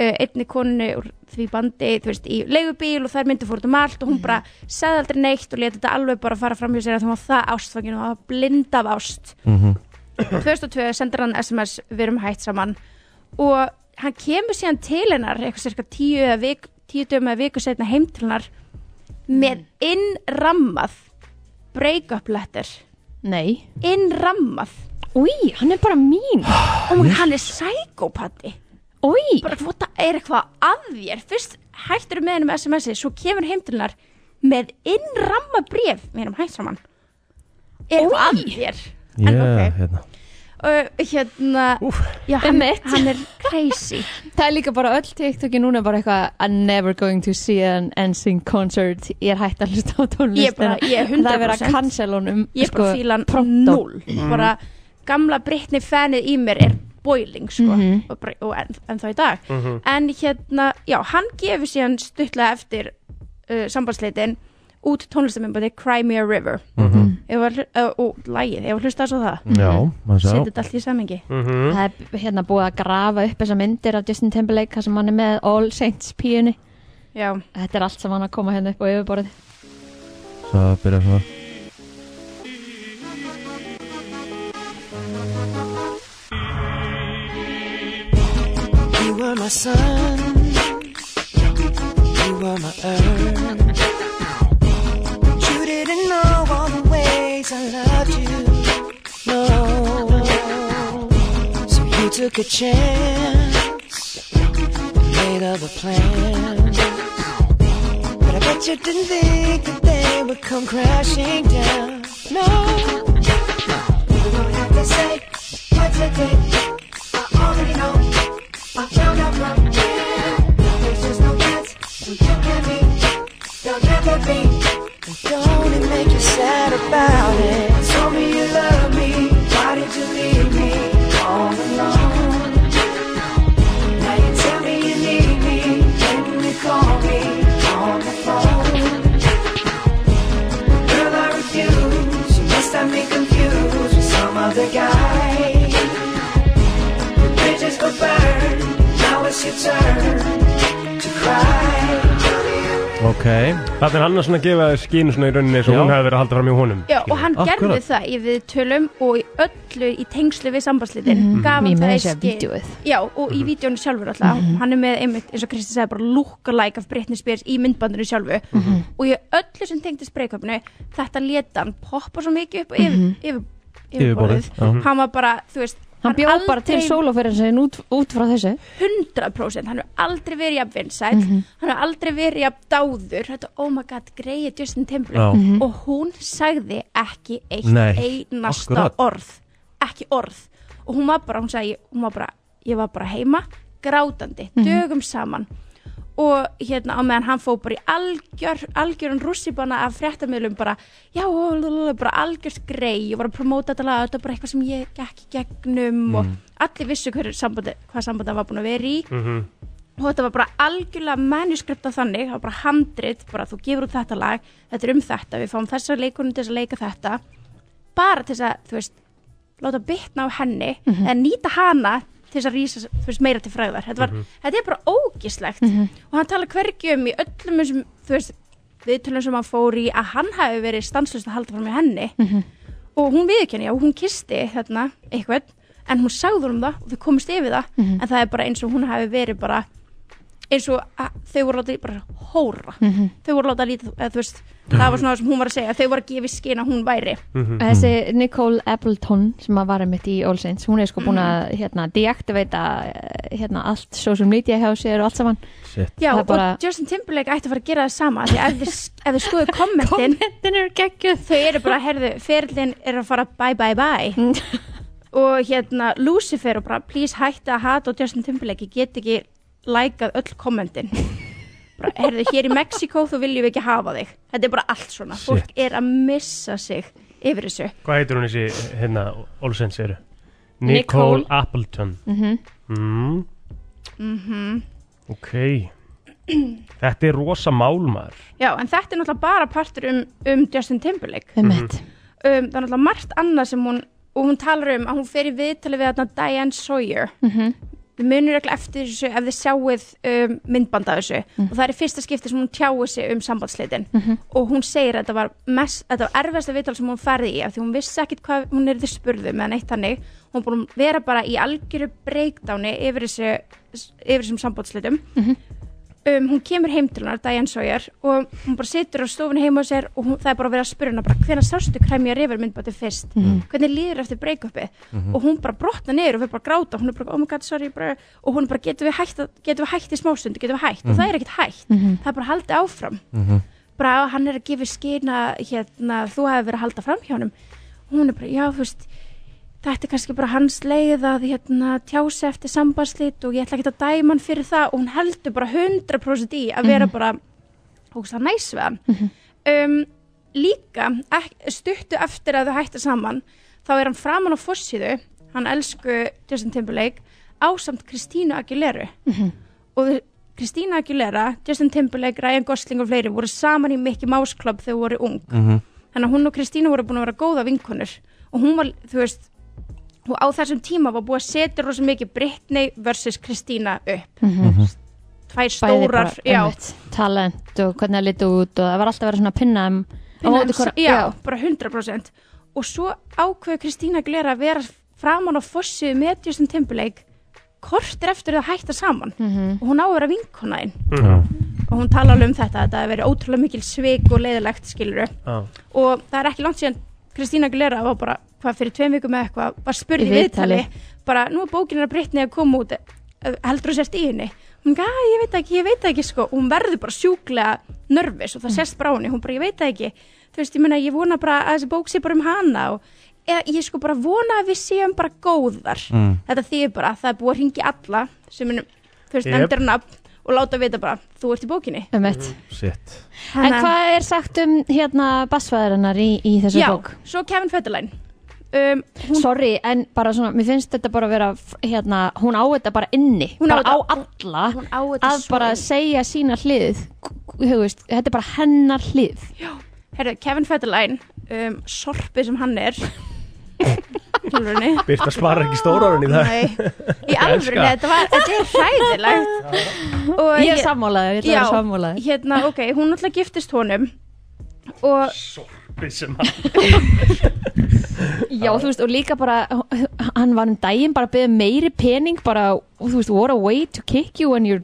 [SPEAKER 11] uh, einni konunni úr því bandi þú veist, í leigubíl og þær myndu fór út um allt og hún bara sagði aldrei neitt og leti þetta alveg bara fara fram hjá sér að hún var það ástfangin og það var blind af ást 2002 sendir hann SMS við erum hætt saman og hann kemur síðan til hennar eitthvað cirka tíu eða vik, tíu dögum eða viku setna heim til hennar með innrammað break-up letter
[SPEAKER 2] Nei
[SPEAKER 11] innrammað
[SPEAKER 2] Új, hann er bara mín
[SPEAKER 11] og oh hann er sækópati
[SPEAKER 2] Új
[SPEAKER 11] bara hvað það er eitthvað að þér fyrst hættur með hennar með SMS-i svo kemur heim til hennar með innrammað bref við erum hætt saman er eitthvað að þér
[SPEAKER 1] Já,
[SPEAKER 11] ok.
[SPEAKER 1] hérna
[SPEAKER 11] og hérna já, hann,
[SPEAKER 2] Einmitt.
[SPEAKER 11] hann er crazy
[SPEAKER 2] Það er líka bara öll TikToki núna bara eitthvað I'm never going to see an NSYNC concert Ég er hægt að hlusta á tónlistina
[SPEAKER 11] Ég er bara- ég er
[SPEAKER 2] Það er verið að
[SPEAKER 11] 100%.
[SPEAKER 2] cancel honum
[SPEAKER 11] ég er bara
[SPEAKER 2] sko,
[SPEAKER 11] fílan
[SPEAKER 2] promptó.
[SPEAKER 11] null bara gamla Britney fanið í mér er boiling sko
[SPEAKER 2] Mhm.
[SPEAKER 11] og, bara- og en, en þá í dag
[SPEAKER 2] Mhm.
[SPEAKER 11] en hérna, já, hann gefur síðan stuttlega eftir uh, sambandsleitin út tónlistamembandi Cry Me a River
[SPEAKER 1] Mhm.
[SPEAKER 11] Ef að hlu- uh, og lægið, ég var hlustað svo það
[SPEAKER 1] Já, maður sá
[SPEAKER 11] setið þetta allt í samengi
[SPEAKER 1] Mhm.
[SPEAKER 2] Það er hérna búið að grafa upp þessar myndir af Justin Timberlake þar sem hann er með All Saints píunni
[SPEAKER 11] Já.
[SPEAKER 2] Þetta er allt sem hann að koma hérna upp á yfirborðið
[SPEAKER 1] Það byrjar svona
[SPEAKER 9] You were my sun. You were my earth. But you didn't know all the ways I loved you. No. So you took a chance. Made other plans. But I bet you didn't think that they would come crashing down. No. You don't have to say what to do. I already know. I found out from him. There's just no chance you can be. There'll never be. And Don't it make you sad about it? Tell me you love me. Why did you leave me all alone? Now you tell me you need me. When can you call me on the phone? Girl, I refuse. You must have me confused with some other guy. Bridges were burned. Now it's your turn to cry.
[SPEAKER 1] Ok
[SPEAKER 3] Það er hann að svona gefa þér skínu svona í rauninni eins og
[SPEAKER 1] Já.
[SPEAKER 3] hún hefði verið að halda fram í honum
[SPEAKER 11] Já, og hann gerði
[SPEAKER 3] Akkurat.
[SPEAKER 11] það í viðtölum og í öllu í tengslu við sambandslitin
[SPEAKER 2] Mhm.
[SPEAKER 11] gaf
[SPEAKER 2] Ég
[SPEAKER 11] hann
[SPEAKER 2] meina
[SPEAKER 11] það í
[SPEAKER 2] þessi að
[SPEAKER 11] skyn.
[SPEAKER 2] vídeóið.
[SPEAKER 11] Já, og
[SPEAKER 2] Mhm.
[SPEAKER 11] í vídjónu sjálfur alltaf hann er með einmitt, eins og Kristi sagði, bara lookalike af Britney Spears í myndbandinu sjálfu
[SPEAKER 2] Mhm.
[SPEAKER 11] og í öllu sem tengdist breykjöfnu þetta leta hann poppa svo mikið upp og yfir,
[SPEAKER 2] Mhm.
[SPEAKER 11] yfir,
[SPEAKER 1] Yfirborðið, já.
[SPEAKER 11] hann var bara, þú veist
[SPEAKER 2] Hann bjó bara til
[SPEAKER 11] aldrei-
[SPEAKER 2] sóloferðin sinni út, út frá þessu
[SPEAKER 11] 100% hann hefur aldrei verið jafn vinsæl
[SPEAKER 2] Mhm.
[SPEAKER 11] hann hefur aldrei verið jafn dáður þetta oh my god, greið Justin
[SPEAKER 1] Já.
[SPEAKER 11] Timberlake
[SPEAKER 1] Mhm.
[SPEAKER 11] og hún sagði ekki eitt
[SPEAKER 1] Nei,
[SPEAKER 11] einasta
[SPEAKER 1] akkurat.
[SPEAKER 11] orð ekki orð og hún var bara, hún sagði, hún var bara ég var bara heima, grátandi
[SPEAKER 2] Mhm.
[SPEAKER 11] dögum saman og hérna á meðan hann fóð bara í algjör, algjörun rússibana af fréttamiðlum bara, já, lalalala, bara algjört grei og var að promóta þetta lag, þetta var bara eitthvað sem ég gekk í gegnum og
[SPEAKER 1] Mhm.
[SPEAKER 3] Mm.
[SPEAKER 11] allir vissu hver sambandi, hvað sambandi hann var búin að vera í
[SPEAKER 3] Mhm.
[SPEAKER 11] og þetta var bara algjörlega manuskripta þannig, það var bara handrit bara þú gefur út þetta lag, þetta er um þetta við fáum þessa leikunum til þess að leika þetta bara til þess að, þú veist láta bitna á henni,
[SPEAKER 2] Mhm.
[SPEAKER 11] en nýta hana til þess að rýsa, þú veist, meira til fræðar þetta, var,
[SPEAKER 2] Mhm.
[SPEAKER 11] þetta er bara ógislegt og hann tala hvergi um í öllum þessum, þú veist, viðtölum sem hann fór í að hann hafi verið stanslust að halda fram í henni
[SPEAKER 2] Mhm.
[SPEAKER 11] og hún viðurkenni, já, hún kisti þarna eitthvað, en hún sagði honum það og þau komist yfir það,
[SPEAKER 2] Mhm.
[SPEAKER 11] en það er bara eins og hún hafi verið bara eins og að, þau voru látið bara hóra
[SPEAKER 2] Mhm.
[SPEAKER 11] þau voru látið að líta, eða, þú veist það var svona það sem hún var að segja, þau voru að gefa í skyn að hún væri
[SPEAKER 2] Og Eh, Þessi Nicole Appleton sem að vara mitt í All Saints hún er sko búin
[SPEAKER 11] Mhm.
[SPEAKER 2] að hérna, deaktiveita eh, hérna, allt social media hjá sér og allt saman
[SPEAKER 1] Shit.
[SPEAKER 11] Já,
[SPEAKER 2] Það er bara-
[SPEAKER 11] og Justin Timberlake ætti að fara að gera það sama af því að ef þið, ef þið skoðu kommentin
[SPEAKER 2] kommentin eru geggjöð
[SPEAKER 11] þau eru bara, herðu, ferlinn er að fara bye bye bye
[SPEAKER 2] Mm.
[SPEAKER 11] og hérna Lucifer og bara please hætti að hata og Justin Timberlake ég get ekki lækað öll kommentin bara, herðu, hér í Mexiko þú viljum við ekki hafa þig þetta er bara allt svona, fólk er að missa sig yfir þessu
[SPEAKER 3] Hvað heitir hún þessi, hérna, Olsens eru?
[SPEAKER 11] Nicole.
[SPEAKER 3] Nicole Appleton
[SPEAKER 11] Mhm.
[SPEAKER 3] Mm,
[SPEAKER 11] Mhm.
[SPEAKER 3] Ok Þetta er rosa málmaður
[SPEAKER 11] Já, en þetta er náttúrulega bara partur um, um Justin Timberlake um, Það er náttúrulega margt annað sem hún og hún talar um að hún fer í viðtali við þarna Diane Sawyer
[SPEAKER 2] Mhm.
[SPEAKER 11] þið munir ekki eftir þessu ef þið sjáuð um, myndband af þessu og það er í fyrsta skipti sem hún tjáu sig um sambandsleitin
[SPEAKER 2] Mhm.
[SPEAKER 11] og hún segir að þetta var, mest, þetta var erfiðasta viðtal sem hún ferði í af því hún vissi ekkit hvað hún er þið spurðu með neitt hannig hún er búin að vera bara í algjöru breakdowni yfir, þessu, yfir þessum sambandsleitum um, hún kemur heim til hennar, Diane Sawyer og hún bara situr á stofun heima á sér og hún, það er bara verið að spyrja hennar bara hvenær sástu kræmjar yfir myndbæti fyrst
[SPEAKER 2] Mhm.
[SPEAKER 11] hvernig líður eftir breakupið
[SPEAKER 2] Mhm.
[SPEAKER 11] og hún bara brotna niður og fyrir bara að gráta hún er bara, oh my god, sorry bara, og hún er bara, getum við hægt, að- getum við hægt í smástund getum við hægt, og
[SPEAKER 2] Mhm.
[SPEAKER 11] það er ekkert hægt
[SPEAKER 2] Mhm.
[SPEAKER 11] það er bara haldið áfram
[SPEAKER 2] Mhm.
[SPEAKER 11] bara hann er að gefa skýrna hérna, þú hefur verið að halda fram hjá honum hún er bara, já, þú veist þetta er kannski bara hans leið að hérna, tjási eftir sambandslít og ég ætla ekki að dæma hann fyrir það og hún heldur bara 100% í að vera
[SPEAKER 2] Mhm.
[SPEAKER 11] bara hókslega næs við hann um, líka ek- stuttu eftir að þau hætta saman þá er hann framan á fossiðu hann elsku Justin Timberlake ásamt Kristínu Aguileru
[SPEAKER 2] Mhm.
[SPEAKER 11] og þau- Kristína Aguilera, Justin Timberlake, Ryan Gosling og fleiri voru saman í Mickey Mouse Club þegar þau voru ung þannig að hún og Kristína voru búin að vera góða vinkonur og hún var, þú veist og á þessum tíma var búið að setja rosa mikið Britney versus Kristína upp tvær
[SPEAKER 2] Mhm. Bæði
[SPEAKER 11] stórar
[SPEAKER 2] bara,
[SPEAKER 11] já,
[SPEAKER 2] einmitt, talent og hvernig það liti út og það var alltaf að vera svona pinna um, á
[SPEAKER 11] Innan-
[SPEAKER 2] móti hvora-
[SPEAKER 11] já, bara 100% og svo ákveður Kristína Glera að vera framan á fossið með Justin Timberlake kortir eftir að hætta saman
[SPEAKER 2] Mhm.
[SPEAKER 11] og hún á að vera vinkonaðin og hún tala alveg um þetta, þetta hefur verið ótrúlega mikil sveik og leiðilegt skiluru
[SPEAKER 3] Já.
[SPEAKER 11] og það er ekki langt síðan Kristína Aguilera var bara, hvað fyrir tveim vikum eða eitthvað var spurð
[SPEAKER 2] Í
[SPEAKER 11] í
[SPEAKER 2] viðtali.
[SPEAKER 11] viðtali bara, nú er bókinin að Brittany að koma út eh, heldur þú sért í henni hún gaf, ég veit það ekki, ég veit það ekki sko og hún verður bara sjúklega nervis og það sést bara á henni, hún bara, ég veit það ekki þú veist, ég meina, ég vona bara að þessi bók sé bara um hana og eða, ég sko bara vona að við séum bara góðar
[SPEAKER 12] Mm.
[SPEAKER 11] þetta þýðir bara að það er búið að ringi alla sem er, þú veist,
[SPEAKER 1] Yep.
[SPEAKER 11] nefndir hann upp og láta vita bara, þú ert í bókinni
[SPEAKER 2] Einmitt.
[SPEAKER 1] Shit
[SPEAKER 2] En
[SPEAKER 11] Hanna-
[SPEAKER 2] hvað er sagt um hérna basfæðarinnar í, í þessu
[SPEAKER 11] Já,
[SPEAKER 2] bók?
[SPEAKER 11] svo Kevin Federline um,
[SPEAKER 2] Sorry, en bara svona, mér finnst þetta bara að vera f- hérna, hún á þetta bara inni
[SPEAKER 11] Hún á
[SPEAKER 2] bara á
[SPEAKER 11] þetta-
[SPEAKER 2] alla
[SPEAKER 11] hún á þetta
[SPEAKER 2] að
[SPEAKER 11] svo
[SPEAKER 2] bara
[SPEAKER 11] inni.
[SPEAKER 2] segja sína hlið hugust, þetta er bara hennar hlið
[SPEAKER 11] Herru, Kevin Federline, um, sorpi sem hann er Tölvunni
[SPEAKER 3] Birta svarar ekki stórarinn í það
[SPEAKER 11] Í alvörunni,
[SPEAKER 3] Elska.
[SPEAKER 11] þetta, var, þetta er hræðilegt Og
[SPEAKER 2] Ég er sammála þér, ég ætla að vera
[SPEAKER 11] Já,
[SPEAKER 2] sammála þér.
[SPEAKER 11] Hérna, ok, hún náttúrulega giftist honum Og
[SPEAKER 3] Sem hann
[SPEAKER 2] Já, þú veist, og líka bara hann var um daginn bara að beða meiri pening bara, og þú veist, what a way to kick you when you're,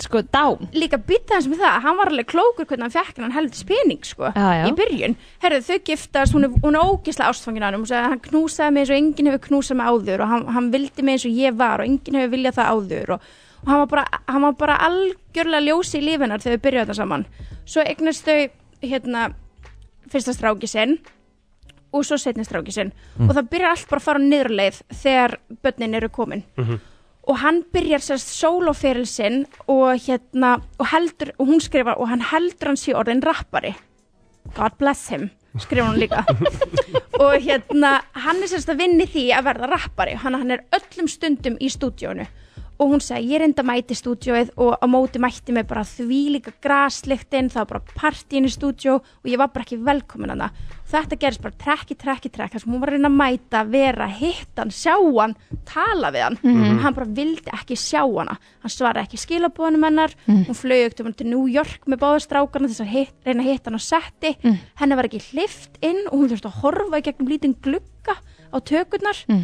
[SPEAKER 2] sko, down
[SPEAKER 11] líka býta hans með það Hann var alveg klókur hvernig hann fekk hann helviti spening sko,
[SPEAKER 2] Já, já.
[SPEAKER 11] Í byrjun Herru, þau giftast, hún er, hún er ógislega ástfangin hann Hún sagði að hann knúsaði mig eins og enginn hefur knúsað mig áður Og hann, hann vildi mig eins og ég var Og enginn hefur viljað það áður Og, og hann, var bara, hann var bara algjörlega ljósi í lífinar Þegar þau byrjuðu þetta saman Svo eignast þau hérna, Fyrsta stráki sinn Og svo setni stráki sinn
[SPEAKER 12] Mm.
[SPEAKER 11] Og það byrjar allt bara að fara á niðurleið Þegar börnin eru komin og hann byrjar sérst sólóferil sinn og hérna og heldur, og hún skrifar og hann heldur hann sé orðin rappari God bless him, skrifar hún líka og hérna, hann er sérst að vinni því að verða rappari, hann, hann er öllum stundum í stúdíónu og hún segi, ég reynda mæti í stúdíóið og á móti mætti mig bara því líka graslyktin, það var bara partíin í stúdíó og ég var bara ekki velkomin hana þetta gerist bara trekki, trekki, trekki þar sem hún var að reyna að mæta, vera, hitta hann, sjá hann, tala við hann
[SPEAKER 12] Mhm.
[SPEAKER 11] hann bara vildi ekki sjá hana hann svaraði ekki skilabóðanum hennar
[SPEAKER 12] Mhm.
[SPEAKER 11] hún flög upp til New York með báðastrákarna þess að hit, reyna að hitta hann á setti
[SPEAKER 12] Mhm.
[SPEAKER 11] henni var ekki hlift inn og hún þurfti að horfa í gegnum lítinn glugga á tökurnar
[SPEAKER 2] Mhm.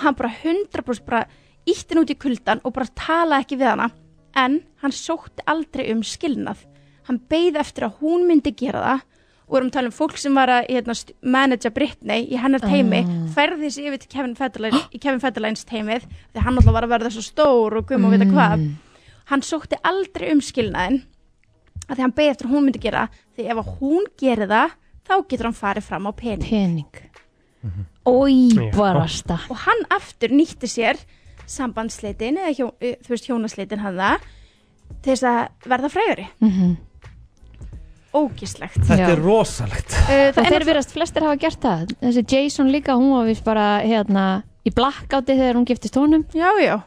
[SPEAKER 11] hann bara 100% bara ítti henni út í kuldan og bara talaði ekki við hana en hann sótti aldrei um skilnað hann beigði eftir að hún myndi gera það og erum að tala um fólk sem var að hérna, st- managja Britney í hennar teimi
[SPEAKER 2] Ah.
[SPEAKER 11] færði sig yfir til Kevin Federline í Kevin Federlines teimið því hann alltaf var að verða svo stór og guðum að vita hvað hann sótti aldrei um skilnaðin að því hann beigði eftir að hún myndi gera það, því ef að hún gerir það þá getur hann farið fram á pening
[SPEAKER 2] pening
[SPEAKER 1] Mhm.
[SPEAKER 2] Ói,
[SPEAKER 11] Já.
[SPEAKER 2] barasta
[SPEAKER 11] og hann aftur nýtti sér sambandsleitin eða hjó, eh, þú veist hjónasleitin hann það til þess að verða frægari
[SPEAKER 2] Mhm.
[SPEAKER 11] ógislegt
[SPEAKER 1] Þetta er rosalegt
[SPEAKER 11] Uh,
[SPEAKER 2] Og þeir verðast flestir hafa gert það Þessi Jason líka, hún var vist bara hérna, í blackouti þegar hún giftist honum
[SPEAKER 11] Já, já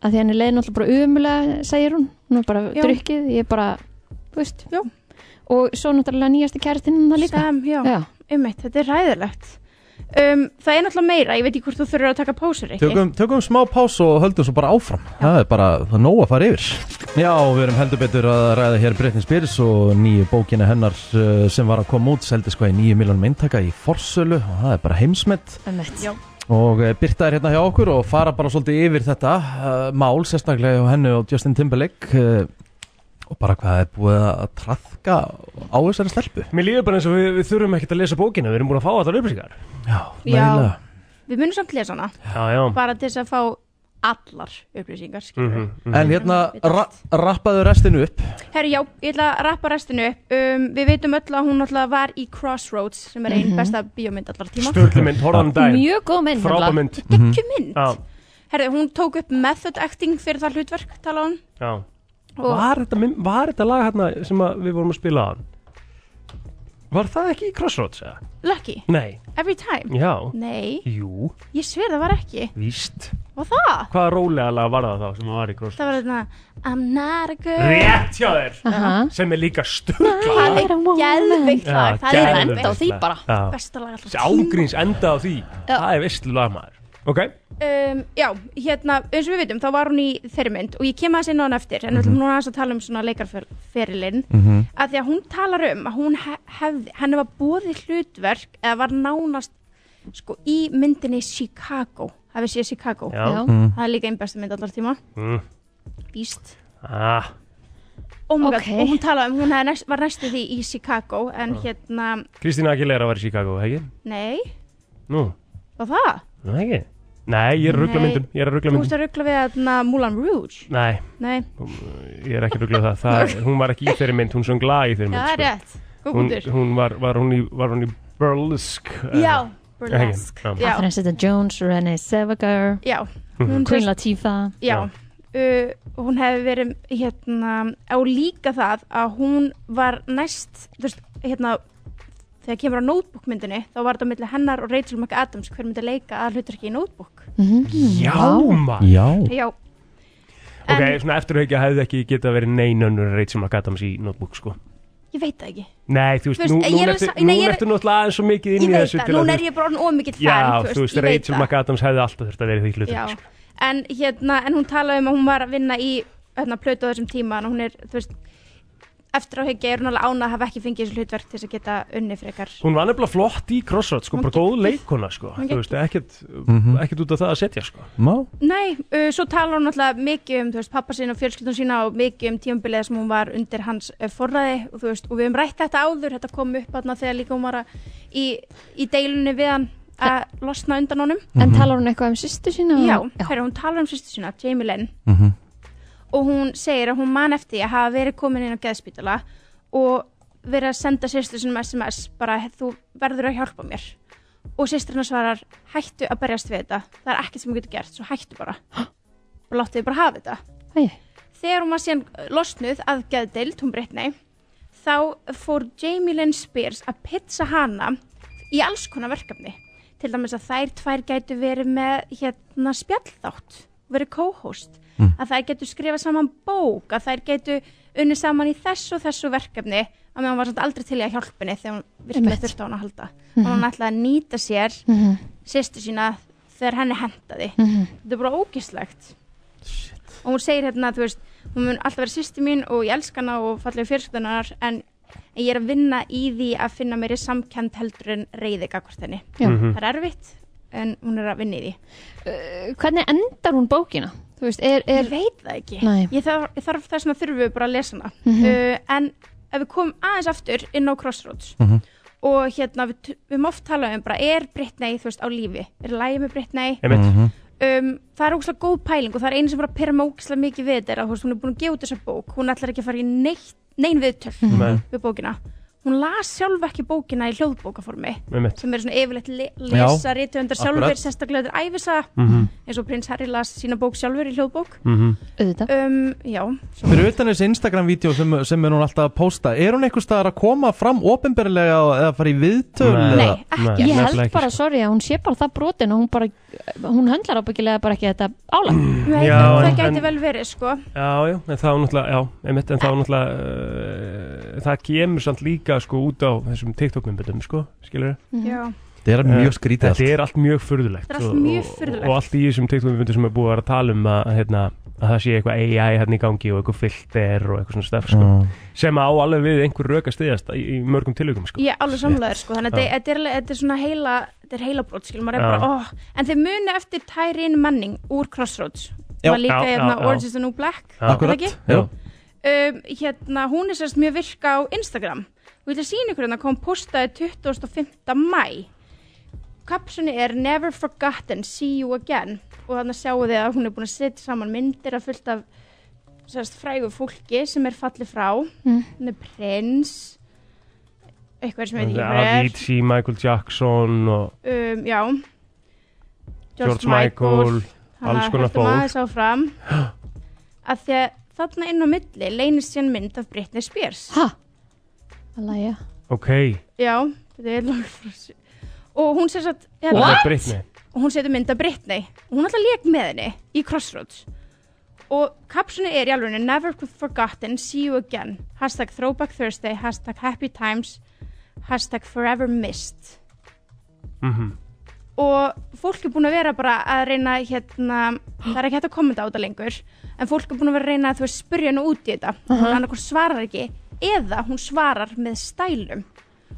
[SPEAKER 2] Að því henni leiði náttúrulega bara umulega, segir hún Hún var bara
[SPEAKER 11] Já.
[SPEAKER 2] drukkið, ég bara, þú veist
[SPEAKER 11] já.
[SPEAKER 2] Og svo náttúrulega nýjasti kærtinn það líka
[SPEAKER 11] Sam, já,
[SPEAKER 2] Já.
[SPEAKER 11] já. þetta er ræðilegt um, það er náttúrulega meira, ég veit ekki hvort þú þurfur að taka pásur ekki
[SPEAKER 1] Tökum, tökum smá pás og höldum svo bara áfram Það er bara, það er nóg að fara yfir Já, við erum heldur betur að ræða hér Britney Spears og nýju bókina hennar uh, sem var að koma út, seldist hvað í nýju miljónum eintaka í forsölu og það er bara heimsmet
[SPEAKER 2] Emmett Já
[SPEAKER 1] og uh, Birta er hérna hjá okkur og fara bara svolítið yfir þetta uh, mál, sérstaklega hjá hennu og Justin Timberlake uh, og bara hvað er búið að trafka á þessari stelpu
[SPEAKER 3] Mér líður bara eins og við, við þurfum ekkert að lesa bókina, við erum búin að fá allar upplýsingar.
[SPEAKER 11] Já, við munum samt lesa hana
[SPEAKER 3] Já, já. Mhm,
[SPEAKER 11] bara til þess að fá allar upplýsingar mm
[SPEAKER 1] En hérna, ra rappaðu restinu upp
[SPEAKER 11] Herri, já, ég ætla að rappa restinu upp um, Við veitum öll að hún alltaf var í Crossroads sem er einn
[SPEAKER 3] Mhm.
[SPEAKER 11] besta bíómynd allar tíma
[SPEAKER 3] Sturlu mynd, horfðan daginn.
[SPEAKER 11] Mjög góð
[SPEAKER 2] hérna.
[SPEAKER 11] mynd
[SPEAKER 3] Frábæ
[SPEAKER 11] nefnilega.
[SPEAKER 3] mynd.
[SPEAKER 11] Geggjum mynd
[SPEAKER 3] Já,
[SPEAKER 11] Herri, hún tók upp method acting fyrir það hlutverk tala hún
[SPEAKER 3] já.
[SPEAKER 11] Og-
[SPEAKER 3] Var þetta, mynd- var þetta lag hérna sem að við vorum að spila á hann? Var það ekki í Crossroads eða?
[SPEAKER 11] Lucky,
[SPEAKER 3] Nei.
[SPEAKER 11] Every Time
[SPEAKER 3] Já.
[SPEAKER 11] Nei,
[SPEAKER 3] Jú,
[SPEAKER 11] ég sver það var ekki
[SPEAKER 3] víst.
[SPEAKER 11] Og það,
[SPEAKER 3] Hvaða rólega lag var það þá sem að var í Crossroads?
[SPEAKER 11] það var þetta I'm not a girl
[SPEAKER 3] Rétt hjá þér!
[SPEAKER 11] Aha.
[SPEAKER 3] Sem er líka sturgla.
[SPEAKER 11] Það er geðveikt
[SPEAKER 3] Já,
[SPEAKER 11] lag, það er
[SPEAKER 3] geðveikt
[SPEAKER 11] enda á því
[SPEAKER 3] lag.
[SPEAKER 11] bara
[SPEAKER 3] Já.
[SPEAKER 11] Besta lag alltaf
[SPEAKER 3] Ágríns enda á því.
[SPEAKER 11] Já.
[SPEAKER 3] Það er vistlu lagmaður. Ok?
[SPEAKER 11] um, Já, hérna, eins og við veitum, þá var hún í þeirri mynd og ég kem aðeins inn á hann eftir en við
[SPEAKER 3] Mhm.
[SPEAKER 11] ætlum núna aðeins að tala um svona leikarferilinn
[SPEAKER 9] Mhm.
[SPEAKER 11] að því að hún talar um að hún he- hefði, henni var bóðið hlutverk eða var nánast sko í myndinni Chicago hafið séð Chicago
[SPEAKER 3] Já. Já. Mm.
[SPEAKER 11] það er líka einn besta mynd allar tíma
[SPEAKER 3] Mm.
[SPEAKER 11] víst
[SPEAKER 3] Ah.
[SPEAKER 11] oh my God,
[SPEAKER 2] Ókei.
[SPEAKER 11] og hún talaði um, hún hafði næst, var næstu því í Chicago en
[SPEAKER 3] Já.
[SPEAKER 11] hérna,
[SPEAKER 3] Kristína Aguilera var í Chicago, ekki?
[SPEAKER 11] nei,
[SPEAKER 3] Nú,
[SPEAKER 11] og það
[SPEAKER 3] nú ekki? Nei, ég er að ruggla
[SPEAKER 11] Nei,
[SPEAKER 3] myndum, ég er að ruggla
[SPEAKER 11] Þú ert
[SPEAKER 3] myndum.
[SPEAKER 11] að ruggla við hérna Moulin Rouge
[SPEAKER 3] Nei,
[SPEAKER 11] Nei,
[SPEAKER 3] ég er ekki að ruggla það. það. Hún var ekki í þeirri mynd, hún söng lag í
[SPEAKER 11] já,
[SPEAKER 3] þeirri mynd.
[SPEAKER 11] það er
[SPEAKER 3] sko.
[SPEAKER 11] rétt Góð
[SPEAKER 3] Hún,
[SPEAKER 11] punktur.
[SPEAKER 3] hún var, var, hún í, var hún í Burlesk. eða-
[SPEAKER 11] Já,
[SPEAKER 3] Ekki?
[SPEAKER 11] Burlesk,
[SPEAKER 3] Já. Mhm.
[SPEAKER 11] já.
[SPEAKER 2] Catherine Zeta-Jones, Renee Zellweger
[SPEAKER 11] Já, hún-
[SPEAKER 2] Queen Latifah
[SPEAKER 11] Já, uh, hún hefði verið hérna, á líka það að hún var næst, þú veist, hérna þegar kemur á notebookmyndinni þá var þetta á milli hennar og Rachel McAdams hver myndi leika að hlutverki í notebook Mhm.
[SPEAKER 3] Já, maður.
[SPEAKER 11] Já,
[SPEAKER 3] Ok, svona eftirhaukja hefði ekki getað verið nein önnur reyt sem að gata hans í notebook, sko.
[SPEAKER 11] ég veit það ekki
[SPEAKER 3] Nei, þú veist,
[SPEAKER 11] Þú veist,
[SPEAKER 3] nú,
[SPEAKER 11] ég
[SPEAKER 3] nú
[SPEAKER 11] er að
[SPEAKER 3] ertu,
[SPEAKER 11] sa- nei,
[SPEAKER 3] nú
[SPEAKER 11] ég er-
[SPEAKER 3] ertu náttúrulega aðeins svo mikið inn
[SPEAKER 11] Ég
[SPEAKER 3] í
[SPEAKER 11] veit
[SPEAKER 3] þessu
[SPEAKER 11] það, núna er ég bara orðin ómikið fan
[SPEAKER 3] Já, þú veist,
[SPEAKER 11] ég veit
[SPEAKER 3] Rachel
[SPEAKER 11] það.
[SPEAKER 3] McAdams hefði alltaf þurft að vera í því hlutum,
[SPEAKER 11] Já,
[SPEAKER 3] sko.
[SPEAKER 11] en hérna, en hún talaði um að hún var að vinna í hérna plötu á þessum tíma en hún er, þú veist eftir á higgja er hún alveg ánað að hafa ekki fengið þessu hlutverk til þess að geta unni frekar
[SPEAKER 3] Hún var nefnilega flott í crossroads, sko, bara góð leikona, sko.
[SPEAKER 11] hún
[SPEAKER 3] Þú veist, ekkert,
[SPEAKER 1] Mhm.
[SPEAKER 3] ekkert út af það að setja, sko.
[SPEAKER 1] Má?
[SPEAKER 11] Nei, uh, svo talar hún alltaf mikið um þú veist, pappa sín og fjölskyldun sína og mikið um tímabilið sem hún var undir hans uh, forræði og, þú veist, og við höfum rætt þetta áður, þetta kom upp þarna þegar líka hún var að, í, í deilunni við hann að losna undan honum
[SPEAKER 2] En talar hún eitthvað um sýstu sína?
[SPEAKER 11] Já, hérna, hún talar um sýstu sína, Jamie Lynn
[SPEAKER 1] Mhm.
[SPEAKER 11] og hún segir að hún man eftir því að hafa verið komin inn á geðspítala og verið að senda sýstu sinum SMS bara þú verður að hjálpa mér og sýstrina svarar hættu að berjast við þetta það er ekkert sem þú getur gert, svo hættu bara og láttu þið bara hafa þetta
[SPEAKER 2] Æi.
[SPEAKER 11] þegar hún var síðan eh, losnuð að geðdeild, hún breytni þá fór Jamie Lynn Spears að pizza hana í alls konar verkefni til dæmis að þær tvær gætu verið með hérna spjallþátt verið co-host, að þær gætu skrifa saman bók, að þær gætu unni saman í þessu og þessu verkefni að meðan hún var samt aldrei til í að hjálpa henni þegar hún virkilega
[SPEAKER 2] Einmitt.
[SPEAKER 11] þurfti á hann að halda
[SPEAKER 2] Mhm.
[SPEAKER 11] og hún ætlaði að nýta sér mm
[SPEAKER 2] Mhm.
[SPEAKER 11] sýstu sína þegar henni hentaði
[SPEAKER 2] Mhm.
[SPEAKER 11] þetta er bara ógislegt Shit. og hún segir hérna, þú veist hún mun alltaf vera sýstu mín og ég elska hana og fallegu fjölskyldunar en en ég er að vinna í því að finna mér í samkend heldur en reyði gagvart henni
[SPEAKER 2] Já. Mhm.
[SPEAKER 11] það er erfitt en hún er að vinna í því
[SPEAKER 2] Uh, Hvernig endar hún bókina? Þú veist, er, er...
[SPEAKER 11] Ég veit það ekki
[SPEAKER 2] Nei.
[SPEAKER 11] ég þarf, ég þarf þess að þurfum við bara að lesa hana
[SPEAKER 2] Mhm.
[SPEAKER 11] uh, en ef við komum aðeins aftur inn á Crossroads og hérna við, t- við mátt tala um bara er Britney þú veist á lífi, er lægi með Britney
[SPEAKER 3] Einmitt. Mhm.
[SPEAKER 11] um, það er ógslag góð pæling og það er einu sem bara pyrra mig ógslag mikið við þetta er að þú veist, hún er búin að gefa út þessa bók hún ætlar ekki að fara í neitt, nein viðtöl
[SPEAKER 3] Nei.
[SPEAKER 11] við bókina hún las sjálf ekki bókina í hljóðbókaformi
[SPEAKER 3] Einmitt.
[SPEAKER 11] sem er svona yfirleitt le
[SPEAKER 3] Já,
[SPEAKER 11] lesa rítuðundar sjálfur
[SPEAKER 3] akkurat.
[SPEAKER 11] sérstaklega þetta er æfisa
[SPEAKER 1] Mhm.
[SPEAKER 11] eins og prins Harry las sína bók sjálfur í hljóðbók
[SPEAKER 1] Mhm.
[SPEAKER 11] um, já,
[SPEAKER 1] Fyrir utan þessi Instagram-vídeó sem, sem er hún alltaf að posta Er hún einhvers staðar að koma fram ofinberlega eða fara í viðtöl?
[SPEAKER 3] Nei.
[SPEAKER 1] eða?
[SPEAKER 3] Nei, ekki.
[SPEAKER 2] Ég
[SPEAKER 3] nefnilega
[SPEAKER 2] held
[SPEAKER 3] ekki, sko.
[SPEAKER 2] bara, sorry, að hún sé bara það brotin og hún bara, hún höndlar ábyggilega bara ekki þetta álag
[SPEAKER 3] Mm.
[SPEAKER 11] Nei, það
[SPEAKER 3] Já, en-
[SPEAKER 11] gæti
[SPEAKER 3] en-
[SPEAKER 11] vel verið sko
[SPEAKER 3] Já, já, en það er náttúrulega, já, einmitt, en eh, það er náttúrulega, uh, það kemur samt líka, sko, út á þessum TikTok-myndböndum, sko, skilur
[SPEAKER 11] Já.
[SPEAKER 3] Þetta
[SPEAKER 1] Eh, er mjög skrítið
[SPEAKER 3] Þetta er allt mjög furðulegt
[SPEAKER 11] Þetta er allt
[SPEAKER 3] og-
[SPEAKER 11] mjög
[SPEAKER 3] og-
[SPEAKER 11] furðulegt.
[SPEAKER 3] Og allt í þessum teknumvindum sem er búið að vera að tala um að, hérna, að það sé eitthvað AI hérna í gangi og eitthvað filter og eitthvað svona stef sko.
[SPEAKER 1] Já.
[SPEAKER 3] sem á alveg við einhver rök að stiðjast í, í mörgum tilvíkum sko.
[SPEAKER 11] Ég er alveg samlegaður sko, þannig að
[SPEAKER 3] Já.
[SPEAKER 11] þetta- þetta er, alveg- þetta er svona heila, þetta er heila brot, skilum, maður er
[SPEAKER 3] Já.
[SPEAKER 11] bara, oh, en þeir muni eftir Tyrin Manning úr Crossroads,
[SPEAKER 3] Já.
[SPEAKER 11] var líka
[SPEAKER 3] Já, já,
[SPEAKER 11] hérna
[SPEAKER 3] já.
[SPEAKER 11] Orange is the New Black,
[SPEAKER 3] Já.
[SPEAKER 11] er það
[SPEAKER 3] Akkurat,
[SPEAKER 11] ekki?
[SPEAKER 3] já.
[SPEAKER 11] Um, hérna, hún er sérst mjög virka á Instagram, og ég ætla að sína ykkur hérna, hvað hún postaði 25. mæ, kapsunni er Never Forgotten, See You Again, og þannig sjáu þið að hún er búin að setja saman myndir að fullt af sérst frægu fólki sem er fallið frá,
[SPEAKER 2] Mm.
[SPEAKER 11] hún er prins, eitthvað sem ég veit ekki hver er
[SPEAKER 3] Avicii, Michael Jackson og
[SPEAKER 11] um, já
[SPEAKER 3] George Michael,
[SPEAKER 11] Þannig að
[SPEAKER 3] alls konar
[SPEAKER 11] höldum aðeins
[SPEAKER 3] fólk
[SPEAKER 11] áfram að því að þarna inn á milli leynist sér mynd af Britney Spears
[SPEAKER 2] ha? alveg já
[SPEAKER 3] Ok,
[SPEAKER 11] já, þetta er langt frá sér og hún sér satt
[SPEAKER 3] What? Britney.
[SPEAKER 11] og hún setur mynd af Britney og hún alltaf leik með henni í Crossroads og kapsunni er í alveg never forgotten, see you again hashtag throwback Thursday, hashtag happy times hashtag forever missed
[SPEAKER 3] mhm
[SPEAKER 11] og fólk er búin að vera bara að reyna hérna, það er ekki hægt að kommenta á þetta lengur en fólk er búin að vera að reyna að þú veist spyrja henni út í þetta uh
[SPEAKER 2] Mhm.
[SPEAKER 3] Uh-huh.
[SPEAKER 11] -huh. annarkur svarar ekki eða hún svarar með stælum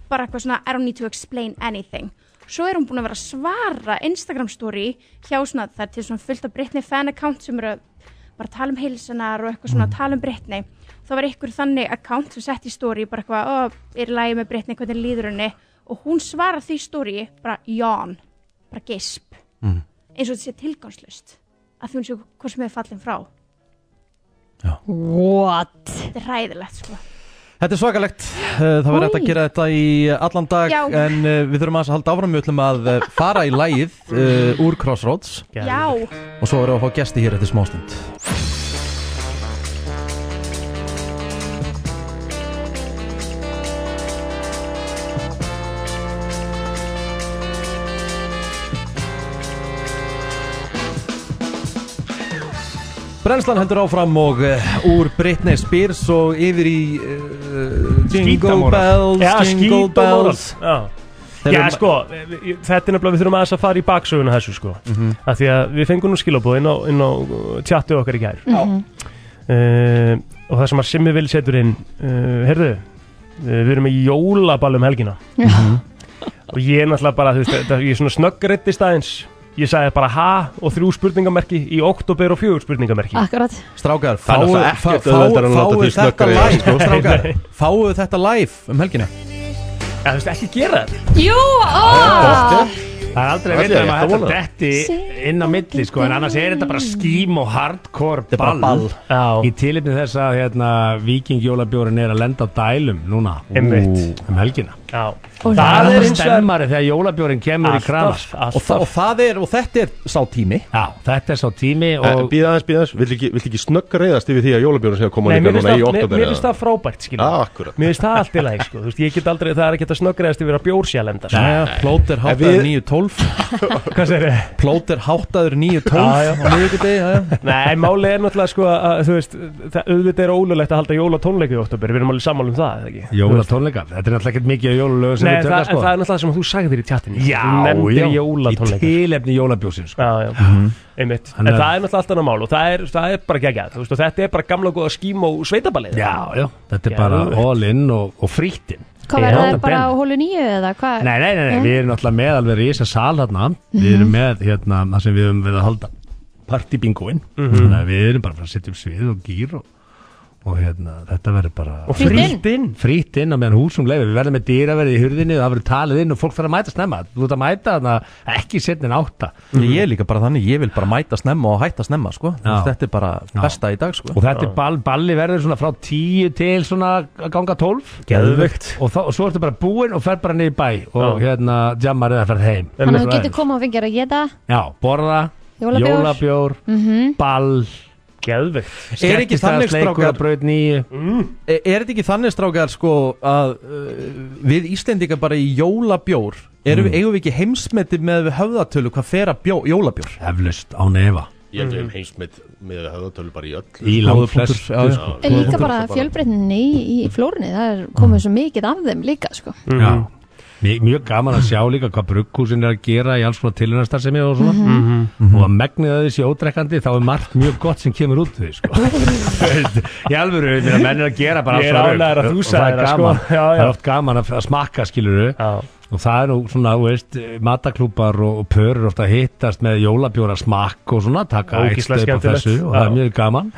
[SPEAKER 11] bara eitthvað svona I don't need to explain anything svo er hún búin að vera að svara Instagram story hjá svona það er til svona fullt af Britney fan account sem eru að bara tala um heilsunar og eitthvað svona tala um Britney þá var einhver þannig account sem sett í story bara eitthvað, ó, er í lagi með Britney hvernig líður henni og hún svarar því story bara ján bara gesp
[SPEAKER 1] Mm.
[SPEAKER 11] eins og þetta sé tilgangslust að því hún sé hvort sem hefur fallin frá
[SPEAKER 2] What?
[SPEAKER 11] þetta er ræðilegt sko
[SPEAKER 1] Þetta er svakalegt, Eh, það var
[SPEAKER 11] Oj.
[SPEAKER 1] rétt að gera þetta í allan dag
[SPEAKER 11] Já.
[SPEAKER 1] En eh, við þurfum aðeins að halda áfram Við ætlum að eh, fara í lægið uh, úr Crossroads
[SPEAKER 11] já,
[SPEAKER 1] Og svo erum við að fá gesti hér eftir smástund Brennslan hendur áfram og uh, úr Britney Spears og yfir í uh, Jingle
[SPEAKER 3] Skítamóral.
[SPEAKER 1] Bells,
[SPEAKER 3] Já,
[SPEAKER 1] Jingle
[SPEAKER 3] skítamóral.
[SPEAKER 1] Bells
[SPEAKER 3] Já,
[SPEAKER 1] Þeir
[SPEAKER 3] já
[SPEAKER 1] eru-
[SPEAKER 3] sko, við- við- þetta er nefnilega við þurfum aðeins að fara í baksöguna þessu sko
[SPEAKER 1] Mhm.
[SPEAKER 3] af Því að við fengum nú skilabóð inn á, inn á tjattu okkar í gær
[SPEAKER 1] Mhm.
[SPEAKER 3] uh, Og það sem að Simmi vil setur inn uh, Herðu, uh, við erum í jólaball um helgina
[SPEAKER 1] Mhm.
[SPEAKER 3] Og ég er náttúrulega bara, þú veist, þetta- ég er svona snöggreittist aðeins Ég sagði bara ha og þrjú spurningamerki í oktober og fjögur spurningamerki
[SPEAKER 2] Akkurat
[SPEAKER 1] Strákar,
[SPEAKER 3] Það er
[SPEAKER 1] fáu
[SPEAKER 3] náttúrulega
[SPEAKER 1] fá-
[SPEAKER 3] ekkert auðveldara en að láta
[SPEAKER 1] fáu
[SPEAKER 3] því
[SPEAKER 1] þetta
[SPEAKER 3] snöggreiða,
[SPEAKER 1] live
[SPEAKER 3] sko.
[SPEAKER 1] Strákar,
[SPEAKER 3] Nei.
[SPEAKER 1] fáu þetta live um helgina
[SPEAKER 3] Já, þú veist, ekki gera þetta
[SPEAKER 2] Jú,
[SPEAKER 12] Ah.
[SPEAKER 2] ó
[SPEAKER 12] Það er aldrei
[SPEAKER 1] Það
[SPEAKER 12] að
[SPEAKER 1] er
[SPEAKER 12] vita um
[SPEAKER 1] rétt að
[SPEAKER 12] að þetta
[SPEAKER 1] vona.
[SPEAKER 12] detti inn á milli sko, en annars er þetta bara skím og hardcore
[SPEAKER 1] er bara
[SPEAKER 12] ball,
[SPEAKER 1] ball.
[SPEAKER 12] í tilipni þess að hérna, vikingjólabjórin er að lenda á dælum núna
[SPEAKER 10] Ah,
[SPEAKER 3] Einmitt.
[SPEAKER 12] um helgina
[SPEAKER 3] Já.
[SPEAKER 12] Það,
[SPEAKER 1] það er
[SPEAKER 12] er
[SPEAKER 1] hins vegar-
[SPEAKER 12] stemmari þegar jólabjórin kemur
[SPEAKER 1] Alltaf,
[SPEAKER 12] í kranar
[SPEAKER 1] og, þa og það er, og þetta er sá tími
[SPEAKER 12] Já, þetta er sá tími
[SPEAKER 3] Eh,
[SPEAKER 12] og
[SPEAKER 10] Býða aðeins, býða aðeins, vill ekki, vill ekki snögg reyðast yfir því að jólabjörnum sé að koma
[SPEAKER 3] Nei,
[SPEAKER 10] líka
[SPEAKER 3] mér finnst
[SPEAKER 10] núna í
[SPEAKER 3] það- mér-
[SPEAKER 10] oktober
[SPEAKER 3] mér finnst það frábært skilja
[SPEAKER 10] Já, akkurat.
[SPEAKER 3] Mér finnst það allt í lagi sko Þú veist, ég get aldrei, það er ekki að snöggreðast yfir að bjór sé að lenda sko.
[SPEAKER 1] Jæja, Plót er háttaður 9.12
[SPEAKER 3] Hvað segir þið?
[SPEAKER 1] Plót er háttaður
[SPEAKER 3] Já,
[SPEAKER 1] 9.12
[SPEAKER 3] já.
[SPEAKER 1] á miðvikudegi, já, já.
[SPEAKER 3] Nei, málið er náttúrulega sko að þú veist, það auðvitað er ólulegt að halda jólatónleika í oktober, við erum alveg sammála um það, eða ekki?
[SPEAKER 12] jólatónleika, þetta er náttúrulega ekkert mikið jólulegu sem
[SPEAKER 3] Nei,
[SPEAKER 12] við tökum
[SPEAKER 3] það, en það
[SPEAKER 12] sko
[SPEAKER 3] er náttúrulega sem þú sagðir í tjattinu
[SPEAKER 12] Já,
[SPEAKER 3] Þú
[SPEAKER 12] já,
[SPEAKER 3] nefndir
[SPEAKER 12] í
[SPEAKER 3] jólatónleika
[SPEAKER 12] tilefni jólabjósin sko.
[SPEAKER 3] Já, já, einmitt En
[SPEAKER 12] Þannig að-
[SPEAKER 3] það er náttúrulega allt annað mál og það er, það er bara geggjað, þú veist, og þetta er bara gamla og góða skím og sveitaballið
[SPEAKER 12] Já, já, þetta er bara all in og, og frýttin
[SPEAKER 2] Hvað verður það bara á hólu nýju eða hvað?
[SPEAKER 12] Nei, nei, nei, nei, við erum náttúrulega með alveg rísa sal hérna Við erum með hérna það sem við höfum við að halda Partybingoin
[SPEAKER 3] Mhm.
[SPEAKER 12] Þannig að við erum bara að fara að setja upp svið og gýr og, og hérna, þetta verður bara
[SPEAKER 3] Og frítt inn
[SPEAKER 12] Frýtt inn á meðan húsum leiði Við verðum með dýraverði í hurðinni og það verður talið inn og fólk þarf að mæta snemma Þú ert að mæta þarna ekki setna en átta
[SPEAKER 1] Ég er líka bara þannig, ég vil bara mæta snemma og hætta snemma sko. Þú veist,
[SPEAKER 12] Já.
[SPEAKER 1] Þetta er bara besta í dag sko.
[SPEAKER 12] Og þetta er ball, balli verður svona frá tíu til svona að ganga tólf
[SPEAKER 3] Geðveikt.
[SPEAKER 12] Og, þá, og svo ertu bara búinn og fer bara niður í bæ Og
[SPEAKER 3] Já.
[SPEAKER 12] hérna, jammar eða ferð heim
[SPEAKER 2] Þannig að þú getur komað að fengja að geta
[SPEAKER 12] Já, borða,
[SPEAKER 2] Jólabjór.
[SPEAKER 12] jólabjór
[SPEAKER 2] Mhm.
[SPEAKER 12] ball
[SPEAKER 3] Geðveikt
[SPEAKER 1] Er ekki þannig, strákar?
[SPEAKER 12] braut nýju
[SPEAKER 3] mm.
[SPEAKER 1] Er E, er þetta ekki þannig strákar sko, að uh, við Íslendingar bara í jólabjór erum,
[SPEAKER 3] Mm.
[SPEAKER 1] við, eigum við ekki heimsmeti með við höfðatölu hvað fer að bjó, jólabjór?
[SPEAKER 12] Eflaust á nefa
[SPEAKER 10] Ég held að við erum heimsmynd með höfðatölu bara í öll
[SPEAKER 12] Í langflest,
[SPEAKER 1] já, já.
[SPEAKER 10] sko.
[SPEAKER 2] En
[SPEAKER 1] Mm.
[SPEAKER 12] Mhm.
[SPEAKER 2] líka bara fjölbreytninni í, í flórunni Það er komið svo mikið af þeim líka sko
[SPEAKER 12] Já Mjög, mjög gaman að sjá líka hvað brugghúsin er að gera í alls konar tilhörnastarsemi og svona
[SPEAKER 3] Mhm. Mhm,
[SPEAKER 12] og að megnið að þessi ódrekkandi þá er margt mjög gott sem kemur út úr því sko. Þú veist, í alvöru ég meina, menn er að gera bara
[SPEAKER 3] Ég er
[SPEAKER 12] alls konar
[SPEAKER 3] ánægður að
[SPEAKER 12] rugl
[SPEAKER 3] þú
[SPEAKER 12] og það er
[SPEAKER 3] sagðir það, sko.
[SPEAKER 12] gaman
[SPEAKER 3] Já,
[SPEAKER 12] það
[SPEAKER 3] já.
[SPEAKER 12] er oft gaman að, að smakka skiluru og það er nú svona þú veist, mataklúpar og, og pörur ofta hittast með jólabjóra smakk og svona taka
[SPEAKER 3] Ógeðslega
[SPEAKER 12] ekstra upp á
[SPEAKER 3] skemmtilegt.
[SPEAKER 12] þessu og það er
[SPEAKER 3] Já.
[SPEAKER 12] mjög gaman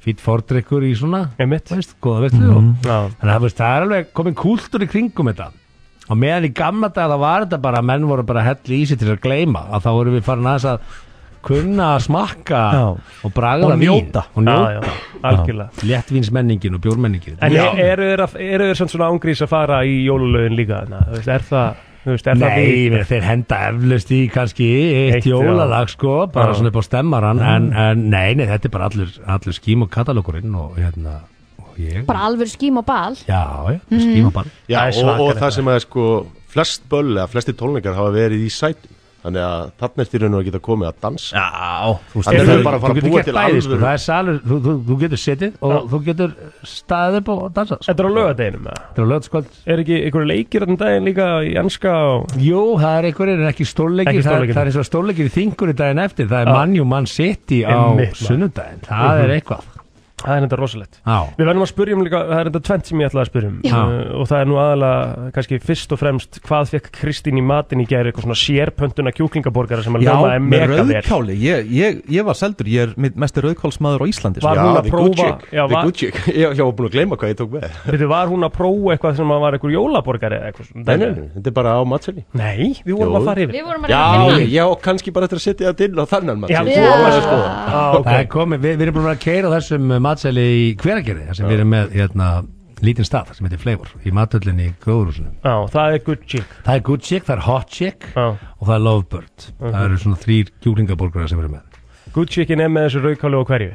[SPEAKER 12] fýtt fordrykkur í svona
[SPEAKER 3] Einmitt.
[SPEAKER 12] veist, góða veistlu
[SPEAKER 3] Mhm.
[SPEAKER 12] mm -hmm. þannig að þú veist, það er alveg komin kúltúr í kringum þetta og meðan í gamla dag það var þetta bara að menn voru bara að hella í sig til að gleyma að þá voru við farin aðeins að kunna að smakka og braga
[SPEAKER 3] Og njóta.
[SPEAKER 12] og njóta
[SPEAKER 3] Já, já, algjörlega.
[SPEAKER 12] léttvínsmenningin og bjórmenningin
[SPEAKER 3] En eru þeir, að- eru þeir samt svona ángrís að fara í jólulögin líka? Na, veist, er það, þú veist, er það
[SPEAKER 12] Nei,
[SPEAKER 3] við-
[SPEAKER 12] við, þeir henda eflaust í kannski eitt
[SPEAKER 3] Eitt, já.
[SPEAKER 12] jólalag sko, bara
[SPEAKER 3] Já.
[SPEAKER 12] svona upp á stemmaran en, en nei, nei, þetta er bara allur, allur skím og katalókurinn og hérna og ég,
[SPEAKER 2] bara alveg skím og bal
[SPEAKER 12] já, já,
[SPEAKER 2] Mm.
[SPEAKER 12] skím og bara
[SPEAKER 10] Já,
[SPEAKER 12] Það er
[SPEAKER 10] og, og
[SPEAKER 12] svakalegt.
[SPEAKER 10] það sem að sko flest böll eða flesti tónleikar hafa verið í sætum þannig að þarna ertu í raun og veru að geta komið að dansa
[SPEAKER 12] Já,
[SPEAKER 10] þú veist, það er bara
[SPEAKER 12] þú
[SPEAKER 10] að fara að
[SPEAKER 12] getur
[SPEAKER 10] búa
[SPEAKER 12] gert
[SPEAKER 10] til
[SPEAKER 12] bæði sko,
[SPEAKER 10] alvöru
[SPEAKER 12] það er salur, þú, þú, þú getur setið og þú getur staðið upp og dansað sko.
[SPEAKER 3] Þetta er á lögadeginum Þetta
[SPEAKER 12] er á lögadskvöld
[SPEAKER 3] Er ekki einhverju leikir þannig daginn líka í anska og...
[SPEAKER 12] Jú, það er einhverjir en ekki stórleikir,
[SPEAKER 3] Ekki
[SPEAKER 12] það, er-
[SPEAKER 3] stórleikir.
[SPEAKER 12] það er eins og stórleikir í þingur í daginn eftir, það er
[SPEAKER 3] Já.
[SPEAKER 12] mann jú mann seti á
[SPEAKER 3] Einmitt, maður.
[SPEAKER 12] sunnudaginn, það er
[SPEAKER 3] Mhm.
[SPEAKER 12] eitthvað
[SPEAKER 3] Það er þetta rosalegt
[SPEAKER 12] Já.
[SPEAKER 3] Við verðum að spyrjum líka, það er þetta tvent sem ég ætlaði að spyrjum
[SPEAKER 12] Já.
[SPEAKER 3] uh, og það er nú aðalega kannski fyrst og fremst hvað fekk Kristín í matinn í gæri eitthvað svona sérpöntuna kjúklingaborgara sem að
[SPEAKER 13] Já,
[SPEAKER 3] ljóma er
[SPEAKER 13] með
[SPEAKER 3] mega vel
[SPEAKER 13] rauðkáli ég, ég, ég var seldur, ég er mitt mesti rauðkálsmaður á Íslandi
[SPEAKER 3] Var
[SPEAKER 13] sko.
[SPEAKER 3] hún að prófa já,
[SPEAKER 13] the
[SPEAKER 3] var-
[SPEAKER 13] good chick. Ég ég var búin að gleyma hvað ég tók með
[SPEAKER 3] Veitu, var hún að prófa eitthvað sem að var eitthvað jólaborgari eða eitthvað svona
[SPEAKER 10] Nei, nei, nei, þetta er bara á matselli
[SPEAKER 3] Nei, við vorum að fara yfir. Við vorum að reyna að
[SPEAKER 10] Já,
[SPEAKER 3] finna.
[SPEAKER 10] ég- já, og kannski bara eftir að setja það inn á þannan
[SPEAKER 3] Já,
[SPEAKER 10] matselli
[SPEAKER 3] þú varst að skoða.
[SPEAKER 12] Það er komið, við, við erum búin að vera að keira þessum uh, matseli í hveragerði, þar sem við erum með hérna, lítinn stað sem heitir Flavor í matöllin í Góðurúsinu.
[SPEAKER 3] Já, það er good chick.
[SPEAKER 12] Það er good chick, það er hot chick og það er lovebird. Það eru svona þrýr kjúklingaborgara sem við erum með.
[SPEAKER 3] Good chickin er með þessu rauðkáli og hverju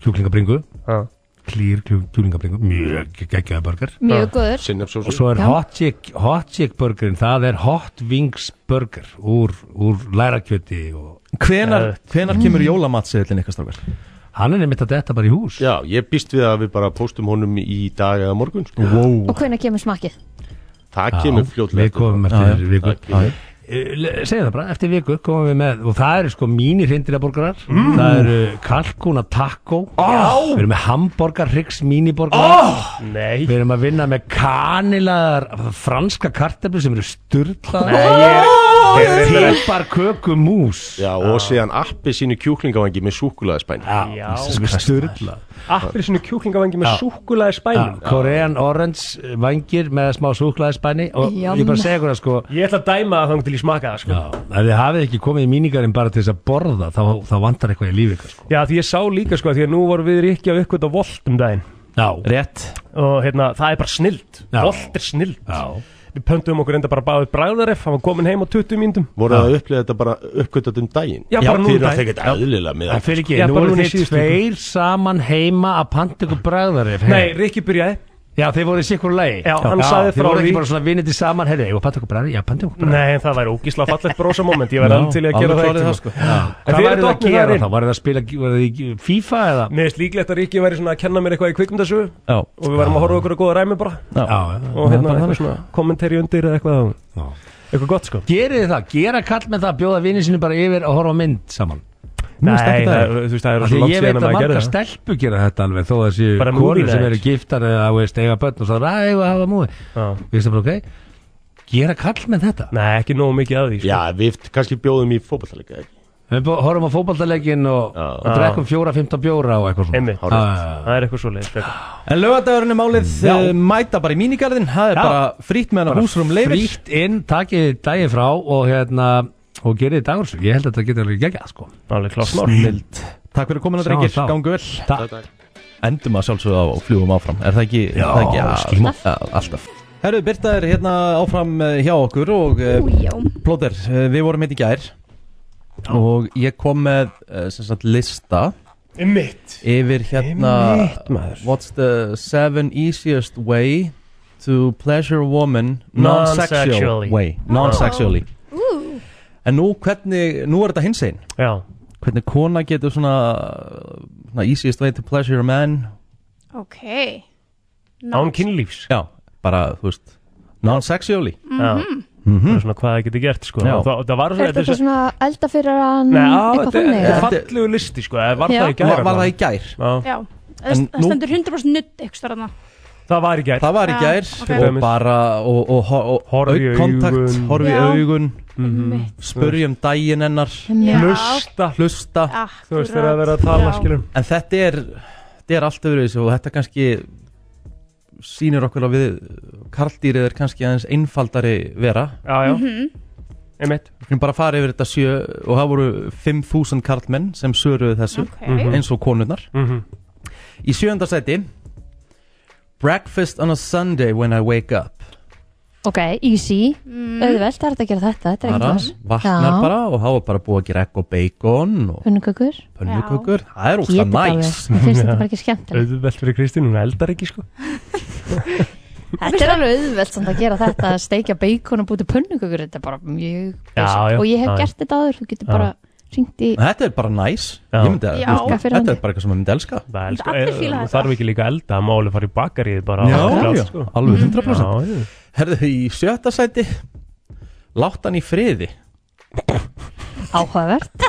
[SPEAKER 12] Kjúklingabringu,
[SPEAKER 3] ah.
[SPEAKER 12] klýr kjú- kjúklingabringu, mjög geggjaða borgar.
[SPEAKER 2] Mjög
[SPEAKER 1] Ah,
[SPEAKER 2] Já. góður. Sinnepsósu.
[SPEAKER 12] Og svo er
[SPEAKER 2] Já.
[SPEAKER 12] hot chick, hot chick burgerin, það er hot wings burger úr, úr lærakjöti og...
[SPEAKER 13] Hvenar, hvenar kemur jólamatseðlinn eitthvað strákar?
[SPEAKER 12] Hann er nefnt að detta bara í hús
[SPEAKER 10] Já, ég býst við að við bara póstum honum í dag eða morgun sko.
[SPEAKER 2] og hvenær kemur smakkið
[SPEAKER 10] Það
[SPEAKER 12] Já,
[SPEAKER 10] kemur fljótlega
[SPEAKER 12] Við komum eftir viku Eh,
[SPEAKER 10] Það kemur.
[SPEAKER 12] Segðu það bara, eftir viku komum við með og það eru sko mínir hrindirjaborgarar
[SPEAKER 10] Mm.
[SPEAKER 12] það eru kalkuna taco
[SPEAKER 3] Já.
[SPEAKER 12] við erum með hamborgar, hryggs míniborgarar
[SPEAKER 3] Oh. Nei.
[SPEAKER 12] við erum að vinna með kanilaðar franska kartablu sem eru
[SPEAKER 10] Nei,
[SPEAKER 12] styrlaðar
[SPEAKER 10] ég- ég- ég- ég-
[SPEAKER 12] Pipar kökumús
[SPEAKER 10] Já, og síðan appi sínu kjúklingavangi með súkulaðispæn
[SPEAKER 12] Já, sem er styrlað
[SPEAKER 3] Appir sinu kjúklingavangi með
[SPEAKER 12] Já.
[SPEAKER 3] súkulaði
[SPEAKER 12] Já,
[SPEAKER 3] spænum
[SPEAKER 12] Korean Orange eh, vangir með smá súklaðisbæni og ég bara
[SPEAKER 3] Jamm.
[SPEAKER 12] segja ykkur að sko
[SPEAKER 3] Ég ætla að dæma það þannig til ég smaka það sko.
[SPEAKER 12] Já, ef þið hafið ekki komið í míningarinn bara til þess að borða þá, þá vantar eitthvað í lífi ykkur sko.
[SPEAKER 3] Já, því ég sá líka sko, því að nú vorum við ekki að uppkvita volt um daginn
[SPEAKER 12] Já,
[SPEAKER 13] rétt
[SPEAKER 3] Og hérna, það er bara snild,
[SPEAKER 12] Já.
[SPEAKER 3] volt er snild
[SPEAKER 12] Já.
[SPEAKER 3] Við pöntum okkur enda bara báðið bræðaref, hann var komin heim á 20 mínutum
[SPEAKER 10] Voru það að upplega þetta bara uppkvötat um daginn?
[SPEAKER 3] Já, bara nú um
[SPEAKER 10] Þið
[SPEAKER 3] daginn.
[SPEAKER 10] eru að þekka þetta eðlilega með
[SPEAKER 12] En fyrir ekki, nú
[SPEAKER 3] bara
[SPEAKER 12] eru
[SPEAKER 3] núna í
[SPEAKER 12] þið
[SPEAKER 3] síðustu
[SPEAKER 12] tveir saman heima að panta ykkur bragðarif
[SPEAKER 3] Nei, Rikki byrjaði
[SPEAKER 12] Já, þið voru í sikkur lagi
[SPEAKER 3] Já, hann sagði
[SPEAKER 12] Þið
[SPEAKER 3] frá
[SPEAKER 12] voru
[SPEAKER 3] því.
[SPEAKER 12] ekki bara svona vinniti saman, heyrðu, ég var að panta ykkur bragðarif, já, panta ykkur bragðarif
[SPEAKER 3] Nei, en það væri ógísla fallegt brosa moment, ég
[SPEAKER 12] Já,
[SPEAKER 3] væri alveg til í að
[SPEAKER 12] alveg
[SPEAKER 3] gera það
[SPEAKER 12] klárið
[SPEAKER 3] eitt
[SPEAKER 12] það, sko. Hvað væri það að gera þá? Var það að spila var það í FIFA eða?
[SPEAKER 3] Mér finnst líklegt að Rikki væri svona að kenna mér eitthvað í kvikmyndasögu
[SPEAKER 13] Já.
[SPEAKER 3] Og við værum að horfa okkur að góða ræmi bara
[SPEAKER 12] Já, já, já,
[SPEAKER 3] Og hérna,
[SPEAKER 12] bara
[SPEAKER 3] eitthvað
[SPEAKER 12] þannig, sko.
[SPEAKER 3] svona kommentari undir eða eitthvað Eitthvað gott sko
[SPEAKER 12] Gerið þið það, gera kall með það að bjóða vinni sinni bara yfir og horfa á mynd saman
[SPEAKER 3] Nei,
[SPEAKER 12] finnst ekki
[SPEAKER 3] það- þú veist, það
[SPEAKER 12] Af
[SPEAKER 3] er svo
[SPEAKER 12] því
[SPEAKER 3] langt
[SPEAKER 12] Ég
[SPEAKER 3] síðan
[SPEAKER 12] veit
[SPEAKER 3] að
[SPEAKER 12] að
[SPEAKER 3] maður gerði
[SPEAKER 12] marga
[SPEAKER 3] það.
[SPEAKER 12] stelpu gera þetta alveg þó að það séu
[SPEAKER 3] Bara movie
[SPEAKER 12] konur sem
[SPEAKER 3] night.
[SPEAKER 12] eru giftar eða þú veist, eiga börn og svo ræða eiga að hafa múi Vistu bara ok Gera kall með þetta
[SPEAKER 3] Nei, ekki nógu mikið að því sko.
[SPEAKER 10] Já, við kannski bjóðum í fótballtalega
[SPEAKER 12] Við bó- horfum á fótballtalegin og, og drekkum fjóra, fimmta bjóra og eitthvað svona
[SPEAKER 3] Einmitt, það er eitthvað svo leið
[SPEAKER 13] En lögadagurinn er málið
[SPEAKER 12] Já.
[SPEAKER 13] eh, mæta bara í mínigarðin Það er
[SPEAKER 12] Já.
[SPEAKER 13] bara frýtt meðan að húsrum leifir
[SPEAKER 12] Frýtt inn, takið daginn frá og hérna og gerið dagur svo, ég held að þetta getur alveg geggjað sko
[SPEAKER 3] Alveg
[SPEAKER 13] klárt mál. Snilld. Takk fyrir komuna, drengir. Gangu vel.
[SPEAKER 12] Takk
[SPEAKER 13] Endum að sjálfsögðu á og fljúum áfram Er það ekki?
[SPEAKER 12] Já,
[SPEAKER 13] það ekki,
[SPEAKER 12] skýma.
[SPEAKER 13] Já, alltaf Herru, Birta er hérna áfram eh, hjá okkur og eh, Plóter, eh, við vorum hérna í gær og ég kom með eh, sem sagt lista
[SPEAKER 3] Einmitt.
[SPEAKER 13] yfir hérna
[SPEAKER 3] Einmitt,
[SPEAKER 13] What's the seven easiest way to pleasure a woman non-sexual
[SPEAKER 3] Non-sexually. Oh.
[SPEAKER 13] way non-sexually En nú hvernig, nú er þetta hins einn
[SPEAKER 3] Já
[SPEAKER 13] Hvernig kona getur svona, svona easiest way to pleasure a man
[SPEAKER 11] Ok
[SPEAKER 13] kynlífs Já, bara, þú veist
[SPEAKER 1] Non-sexually
[SPEAKER 3] Mhm. Það er svona hvað það getur gert sko
[SPEAKER 1] Já.
[SPEAKER 3] Og það, það var
[SPEAKER 2] Er þetta
[SPEAKER 3] þetta
[SPEAKER 2] svona elda fyrir hann
[SPEAKER 3] Nei, á,
[SPEAKER 2] eitthvað
[SPEAKER 3] þetta
[SPEAKER 2] þannig?
[SPEAKER 3] þetta er
[SPEAKER 2] eða?
[SPEAKER 3] fallegu listi sko eða Var
[SPEAKER 2] Já.
[SPEAKER 3] það í gær?
[SPEAKER 1] Var- var það í
[SPEAKER 3] gær?
[SPEAKER 11] Já, það
[SPEAKER 1] En
[SPEAKER 11] það
[SPEAKER 1] nú-
[SPEAKER 11] stendur 100% nudd ykkur starfna
[SPEAKER 3] Það var í gær
[SPEAKER 1] Það var í
[SPEAKER 11] Já,
[SPEAKER 1] gær
[SPEAKER 11] ok.
[SPEAKER 1] og bara og, og, og, og
[SPEAKER 3] Horfa í
[SPEAKER 1] aukontakt,
[SPEAKER 3] augun.
[SPEAKER 1] horfi í
[SPEAKER 11] Já.
[SPEAKER 1] augun
[SPEAKER 11] Mhm.
[SPEAKER 1] spurjum daginn hennar
[SPEAKER 11] Já.
[SPEAKER 3] Hlusta.
[SPEAKER 1] hlusta
[SPEAKER 3] Ah, Þú veist, þegar það er verið að tala, Já. skilurðu.
[SPEAKER 1] En þetta er, þetta er allt öðru og þetta kannski sýnir okkur að við karldýrið er kannski aðeins einfaldari vera
[SPEAKER 3] Já, já. Mhm.
[SPEAKER 1] Einmitt Við skulum bara fara yfir þetta sjö og það voru 5.000 karlmenn sem söruðu þessu
[SPEAKER 3] Ok. Mhm.
[SPEAKER 1] eins og konurnar
[SPEAKER 3] Mhm.
[SPEAKER 1] Í sjönda seti Breakfast on a Sunday when I wake up
[SPEAKER 2] Ok, easy,
[SPEAKER 3] Mm.
[SPEAKER 2] auðvelt, það er hægt að gera þetta, þetta er
[SPEAKER 1] bara,
[SPEAKER 2] ekkert verð.
[SPEAKER 1] Vaknar
[SPEAKER 2] Já.
[SPEAKER 1] bara og hafa bara búið að gera egg og bacon og
[SPEAKER 2] Pönnukökur
[SPEAKER 1] pönnukökur Það er óslega
[SPEAKER 2] Ég get alveg.
[SPEAKER 1] næs
[SPEAKER 2] Mér finnst þetta bara ekki skemmtilegt.
[SPEAKER 3] Auðvelt fyrir Kristín, hún eldar ekki sko
[SPEAKER 2] Þetta er alveg auðvelt samt að gera þetta að steikja bacon og búti pönnukökur þetta er bara mjög
[SPEAKER 1] Já,
[SPEAKER 2] basic.
[SPEAKER 1] já,
[SPEAKER 2] og ég hef
[SPEAKER 1] já, já.
[SPEAKER 2] gert þetta áður, þú getur
[SPEAKER 1] Já.
[SPEAKER 2] bara hringt í
[SPEAKER 1] Þetta er bara næs Ég myndi að,
[SPEAKER 2] Já.
[SPEAKER 1] þú veist,
[SPEAKER 2] Gafir
[SPEAKER 1] Þetta
[SPEAKER 2] handi.
[SPEAKER 1] er bara eitthvað sem ég myndi elska
[SPEAKER 3] Það
[SPEAKER 2] Myndu allir fíla
[SPEAKER 3] það
[SPEAKER 2] þetta?
[SPEAKER 3] Þarf ekki líka að elda, það má alveg fara í bakarið bara
[SPEAKER 1] Já,
[SPEAKER 3] og
[SPEAKER 1] já,
[SPEAKER 3] klárt, sko.
[SPEAKER 1] já,
[SPEAKER 2] Mhm.
[SPEAKER 1] alveg 100%
[SPEAKER 3] Já, já.
[SPEAKER 1] Herðu, í sjötta sæti Látt hann í friði
[SPEAKER 2] áhugavert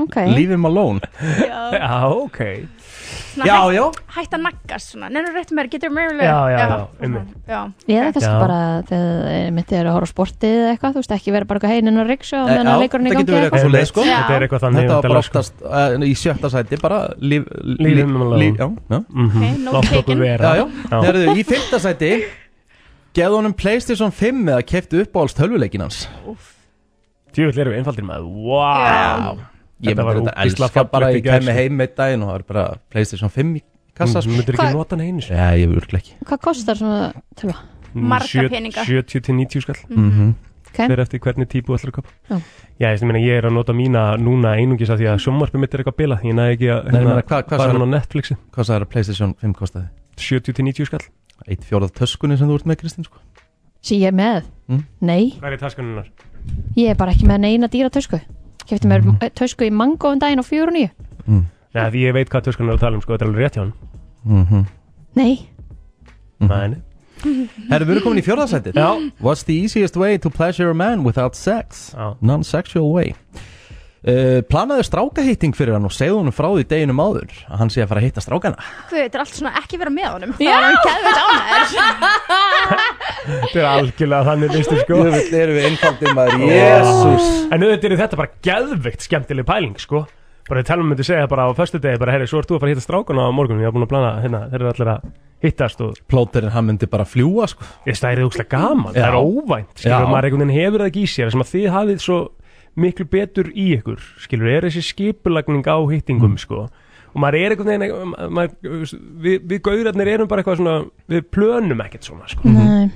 [SPEAKER 2] Ok,
[SPEAKER 1] Leave him alone
[SPEAKER 11] Já.
[SPEAKER 3] Já, ok
[SPEAKER 1] Já, já.
[SPEAKER 11] Hætt að naggast svona, nefnir rétt mér, getur mér
[SPEAKER 3] Já, já, já, einmitt.
[SPEAKER 11] já.
[SPEAKER 2] eða kannski
[SPEAKER 3] Já.
[SPEAKER 2] bara þegar mitt er að horfa á sportið eða eitthvað, þú veist, ekki vera bara heinin og riksjó
[SPEAKER 1] Eh,
[SPEAKER 2] meðan
[SPEAKER 1] já,
[SPEAKER 2] að leikurinn í
[SPEAKER 1] þetta
[SPEAKER 2] gangi
[SPEAKER 1] getur verið eitthvað svo leið sko
[SPEAKER 2] Já.
[SPEAKER 3] Þetta er eitthvað þannig,
[SPEAKER 1] Þetta var bara
[SPEAKER 3] væntanlega, sko.
[SPEAKER 1] oftast uh, í sjötta sæti bara líf,
[SPEAKER 3] Leave him alone.
[SPEAKER 1] líf, já, já.
[SPEAKER 3] Ok, no Láttu okkur taken. vera.
[SPEAKER 1] Já, já,
[SPEAKER 3] Já.
[SPEAKER 1] Herðu, í fymta sæti Geð honum Playstation 5 eða keftu uppáhalds tölvuleikin hans
[SPEAKER 3] Tjóðvill erum við einfaldir maður Vá
[SPEAKER 1] Ég myndi þetta elska bara Ég kæmi heim eitt daginn og það er bara Playstation 5 í kassa
[SPEAKER 3] Mm,
[SPEAKER 1] sko.
[SPEAKER 3] Þú myndir ekki Hvað- nota hann einu
[SPEAKER 1] sinni Mm. Já, ég vurgla ekki
[SPEAKER 2] Hvað kostar svona tölva?
[SPEAKER 11] Marga peninga.
[SPEAKER 3] 70 til 90 skall
[SPEAKER 2] Mhm. Ok.
[SPEAKER 3] Fyrir eftir hvernig típu ætlar að kaupa
[SPEAKER 2] Já.
[SPEAKER 3] Já, ég, meina, ég er að nota mína núna einungis af því að sjónvarpið mitt er eitthvað bila Ég næði ekki að
[SPEAKER 1] Nei, meina, hvað- hvað
[SPEAKER 3] bara
[SPEAKER 1] sagði-
[SPEAKER 3] hann á Netflixi
[SPEAKER 1] Hvað sagði að Playstation 5 kostaði?
[SPEAKER 3] 70 til 90 skall
[SPEAKER 1] Eitt fjórað töskunni sem þú ert með Kristinn sko
[SPEAKER 2] Sí, ég er með,
[SPEAKER 1] Mm.
[SPEAKER 2] nei
[SPEAKER 3] Hvað er í taskanunnar?
[SPEAKER 2] Ég er bara ekki með neina dýra tösku Kæfti mér
[SPEAKER 1] Mm.
[SPEAKER 2] eh, tösku í mango um daginn á fjóru og nýju
[SPEAKER 3] Nei, því ég veit hvað töskan er að tala um, sko, þetta er alveg rétt hjá hann
[SPEAKER 1] Mhm.
[SPEAKER 2] Nei
[SPEAKER 3] Nei, nei
[SPEAKER 1] Herru, við erum komin í fjórðarsætið
[SPEAKER 3] Já.
[SPEAKER 1] What's the easiest way to pleasure a man without sex?
[SPEAKER 3] Já.
[SPEAKER 1] Non-sexual way uh, Planaðu strákahitting fyrir hann og segðu honum frá því deginum áður að hann sé að fara að hitta strákana
[SPEAKER 11] Guð, þetta er allt svona ekki vera með honum Já Það er hann keðveit ánæður
[SPEAKER 3] Þetta er algjörlega þannig listi sko
[SPEAKER 1] Jöfull erum við einfaldið maður, Ah.
[SPEAKER 3] En auðvitað er þetta bara geðveikt skemmtileg pæling sko Bara telma myndi segja bara á föstu degi bara heyri, svo ert þú að fara að hitta strákana á morgun Ég er búin að plana, hérna, þeir eru allir að hittast og
[SPEAKER 1] Plóterinn, hann myndi bara fljúa sko
[SPEAKER 3] Ég stærið úkslega gaman,
[SPEAKER 1] Já.
[SPEAKER 3] það er óvænt
[SPEAKER 1] Já.
[SPEAKER 3] Skilur, maður einhvern veginn hefur það ekki í sér sem að þið hafið svo miklu betur í ykkur Skilur, er þessi skipulagning á
[SPEAKER 1] Mm.
[SPEAKER 3] hittingum sko Og maður er einhvern veginn ma- maður, Við, við gaurarnir erum bara eitthvað svona Við plönum ekkert svona sko
[SPEAKER 1] Mm.
[SPEAKER 2] Nei.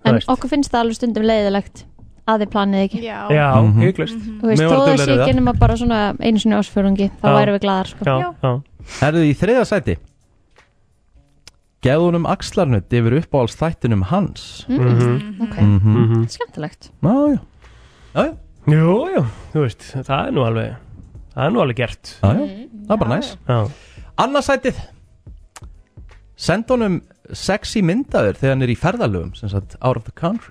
[SPEAKER 3] Þú
[SPEAKER 2] En
[SPEAKER 3] veist.
[SPEAKER 2] okkur finnst það alveg stundum leiðilegt að þið planið ekki
[SPEAKER 11] Já,
[SPEAKER 3] Já,
[SPEAKER 1] Mhm.
[SPEAKER 3] hygglust
[SPEAKER 2] Þú veist, þó þessi ekki nema bara svona einu sinni ásfjörungi, þá
[SPEAKER 1] Já.
[SPEAKER 2] værum við glæðar sko.
[SPEAKER 1] Herru, í þriðarsæti Gefðu honum axlarnutt yfir uppáhalds þættinum hans
[SPEAKER 2] Mhm. Ok.
[SPEAKER 1] Mhm.
[SPEAKER 2] Skemmtilegt
[SPEAKER 1] Já, já Já,
[SPEAKER 3] já Jú, jú, þú veist, það er nú alveg Það er nú alveg gert
[SPEAKER 1] Já, já, það er bara næs Annarsætið Send honum sexy myndaður þegar hann er í ferðalöfum sem sagt out of the country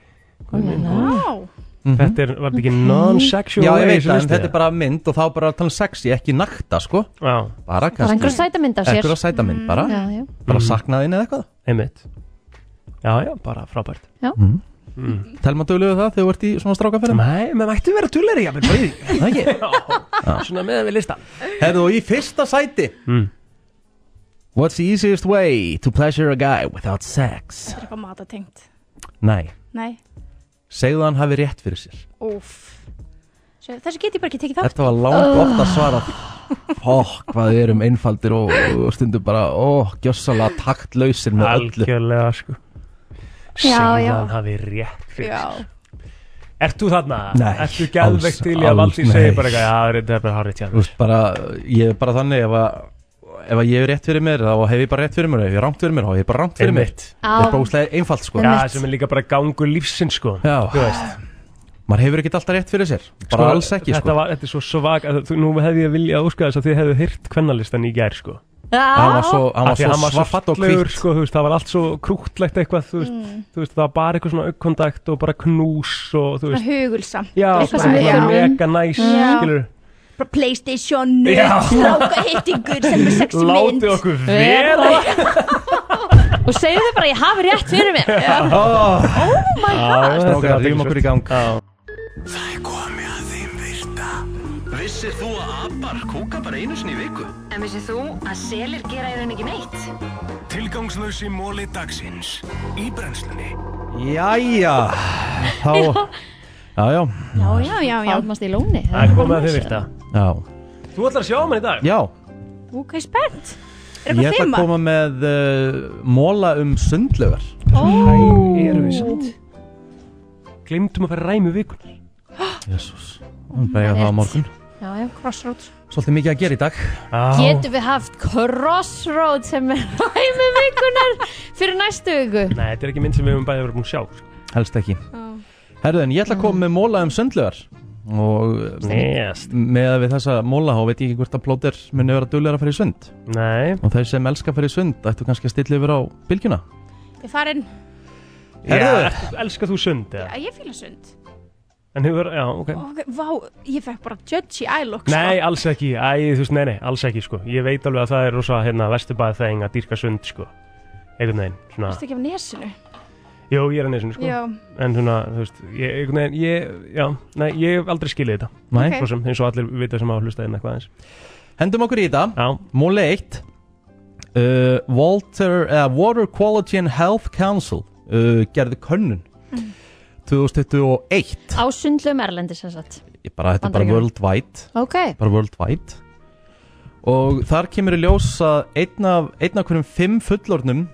[SPEAKER 1] Mm.
[SPEAKER 2] hérna.
[SPEAKER 3] Þetta er, var þetta ekki non-sexual
[SPEAKER 1] Mhm. Já,
[SPEAKER 3] way
[SPEAKER 1] ég veit
[SPEAKER 3] þessi
[SPEAKER 1] það, en
[SPEAKER 3] listi?
[SPEAKER 1] þetta er bara mynd og þá bara að tala um sexy, ekki nakta, sko
[SPEAKER 3] Já
[SPEAKER 1] Bara kannski
[SPEAKER 2] Bara einhverja sæta mynd af sér.
[SPEAKER 1] Einhverja sæta mynd, bara
[SPEAKER 2] Já, já.
[SPEAKER 1] Bara saknaðin eða eitthvað
[SPEAKER 3] Einmitt Já, já, bara frábært
[SPEAKER 2] Já.
[SPEAKER 1] mm. Mm. Telma döluðu það þegar þú ert í svona strákaferðum?
[SPEAKER 3] Nei, menn ættu vera dulleri, jafnvel, bara í því
[SPEAKER 1] Það ekki?
[SPEAKER 3] Já, svona meðan við listan
[SPEAKER 1] Herðu, og í fyrsta sæti
[SPEAKER 3] mm.
[SPEAKER 1] What's the easiest way to pleasure a guy without sex?
[SPEAKER 11] Þetta er eitthvað matatengt
[SPEAKER 1] Nei,
[SPEAKER 11] Nei,
[SPEAKER 1] segðu hann hafi rétt fyrir sér
[SPEAKER 11] óf Þessu get ég bara ekki tekið þátt
[SPEAKER 1] Þetta var langt oft að svara Fokk, hvað við erum einfaldir og, og stundum bara, ó, gjössalega taktlausir með öllu
[SPEAKER 3] Algjörlega, sko
[SPEAKER 11] Já, já.
[SPEAKER 3] Síðan hafi rétt fyrir
[SPEAKER 11] Já.
[SPEAKER 3] sér. Ert þú þarna?
[SPEAKER 1] Nei,
[SPEAKER 3] Ert þú geðveikt
[SPEAKER 1] alls-
[SPEAKER 3] til í að
[SPEAKER 1] alls
[SPEAKER 3] valdi segja
[SPEAKER 1] nei.
[SPEAKER 3] bara eitthvað Já, þetta er bara hárið
[SPEAKER 1] Þú veist, bara, ég er bara þannig ef að ef að ég hef rétt fyrir mér þá hef ég bara rétt fyrir mér ef ég hef rangt fyrir mér þá hef ég bara rangt fyrir mér
[SPEAKER 3] Einmitt.
[SPEAKER 1] það er bóðslega einfalt sko
[SPEAKER 3] Já, sem er líka bara gangur lífsinn, sko
[SPEAKER 1] Já.
[SPEAKER 3] Þú veist
[SPEAKER 1] maður hefur ekkert alltaf rétt fyrir sér bara alls ekki
[SPEAKER 3] þetta,
[SPEAKER 1] sko
[SPEAKER 3] var, þetta er svo svag að þú, Nú hefði ég vilja óska þess að þið hefðu hýrt kvennalistan í gær sko
[SPEAKER 2] Já.
[SPEAKER 1] var svo- hann var
[SPEAKER 3] Af því
[SPEAKER 1] svo
[SPEAKER 3] hann
[SPEAKER 1] svart og
[SPEAKER 3] fallegur,
[SPEAKER 1] hvítt.
[SPEAKER 3] sko, þú veist, það var allt svo krútlegt eitthvað þú veist,
[SPEAKER 11] Mm.
[SPEAKER 3] þú veist, það var bara eitthvað svona aukkontakt og bara knús og þú
[SPEAKER 11] Svona
[SPEAKER 3] veist
[SPEAKER 11] hugulsamt
[SPEAKER 3] Já,
[SPEAKER 11] eitthvað
[SPEAKER 3] svona
[SPEAKER 11] sem við
[SPEAKER 3] bara
[SPEAKER 11] þurfum
[SPEAKER 3] mega næs,
[SPEAKER 11] Já.
[SPEAKER 3] skilur
[SPEAKER 11] bara Playstation,
[SPEAKER 3] Já.
[SPEAKER 11] stráka hittingur sem er sex mynd
[SPEAKER 3] Látið okkur vera
[SPEAKER 2] og segðu þau bara ég hafi rétt fyrir mér oh my god
[SPEAKER 1] Strákar, rífum okkur í gang
[SPEAKER 9] Það er komið að þeim virta Vissir þú að abar kúka bara einu sinni í viku?
[SPEAKER 14] En vissið þú að selir gera í rauninni ekki neitt?
[SPEAKER 9] Tilgangslösi móli dagsins Í brennslunni
[SPEAKER 1] Jæja Þá Já, já
[SPEAKER 11] já, já, já, já
[SPEAKER 2] Almast í lóni
[SPEAKER 3] Það er komið að þið virta
[SPEAKER 1] Já
[SPEAKER 3] Þú ætlar að sjá mér í dag?
[SPEAKER 1] Já
[SPEAKER 11] ok, spennt er eitthvað
[SPEAKER 1] Ég ætla að
[SPEAKER 11] þema?
[SPEAKER 1] koma með uh, Móla um sundlögar
[SPEAKER 11] Ó.
[SPEAKER 3] Erum við samt Glimtum að fara ræmi vikun
[SPEAKER 1] Jésús
[SPEAKER 14] Mm,
[SPEAKER 1] Hún bæði það á morgun
[SPEAKER 2] já, já, crossroads
[SPEAKER 1] Svolítið mikið að gera í dag
[SPEAKER 2] Getum við haft crossroad sem er hæmi vikunar fyrir næstu viku?
[SPEAKER 3] Nei, þetta er ekki mynd sem við höfum bæðið verið búin að sjá sko.
[SPEAKER 1] Helst ekki Herðu en ég ætla að koma með móla um söndlegar og eh,
[SPEAKER 3] Snest.
[SPEAKER 1] með að við þessa móla þá veit ég ekki hvort að plóter muni vera duglegar að fara í sund
[SPEAKER 3] Nei.
[SPEAKER 1] og þeir sem elska að fara í sund ættu kannski að stilla yfir á bylgjuna
[SPEAKER 11] ég farin,
[SPEAKER 1] Herðu.
[SPEAKER 3] ertu- Elskar þú sund? eða?
[SPEAKER 11] já, ég fíla sund
[SPEAKER 3] En hefur, já, ok
[SPEAKER 11] ok, vá, ég fekk bara judgy eye look sko.
[SPEAKER 3] Nei, alls ekki, æ, þú veist, nei, nei, alls ekki, sko Ég veit alveg að það er rosa, hérna, vesturbæð þeng að dýrka sund, sko Einhvern veginn, svona
[SPEAKER 11] Ertu ekki af nesinu?
[SPEAKER 3] Jó, ég er að nesinu, sko
[SPEAKER 11] Já.
[SPEAKER 3] En svona, þú veist, ég, einhvern veginn, ég, já, nei, ég hef aldrei skilið þetta
[SPEAKER 1] Nei. Ok.
[SPEAKER 3] Svo sem, eins og allir vita sem hafa hlustað inn eitthvað eins
[SPEAKER 1] Hendum okkur í þetta
[SPEAKER 3] Já.
[SPEAKER 1] Móla 1 uh, Walter, uh, Water Quality and Health Council uh, gerði könnun 2021
[SPEAKER 2] Á sundlum erlendi sem sagt
[SPEAKER 1] Ég bara, þetta er bara
[SPEAKER 2] Bandaríkjunum.
[SPEAKER 1] worldwide
[SPEAKER 2] Ok.
[SPEAKER 1] bara worldwide og þar kemur í ljós að einn af, einn af hverjum fimm fullornum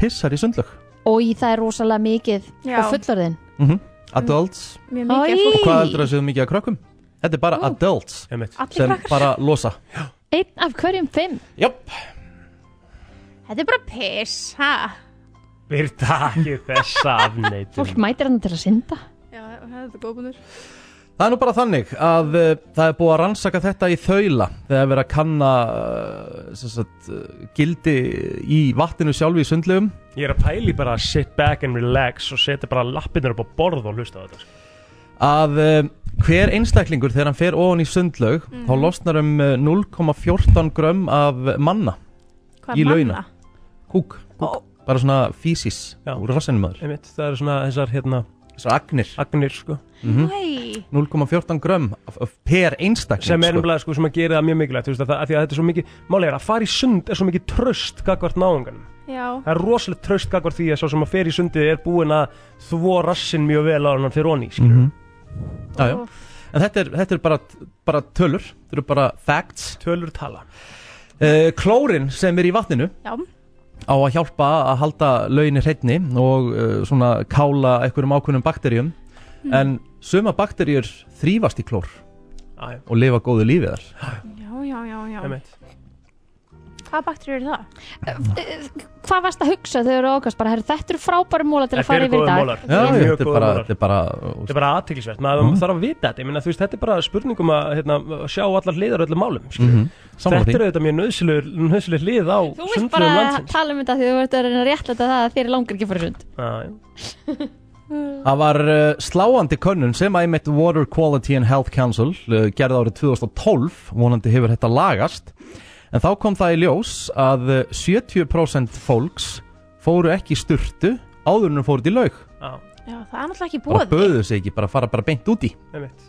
[SPEAKER 1] pissar í sundlög
[SPEAKER 2] Og í það er rosalega mikið
[SPEAKER 11] Já.
[SPEAKER 2] og fullorðin
[SPEAKER 1] mm adults
[SPEAKER 11] Mjög mikið af
[SPEAKER 1] og
[SPEAKER 11] fólki.
[SPEAKER 1] hvað heldur það séu mikið af krökkum? Þetta er bara adults
[SPEAKER 3] Allir
[SPEAKER 1] sem
[SPEAKER 11] krakkar.
[SPEAKER 1] bara losa
[SPEAKER 2] Einn af hverjum fimm
[SPEAKER 1] Jöp
[SPEAKER 11] Þetta er bara piss, ha?
[SPEAKER 3] Virta ekki þessa afneitum
[SPEAKER 2] Fólk mætir hann til að synda
[SPEAKER 11] Já, þetta er góðbundur
[SPEAKER 1] Það er nú bara þannig að uh, það er búið að rannsaka þetta í þaula þegar verið að kanna uh, sem sagt, uh, gildi í vatninu sjálfu í sundlegum
[SPEAKER 3] Ég er að pæli bara að sit back and relax og setja bara lappirnar upp á borð og hlusta á þetta, sko
[SPEAKER 1] að uh, hver einstaklingur þegar hann fer ofan í sundlaug þá losnar um eh, 0,14 grömm af manna
[SPEAKER 3] Hvað
[SPEAKER 1] í
[SPEAKER 3] manna?
[SPEAKER 1] launa kúk, kúk. bara svona físis úr rassinum aður
[SPEAKER 3] Einmitt, það eru svona þessar, hérna
[SPEAKER 1] Þessar agnir
[SPEAKER 3] Agnir, sko
[SPEAKER 1] Mhm.
[SPEAKER 11] Nei
[SPEAKER 1] 0,14 grömm af, af per einstakling
[SPEAKER 3] sem er
[SPEAKER 1] sko.
[SPEAKER 3] nefnilega sko, sem að gera það mjög mikilvægt þú veist, að, það, að því að þetta er svo mikið, málega er að fara í sund er svo mikið tröst gagvart náunganum
[SPEAKER 11] Já
[SPEAKER 3] það er rosalega tröst gagvart því að svo sem að fer í sundið er búin að þvó rassin mjög vel á hann fyrir onni mm
[SPEAKER 1] -hmm. já, já. En þetta er, þetta er bara, bara tölur Þetta eru bara facts
[SPEAKER 3] Tölur tala
[SPEAKER 1] uh, Klórin sem er í vatninu
[SPEAKER 11] Já
[SPEAKER 1] á að hjálpa að halda launir hreinni og uh, svona kála einhverjum ákveðnum bakterjum
[SPEAKER 11] Mm.
[SPEAKER 1] en suma bakterjur þrýfast í klór
[SPEAKER 3] Æ.
[SPEAKER 1] og lifa góðu lífið þar
[SPEAKER 11] Já, já, já, já
[SPEAKER 3] Einmitt.
[SPEAKER 11] Hvað baktur eru það?
[SPEAKER 2] Hvað varst að hugsa þegar þú ákast bara, herru, þetta eru frábæri móla til að fara yfir í dag
[SPEAKER 1] Já,
[SPEAKER 3] Þetta eru
[SPEAKER 1] já,
[SPEAKER 3] mjög
[SPEAKER 1] þetta er
[SPEAKER 3] góðir
[SPEAKER 1] bara- Mhm.
[SPEAKER 3] mólar.
[SPEAKER 1] þetta er bara
[SPEAKER 3] þetta er bara aðtiklisvert, maður þarf að vita þetta Ég meina, þú veist, þetta er bara spurningum að hérna, að sjá allar hliðar á öllum málum skilur.
[SPEAKER 1] Mhm. Sammála
[SPEAKER 3] þetta
[SPEAKER 1] því.
[SPEAKER 3] er auðvitað mjög nöðsilegur nöðsilegur hlið á
[SPEAKER 2] Þú vilt bara
[SPEAKER 3] sundlögum landsins
[SPEAKER 2] tala um þetta því þú ert að reyna að réttlæta það að þér langar ekki að fara í sund
[SPEAKER 3] Já, já.
[SPEAKER 1] Það var uh, sláandi könnun sem að einmitt Water Quality and Health Council uh, gerði árið 2012, vonandi hefur þetta lagast en þá kom það í ljós að uh, 70% fólks fóru ekki í sturtu áður en þau fóru til laug
[SPEAKER 11] Já, það er náttúrulega ekki
[SPEAKER 1] bara
[SPEAKER 11] bóði
[SPEAKER 1] böðu sig ekki, bara fara bara beint út í
[SPEAKER 3] Einmitt.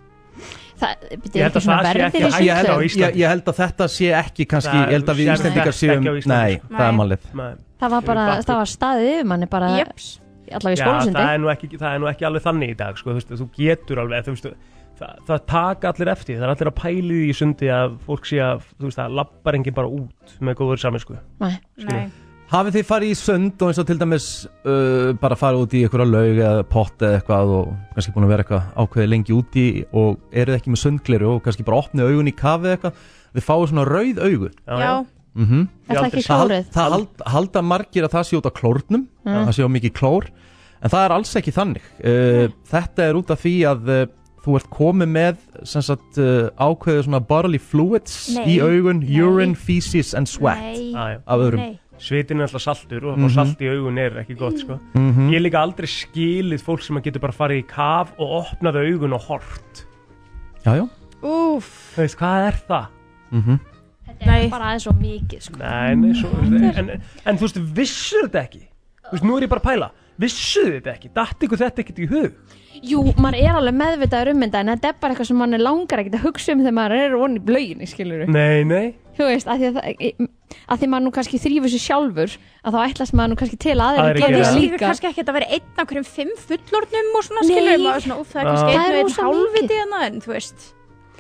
[SPEAKER 2] Það,
[SPEAKER 1] Ég
[SPEAKER 2] byrju, ekki
[SPEAKER 1] held að
[SPEAKER 2] svona
[SPEAKER 1] það sé
[SPEAKER 2] verðir í
[SPEAKER 1] ekki- Ég held-
[SPEAKER 2] sundlögum
[SPEAKER 1] ég- ég held að þetta sé ekki kannski,
[SPEAKER 3] Það
[SPEAKER 1] ég held að við
[SPEAKER 3] sérðu
[SPEAKER 1] Íslendingar
[SPEAKER 3] þetta ekki
[SPEAKER 1] séum,
[SPEAKER 3] á Íslandi,
[SPEAKER 1] nei,
[SPEAKER 3] sko.
[SPEAKER 1] það er
[SPEAKER 3] Nei.
[SPEAKER 1] málið
[SPEAKER 3] Nei.
[SPEAKER 2] Það var bara,
[SPEAKER 3] Bakvið.
[SPEAKER 2] það var staðið yfir manni bara allavega í eh?
[SPEAKER 3] Já, það er,
[SPEAKER 2] skólasundi
[SPEAKER 3] nú ekki, það er nú ekki alveg þannig í dag sko, þú, veist, þú getur alveg þú veist, það, það taka allir eftir, það er allir að pæli því í sundi að fólk sé að þú veist, það lappar enginn bara út með góður saminsku
[SPEAKER 11] Nei
[SPEAKER 1] Hafið þið farið í sund og eins og til dæmis uh, bara farið út í einhverja laug eða pott eða eitthvað og kannski búin að vera eitthvað ákveðið lengi úti og eruð ekki með sundgleru og kannski bara opnið augun í kafið eitthvað þið fáið svona rauð augu
[SPEAKER 11] Já.
[SPEAKER 1] Mhm.
[SPEAKER 2] Er það ekki klórið?
[SPEAKER 1] hal- Það hal, halda margir að það sé út á klórnum
[SPEAKER 2] Mm.
[SPEAKER 1] það sé á mikið klór en það er alls ekki þannig uh, þetta er út af því að uh, þú ert komið með sem sagt uh, ákveðið svona bodily fluids
[SPEAKER 3] Nei.
[SPEAKER 1] í augun,
[SPEAKER 3] Nei.
[SPEAKER 1] urine, feces and sweat af öðrum
[SPEAKER 3] Svitin er alltaf saltur og,
[SPEAKER 1] Mhm.
[SPEAKER 3] og salt í augun er ekki gott sko.
[SPEAKER 1] Mhm.
[SPEAKER 3] Ég er líka aldrei skilið fólk sem að getur bara farið í kaf og opnað augun og hort
[SPEAKER 1] Já, já
[SPEAKER 11] Úf
[SPEAKER 3] Þú veist, hvað er það?
[SPEAKER 1] mm -hmm.
[SPEAKER 2] Þetta er bara aðeins og mikið sko.
[SPEAKER 3] Nei, nei, svo, en, en, en þú veist, vissur þetta ekki Þú veist, nú er ég bara að pæla Vissuð þetta ekki, datt ykkur þetta ekkert í hug
[SPEAKER 2] Jú, maður er alveg meðvitaður um þetta en þetta er bara eitthvað sem mann er langar ekkert að hugsa um þegar maður er vonni í blöginni, skilur
[SPEAKER 3] Nei, nei
[SPEAKER 2] Þú veist, að því, að, það- að því maður nú kannski þrýfur sér sjálfur að þá ætlast maður nú kannski til aðeins
[SPEAKER 3] Aðrir
[SPEAKER 2] að gera
[SPEAKER 3] gera
[SPEAKER 2] það
[SPEAKER 3] það.
[SPEAKER 11] Líka
[SPEAKER 2] líka
[SPEAKER 11] kannski ekki að þetta veri einn af hverjum fimm fullornum og svona skilur
[SPEAKER 2] Nei.
[SPEAKER 11] maður svona, úf, það er
[SPEAKER 3] Já.
[SPEAKER 11] kannski
[SPEAKER 3] Það
[SPEAKER 11] einn
[SPEAKER 3] er
[SPEAKER 11] og einn
[SPEAKER 3] rosa
[SPEAKER 11] hálfviti hérna en þú veist,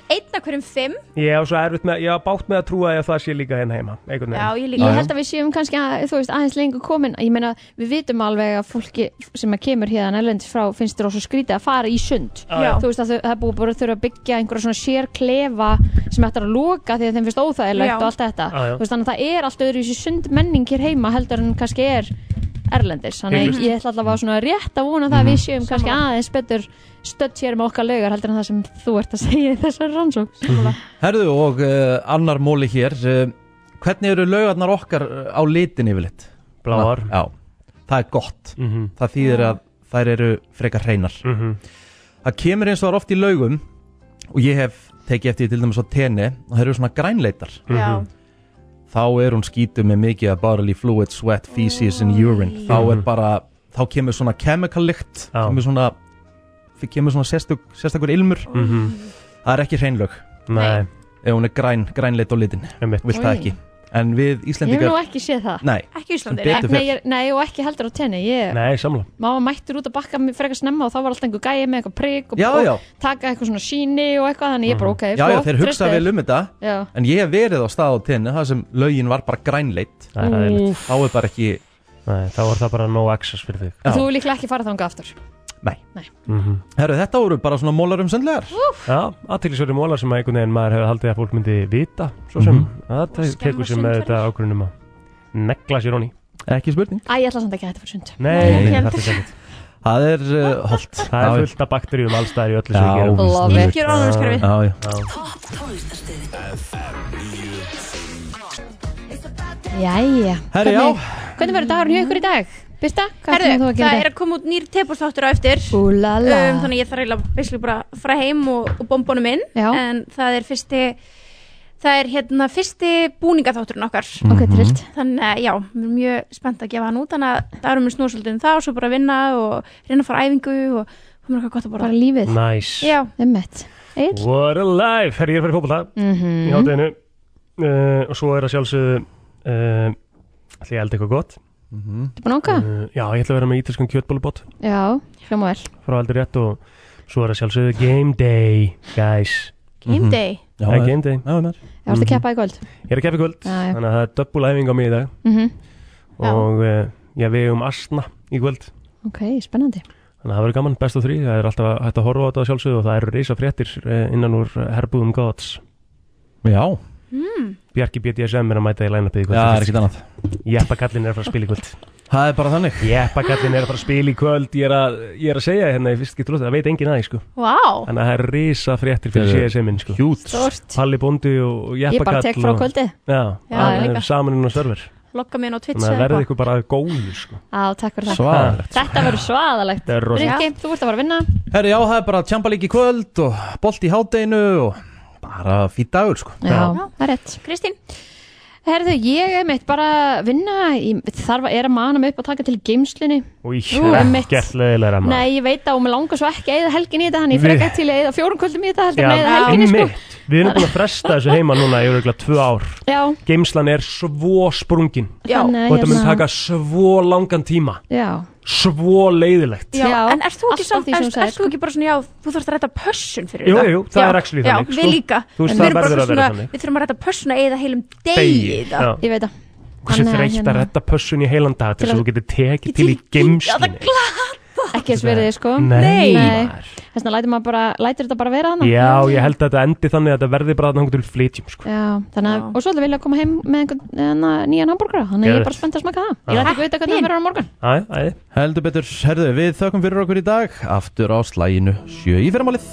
[SPEAKER 11] einn af hverjum fimm
[SPEAKER 3] Ég á svo erfitt með, ég á bátt með að trúa að það sé líka hérna heima einhvern veginn.
[SPEAKER 2] Já, ég, líka, ég held að við séum kannski að, þú veist, aðeins lengur komin ég meina, við vitum alveg að fólki sem að kemur hérna erlendis frá finnst þér á svo skrítið að fara í sund
[SPEAKER 11] Já, já.
[SPEAKER 2] þú veist að þau- það er búið bara að þurfa að byggja einhverja svona sérklefa sem ættar að loka því að þeim finnst óþægilegt
[SPEAKER 11] Já.
[SPEAKER 2] og allt þetta
[SPEAKER 11] Já, já.
[SPEAKER 2] þú veist, þannig að það er allt öðru í sund menning hér heima heldur en kannski er erlendis, þannig að
[SPEAKER 11] Heimist.
[SPEAKER 2] ég ætla allavega svona rétt að vona það að við séum kannski aðeins betur stödd hér með okkar lögur heldur en það sem þú ert að segja í þessar rannsók
[SPEAKER 1] Herðu og uh, annar móli hér uh, Hvernig eru laugarnar okkar uh, á litin yfirleitt?
[SPEAKER 3] Bláar.
[SPEAKER 1] Já, það er gott
[SPEAKER 3] Mhm.
[SPEAKER 1] Það þýðir að þær eru frekar hreinar Það kemur eins og það er oft í laugum og ég hef tekið eftir því til dæmis á tenni og það eru svona grænleitar
[SPEAKER 9] Já.
[SPEAKER 1] Mhm. Þá er hún skítu með mikið að barley fluid, sweat, feces and urine Þá er
[SPEAKER 3] Mhm.
[SPEAKER 1] bara, þá kemur svona chemical lykt kemur svona, kemur svona sérstök, sérstakur ilmur
[SPEAKER 3] Mhm.
[SPEAKER 1] Það er ekki hreinlaug
[SPEAKER 3] Nei.
[SPEAKER 1] Ef hún er græn, grænleitt á litin Vilt það
[SPEAKER 2] Oj.
[SPEAKER 1] ekki En við
[SPEAKER 2] Ég hef
[SPEAKER 1] Íslendingar
[SPEAKER 2] nú ekki séð það
[SPEAKER 1] Nei.
[SPEAKER 2] Ekki Íslandi
[SPEAKER 1] Sem betur
[SPEAKER 2] nei,
[SPEAKER 1] fer.
[SPEAKER 2] ég, nei, og ekki heldur á tenni ég,
[SPEAKER 3] Nei, samla
[SPEAKER 2] Máma mættur út að bakka mig frekar snemma og þá var alltaf einhver gæi með eitthvað prigg Sko, og,
[SPEAKER 1] Já, já. Mhm.
[SPEAKER 2] og taka eitthvað svona síni og eitthvað þannig ég bara ok,
[SPEAKER 1] Já, já, þeir hugsa
[SPEAKER 2] treysti þér.
[SPEAKER 1] vel um þetta
[SPEAKER 2] Já.
[SPEAKER 1] En ég hef verið á stað á tenni Það sem lögin var bara grænleitt
[SPEAKER 3] Það er hræðilegt.
[SPEAKER 1] Þá er bara ekki
[SPEAKER 3] Nei, þá er það bara no access fyrir þig Mhm.
[SPEAKER 2] Þú er líklega ekki farið þangað aftur
[SPEAKER 1] Nei,
[SPEAKER 2] Nei.
[SPEAKER 1] Herru, þetta voru bara svona mólar um söndlegar
[SPEAKER 3] Já, aðtýrlisverði mólar sem að einhvern veginn maður hefur haldið að fólk myndi vita Svo sem, það
[SPEAKER 2] skemma
[SPEAKER 3] tekur sem með þetta ákvörunum að negla sér honi
[SPEAKER 1] Ekki spurning
[SPEAKER 2] Æ, ég ætla samt ekki að þetta fyrir sund
[SPEAKER 3] Nei,
[SPEAKER 2] Ég-
[SPEAKER 3] það er ekkert
[SPEAKER 1] Það er uh, holdt
[SPEAKER 3] Það er fullt af bakteríum allstæðar í öllu sem
[SPEAKER 1] Já,
[SPEAKER 3] við gerum
[SPEAKER 1] Love it. Ekki úr ónæmiskerfi. Já, já.
[SPEAKER 2] Jæja
[SPEAKER 1] Herri, já.
[SPEAKER 2] Hvernig- Hvernig verður dagurinn hjá ykkur í dag? Birta, hvað
[SPEAKER 11] Herðu,
[SPEAKER 2] ætlum þú að gera?
[SPEAKER 11] það er að koma út nýr tepostáttur á eftir
[SPEAKER 2] Úlala
[SPEAKER 11] um, þannig að ég þarf eiginlega basically bara að fara heim og, og bombunum inn Já. en það er fyrsti það er hérna fyrsti búningaþátturinn okkar
[SPEAKER 2] Ok,
[SPEAKER 1] Mhm.
[SPEAKER 2] trillt
[SPEAKER 11] þannig að já, við erum mjög spennt að gefa hann út þannig að dagurum við snúa svolítið um það og svo bara vinna og reyna að fara á æfingu og fá mér eitthvað gott að borða
[SPEAKER 2] Bara lífið
[SPEAKER 3] Næs.
[SPEAKER 11] Já,
[SPEAKER 1] Mm.
[SPEAKER 2] emmett Eil
[SPEAKER 3] What a life, herri ég er fyrir fótbolta
[SPEAKER 2] Mhm.
[SPEAKER 3] í hátteginu uh, og svo er að sjálfsögðu uh, ætli ég að elda eitthvað gott mm -hmm.
[SPEAKER 2] Þetta er búin ánga?
[SPEAKER 3] Já, ég ætla að vera með ítalskan kjötbólubot
[SPEAKER 2] Já, hljóma vel
[SPEAKER 3] frá aldrei rétt og svo er að sjálfsögðu game day, guys
[SPEAKER 2] Game Mhm. day?
[SPEAKER 1] Já,
[SPEAKER 3] Það er
[SPEAKER 1] maður.
[SPEAKER 3] game day
[SPEAKER 1] Já,
[SPEAKER 2] Það
[SPEAKER 1] maður
[SPEAKER 2] varst að keppa í kvöld
[SPEAKER 3] Ég er að keppa í kvöld,
[SPEAKER 2] Já, já.
[SPEAKER 3] þannig að það er döbbul æfing á mig í dag
[SPEAKER 1] Mm.
[SPEAKER 2] Mhm. Já.
[SPEAKER 3] og uh, ég við um asna í kvöld
[SPEAKER 2] Ok, spennandi
[SPEAKER 3] Þannig að það verður gaman, best á þrý, það er alltaf hægt að horfa á þetta að sjálfsögðu og það eru reysa fréttir eh, innan úr eh, herbúðum gods.
[SPEAKER 1] Já.
[SPEAKER 11] Mm.
[SPEAKER 3] Bjarki BDSM er að mæta í lænapið í kvöld.
[SPEAKER 1] Já, það er ekkert annað.
[SPEAKER 3] Jeppakallin er að fara að spila í kvöld.
[SPEAKER 1] Það er bara þannig.
[SPEAKER 3] Jeppakallin er að fara að spila í kvöld, ég er að, ég er að segja hérna í fyrst getur út, það veit enginn aðeins sko.
[SPEAKER 11] Vá,
[SPEAKER 3] Þannig að það er reysa fréttir fyrir
[SPEAKER 1] Það er
[SPEAKER 3] CSM-in sko.
[SPEAKER 1] Hjút.
[SPEAKER 11] Stórt.
[SPEAKER 3] Palli Bondi og og
[SPEAKER 11] Ég
[SPEAKER 3] Jeppakall.
[SPEAKER 11] bara tek frá
[SPEAKER 3] og-
[SPEAKER 11] kvöldið. Já,
[SPEAKER 3] Já, það
[SPEAKER 11] ég
[SPEAKER 3] er
[SPEAKER 11] líka.
[SPEAKER 3] saman inn á server.
[SPEAKER 11] lokka mér inn á Twitch
[SPEAKER 3] Þannig
[SPEAKER 11] eða
[SPEAKER 3] að verði
[SPEAKER 11] eitthvað.
[SPEAKER 3] ykkur bara góður sko.
[SPEAKER 2] Á, takk fyrir það
[SPEAKER 3] Svaðalegt.
[SPEAKER 2] Þetta verður svaðalegt
[SPEAKER 3] Þetta er rosa.
[SPEAKER 2] Rikki, þú ert að fara að vinna
[SPEAKER 1] Herri, já, það er bara tjampa líki kvöld og bolt í hátdeinu og bara fýtt dagur, sko
[SPEAKER 2] Já, það er rétt
[SPEAKER 11] Kristín
[SPEAKER 2] Herðu, ég er meitt bara að vinna ég þarf að er að mana mig upp að taka til geimslinni
[SPEAKER 3] Úi,
[SPEAKER 2] Ú, einmitt.
[SPEAKER 3] ekkert leiðilega maður.
[SPEAKER 2] Nei, ég veit það og mér langar svo ekki að eða helgin í þetta hann ég fyrir
[SPEAKER 3] Við-
[SPEAKER 2] ekki til að eða fjórum kvöldum í þetta heldur
[SPEAKER 3] Já,
[SPEAKER 2] með eða helginni sko
[SPEAKER 3] einmitt. Við erum búin að fresta þessu heima núna í öruglega tvö ár
[SPEAKER 2] Já,
[SPEAKER 3] Geimslan er svo sprungin
[SPEAKER 2] Já.
[SPEAKER 3] Og
[SPEAKER 2] Þannig að
[SPEAKER 3] þetta mun
[SPEAKER 2] hérna-
[SPEAKER 3] taka svo langan tíma
[SPEAKER 2] já
[SPEAKER 3] Svo leiðilegt
[SPEAKER 11] Já, en ert þú ekki,
[SPEAKER 2] alltaf
[SPEAKER 11] samt,
[SPEAKER 2] því sem
[SPEAKER 11] ert,
[SPEAKER 2] þú sko. sagðir,
[SPEAKER 11] ert þú ekki bara svona, já, þú þarfst að rætta pössun fyrir
[SPEAKER 3] Jú,
[SPEAKER 11] þetta?
[SPEAKER 3] jú, það
[SPEAKER 11] Já.
[SPEAKER 3] er actually þannig,
[SPEAKER 11] Já,
[SPEAKER 3] sko.
[SPEAKER 11] við líka
[SPEAKER 3] Þú veist,
[SPEAKER 11] En
[SPEAKER 3] það
[SPEAKER 11] við erum bara
[SPEAKER 3] verður að vera
[SPEAKER 11] svona-
[SPEAKER 3] þannig.
[SPEAKER 11] Við þurfum að rætta pössun að eigða heilum degi
[SPEAKER 3] Degi,
[SPEAKER 11] í það.
[SPEAKER 3] já.
[SPEAKER 2] Ég veit það
[SPEAKER 3] Hversu
[SPEAKER 2] Þannig að
[SPEAKER 3] þreytt að
[SPEAKER 2] hérna-
[SPEAKER 3] retta pössun í heilan dag
[SPEAKER 2] Til
[SPEAKER 3] Til þess
[SPEAKER 2] að-
[SPEAKER 3] að þú getur tekið til í geimslinni
[SPEAKER 2] Ekki þess verið sko
[SPEAKER 3] Nei. Nei.
[SPEAKER 2] Þess vegna lætur maður bara, lætur þetta bara vera hann
[SPEAKER 3] Já, ég held að þetta endi þannig að þetta verði bara þannig til flytjum sko.
[SPEAKER 2] Já, þannig að, og svo ætlum við að koma heim með einhvern hérna, nýjan hambúrgara Þannig að ég er bara spennt að smaka það Ég læt ekki vita hvernig það verður á morgun
[SPEAKER 3] Æ, æ
[SPEAKER 1] Heldur betur, herðu, við þökkum fyrir okkur í dag Aftur á slæginu sjö í fyrramálið